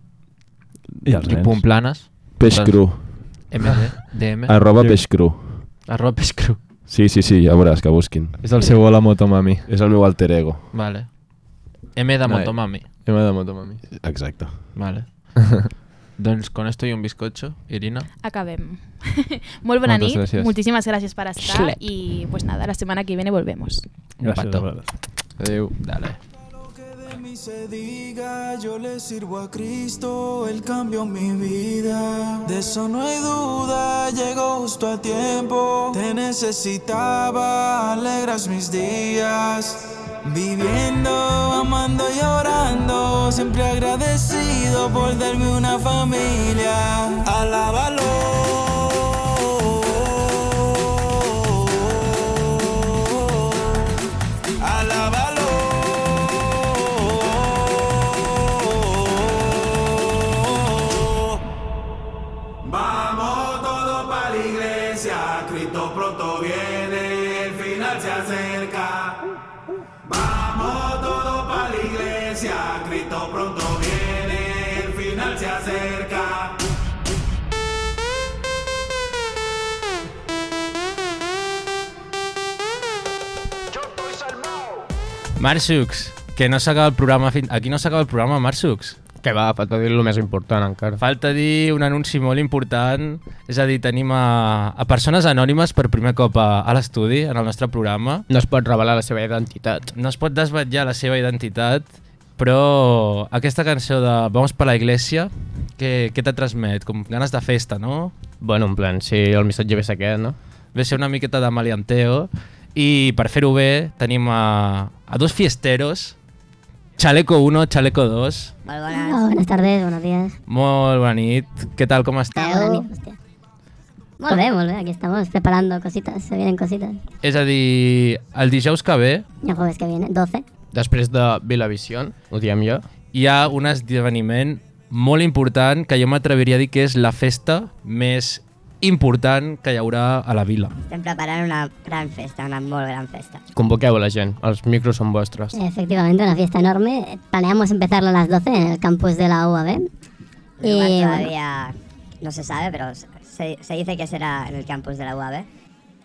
C: I els
G: Lluc
C: nens.
G: Pomplanes.
D: Peix cru.
G: MD. DM.
D: Arroba peix cru.
G: Arroba peix cru.
D: Sí, sí, sí, ja veuràs que busquin.
E: És el seu hola motomami.
D: És el meu alter ego.
G: Vale. M de
E: No, eh.
G: Motomami.
E: Tema de motomami.
D: Exacte.
G: Vale. doncs con esto y un bizcocho, Irina.
F: Acabem. Molt bona
E: Moltes
F: nit,
E: gràcies.
F: moltíssimas gracias per estar
G: Schlep.
F: y pues nada, la semana que viene volvemos.
C: Gràcies, de
G: Pato.
C: veritat.
E: Adéu.
G: Dale.
H: Lo que de mí se diga, yo le sirvo a Cristo, Él cambió mi vida. De eso no hay duda, llegó justo a tiempo. Te necesitaba, alegras mis días. Viviendo, amando y orando, siempre agradecido por darme una familia. Alábalo. Alábalo. Vamos todos para la iglesia, Cristo pronto viene, el final se acerca. Vamos todos para la iglesia, Cristo pronto viene, el final se acerca.
G: Marsucs, que no s'acaba el programa fins... Aquí no s'acaba el programa, Marsucs.
J: Que va, falta dir lo més important encara.
G: Falta dir un anunci molt important, és a dir, tenim a, a persones anònimes per primer cop a, a l'estudi, en el nostre programa.
J: No es pot revelar la seva identitat.
G: No es pot desvetllar la seva identitat, però aquesta cançó de Vamos per la Iglesia, què, què te transmet? Com ganes de festa, no?
J: Bueno, en plan, si el missatge ve aquest, no?
G: Ve a ser una miqueta de malianteo. I per fer-ho bé tenim a, a dos fiesteros, Chaleco 1, Chaleco 2.
K: Molt bones. Oh, buenas tardes, buenos días.
G: Molt bona nit. Què tal, com esteu?
K: hostia. Molt bé, molt bé, ¿eh? aquí estamos preparando cositas, se vienen cositas.
G: És a dir, el dijous que ve
K: Y el jueves que viene, 12.
J: Després de Vilavision, ho diem jo,
G: hi ha un esdeveniment molt important que jo m'atreviria a dir que és la festa més important que hi haurà a la vila.
K: Estem preparant una gran festa, una molt gran festa.
J: convoqueu a la gent, els micros són vostres.
K: Efectivamente, una fiesta enorme. Planeamos empezarla a las 12 en el campus de la UAB. Y todavía no se sabe, pero se, se dice que será en el campus de la UAB.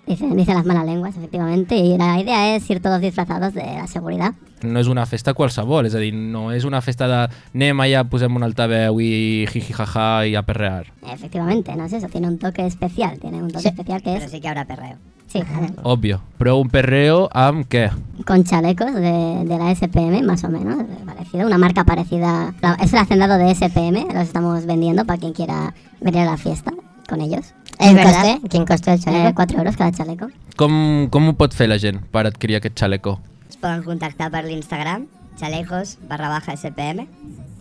K: Dicen, dicen las malas lenguas, efectivamente. Y la idea es ir todos disfrazados de la seguridad.
G: No és una festa qualsevol, és a dir, no és una festa de anem allà, posem un altaveu i jiji jaja i a perrear.
K: Efectivamente, no es eso, tiene un toque especial, tiene un toque especial que es... Pero sí que habrá perreo. Sí,
J: Ah.
G: Òbvio. Però un perreo amb què?
K: con chalecos de, de la SPM, más o menos, eh, parecido, una marca parecida. La- es el hacendado de SPM, los estamos vendiendo para quien quiera venir a la fiesta con ellos. ¿Es verdad? Eh. ¿Quién costó el chaleco? 4 euros cada chaleco.
G: Com, com ho pot fer la gent per adquirir aquest xaleco?
K: Es poden contactar per l'Instagram, xalecos barra baja SPM,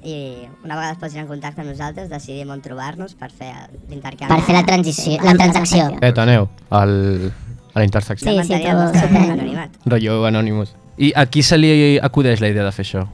K: i una vegada es posin en contacte amb nosaltres decidim on trobar-nos per fer l'intercanvi. Per fer la transició, la transacció.
J: Detoneu el, a la intersecció.
K: Sí, sí, tot super...
J: Rollo Anonymous.
G: I a qui se li acudeix la idea de fer això?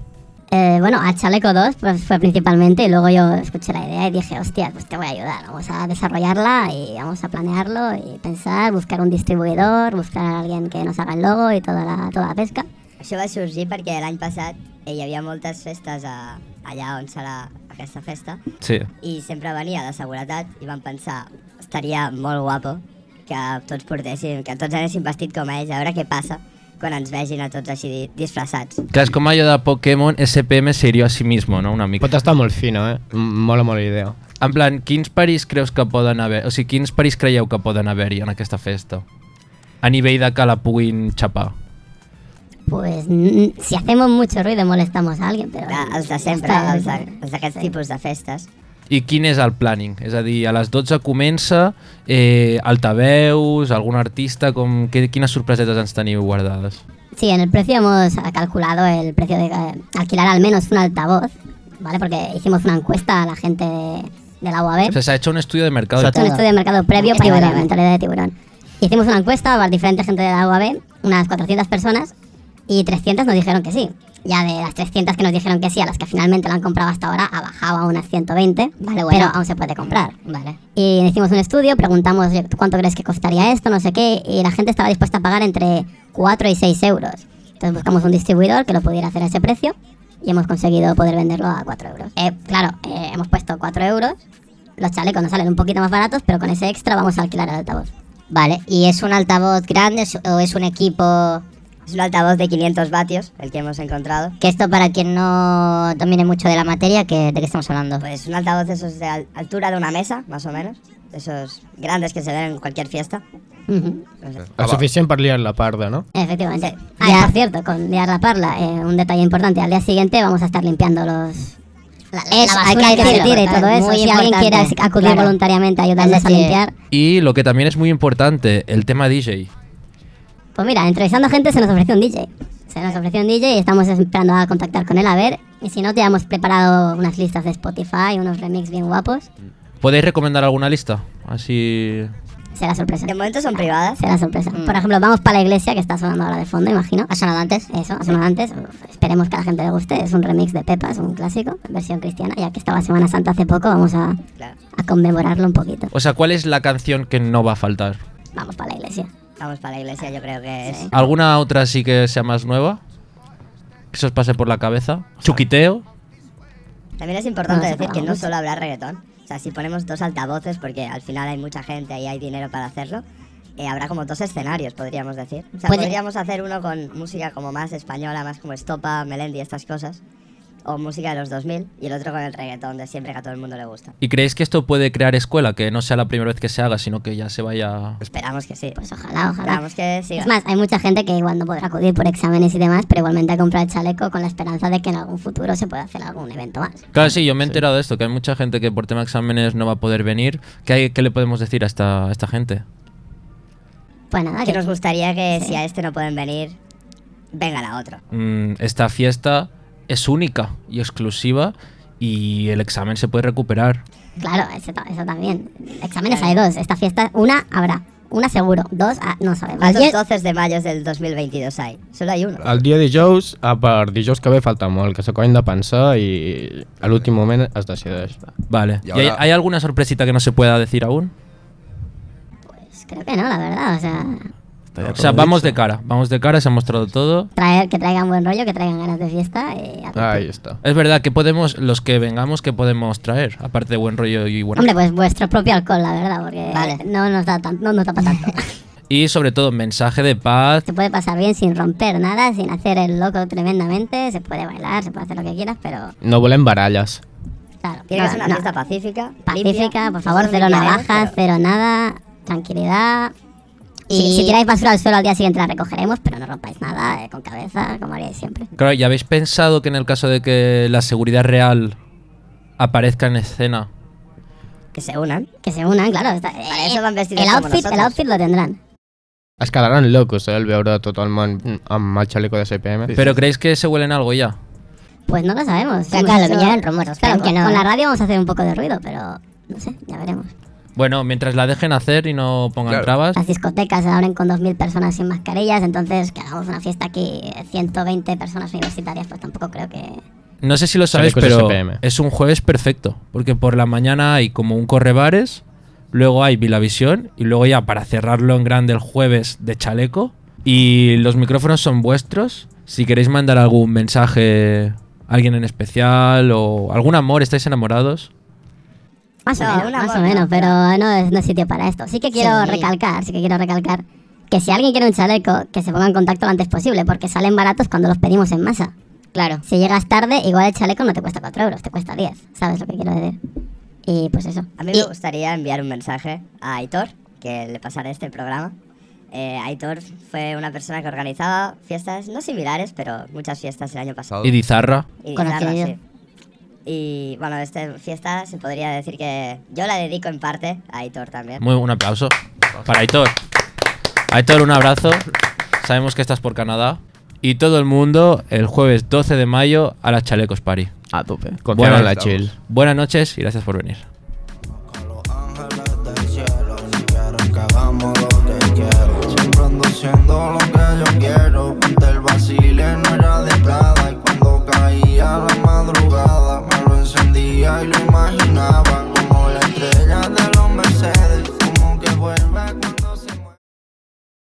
K: Eh, bueno, a Chaleco 2 pues, fue principalmente y luego yo escuché la idea y dije, hostia, pues te voy a ayudar, vamos a desarrollarla y vamos a planearlo y pensar, buscar un distribuidor, buscar a alguien que nos haga el logo y toda la, toda la pesca. Això va sorgir perquè l'any passat eh, hi havia moltes festes a, allà on serà aquesta festa
G: Sí.
K: i sempre venia de seguretat i vam pensar, estaria molt guapo que tots portéssim, que tots anéssim vestit com ells, a veure què passa.
L: quan ens vegin a tots així di- disfressats.
G: Clar, és com allò de Pokémon SPM serio a sí mismo, no? Una mica.
J: Pot estar molt fina, eh? M- Mola molt la idea.
G: En plan, quins paris creus que poden haver... O sigui, quins paris creieu que poden haver-hi en aquesta festa? A nivell de que la puguin xapar.
K: Pues mm, si hacemos mucho ruido molestamos a alguien, pero...
L: Ja, els de sempre,
K: Està-
L: els de- els d'aquests tipus de festes.
G: I quin és el planning? És a dir, a les 12 comença, eh, altaveus, algun artista, com, que, quines sorpresetes ens teniu guardades?
K: Sí, en el precio hemos calculado el precio de eh, alquilar al menos un altavoz, ¿vale? Porque hicimos una encuesta a la gente de, de la UAB.
G: O sea, se ha hecho un estudio de mercado.
K: Se ha Eh? hecho un estudio de mercado previo para la mentalidad de tiburón. Hicimos una encuesta a diferentes gente de la UAB, unas 400 personas, y 300 nos dijeron que sí. Ya de las 300 que nos dijeron que sí, a las que finalmente lo han comprado hasta ahora, ha bajado a unas 120,
L: Vale, bueno.
K: pero aún se puede comprar.
L: Vale.
K: Y hicimos un estudio, preguntamos "Oye, ¿tú cuánto crees que costaría esto, no sé qué, y la gente estaba dispuesta a pagar entre 4 y 6 euros. Entonces buscamos un distribuidor que lo pudiera hacer a ese precio y hemos conseguido poder venderlo a 4 euros. Eh, claro, eh, hemos puesto 4 euros, los chalecos nos salen un poquito más baratos, pero con ese extra vamos a alquilar el altavoz.
L: Vale, ¿y es un altavoz grande es- o es un equipo? Es un altavoz de 500 vatios, el que hemos encontrado.
K: Que esto para quien no domine mucho de la materia, que, ¿de qué estamos hablando?
L: Pues un altavoz de esos de al- altura de una mesa, más o menos. De esos grandes que se ven en cualquier fiesta.
K: Ujú.
L: No sé.
G: Ah,
J: El suficient per liar la parda, no?
K: Efectivamente. Ah, y por cierto, con liar la parla, eh, un detalle importante, al día siguiente vamos a estar limpiando los... La,
L: Es- hay que
K: basura que se
L: decirlo,
K: tira y todo
L: es
K: eso.
L: muy
K: Si alguien quiere
L: importante,
K: acudir
L: claro.
K: voluntariamente a
L: Es
K: ayudarnos a
L: decir,
K: limpiar,
G: Y lo que también es muy importante, el tema DJ.
K: pues mira, entrevistando gente se nos ofreció un DJ. Se nos ofreció un DJ y estamos esperando a contactar con él a ver. Y si no, te hemos preparado unas listas de Spotify, unos remix bien guapos.
G: ¿Podéis recomendar alguna lista? Así...
K: Será sorpresa.
L: De momento son privadas.
K: Será sorpresa. Por ejemplo, vamos para la iglesia, que está sonando ahora de fondo, imagino. Mm. ¿Ha sonado antes? Eso, ha sonado antes. Esperemos que a la gente le guste. Es un remix de Pepa, es un clásico, versión cristiana. Ya que estaba Semana Santa hace poco, vamos a,
L: Claro.
K: a conmemorarlo un poquito.
G: O sea, ¿cuál es la canción que no va a faltar?
K: Vamos para la iglesia.
L: Vamos para la iglesia, yo creo que es.
G: ¿Alguna otra sí que sea más nueva? Que se os pase por la cabeza. Chuquiteo.
L: También es importante
K: Vamos a
L: decir que no
K: vamos.
L: solo habrá reggaetón. O sea, si ponemos dos altavoces, porque al final hay mucha gente y hay dinero para hacerlo, eh, habrá como dos escenarios, podríamos decir. O sea,
K: Puede-
L: podríamos hacer uno con música como más española, más como estopa, melendi, estas cosas. O música de los 2000 y el otro con el reggaetón de siempre que a todo el mundo le gusta.
G: ¿Y creéis que esto puede crear escuela? Que no sea la primera vez que se haga, sino que ya se vaya...
L: Esperamos que sí.
K: Pues ojalá, ojalá.
L: Esperamos que siga.
K: Es más, hay mucha gente que igual no podrá acudir por exámenes y demás, pero igualmente ha comprado el chaleco con la esperanza de que en algún futuro se pueda hacer algún evento más.
G: Claro, sí, yo me he enterado de esto, que hay mucha gente que por tema de exámenes no va a poder venir. ¿Qué, hay- qué le podemos decir a esta, a esta gente?
K: Pues nada,
L: que
K: que-
L: nos gustaría que
K: Sí.
L: si a este no pueden venir, vengan a otro.
G: Mm, esta fiesta es única y exclusiva y el examen se puede recuperar.
K: Claro, eso, ta- eso también. Exámenes hay dos. Esta fiesta, una habrá. Una seguro. Dos, ah, no sabemos.
L: ¿Cuántos
K: Diez-
L: 12 de mayo del 2022 hay? Solo hay uno.
J: El dia dijous, a per dijous que ve falta molt, que s'acaben de pensar i a l'últim moment es decideix.
G: Vale.
D: Y
G: ¿Y
D: ahora-
G: hay, hay alguna sorpresita que no se pueda decir aún?
K: pues Creo que no, la verdad. O sea,
G: O sea, vamos de cara, vamos de cara, se ha mostrado todo.
K: traer, que traigan buen rollo, que traigan ganas de fiesta. eh, y a-
J: Ahí està.
G: Es verdad que podemos, los que vengamos, que podemos traer, aparte de buen rollo y buena
K: Hombre, pues vuestro propio alcohol, la verdad, porque
L: Vale.
K: no nos da tan- no nos tapa tanto.
G: Y sobre todo, mensaje de paz.
K: se puede pasar bien sin romper nada, sin hacer el loco tremendamente, se puede bailar, se puede hacer lo que quieras, pero
J: No volem baralles.
K: claro.
L: Tiene que
K: no-
L: ser una
K: no.
L: fiesta pacífica.
K: Pacífica,
L: limpia.
K: por favor,
L: Nosotros
K: cero
L: limpiaremos,
K: navajas,
L: pero-
K: cero nada, tranquilidad. Y
L: Y-
K: si, si tiráis basura al suelo al día siguiente la recogeremos, pero no rompáis nada, eh, con cabeza, como haríais siempre.
G: Claro, ¿y habéis pensado que en el caso de que la seguridad real aparezca en escena?
L: Que se unan.
K: Que se unan, claro. está- eh,
L: Para eso van vestidos
K: el,
L: como
K: outfit, el
L: nosotros.
K: outfit lo tendrán.
J: Es quedaran locos, eh, el veure tot el món mm, amb el xaleco de CPM.
G: ¿Pero creéis que se huelen algo ya?
K: Pues no lo sabemos.
L: sea,
K: Hemos
L: claro,
K: hecho-
L: que llegan rumores,
K: Claro,
L: claro que
K: con,
L: no.
K: con la radio vamos a hacer un poco de ruido, pero no sé, ya veremos.
G: Bueno, mientras la dejen hacer y no pongan
D: Claro.
G: trabas.
K: Las discotecas se abren con 2.000 personas sin mascarillas, entonces que hagamos una fiesta aquí, eh, 120 personas universitarias, pues tampoco creo que...
G: No sé si lo sabéis,
J: Chalecos
G: pero
J: SPM.
G: es un jueves perfecto. Porque por la mañana hay como un correbares, luego hay Vilavisión y luego ya para cerrarlo en grande el jueves de chaleco. Y los micrófonos son vuestros. Si queréis mandar algún mensaje a alguien en especial o algún amor, estáis enamorados.
K: Más o
L: No,
K: menos,
L: una
K: más
L: boda,
K: o menos,
L: pero-
K: pero no es, no es sitio para esto. Sí que quiero
L: Sí.
K: recalcar, sí que quiero recalcar que si alguien quiere un chaleco, que se ponga en contacto lo antes posible, porque salen baratos cuando los pedimos en masa. Claro. Si llegas tarde, igual el chaleco no te cuesta 4 euros, te cuesta 10. ¿Sabes lo que quiero decir? Y pues eso.
L: A mí me gustaría enviar un mensaje a Aitor, que le pasaré este programa. Eh, Aitor fue una persona que organizaba fiestas, no similares, pero muchas fiestas el año pasado.
G: ¿Y Dizarra?
L: Y
G: Conocido.
L: Dizarra, sí. Y bueno, esta fiesta se podría decir que yo la dedico en parte a Aitor también.
G: Muy un aplauso para Aitor. Aitor, un abrazo. Sabemos que estás por Canadá. Y todo el mundo, el jueves 12 de mayo a las Chalecos Party.
J: A tope.
G: Buenas-
J: en la chill.
G: Buenas noches y gracias por venir.
M: que hagamos lo que quiero. Siempre ando siendo lo que yo quiero. Ponte el vacile, no era de plata.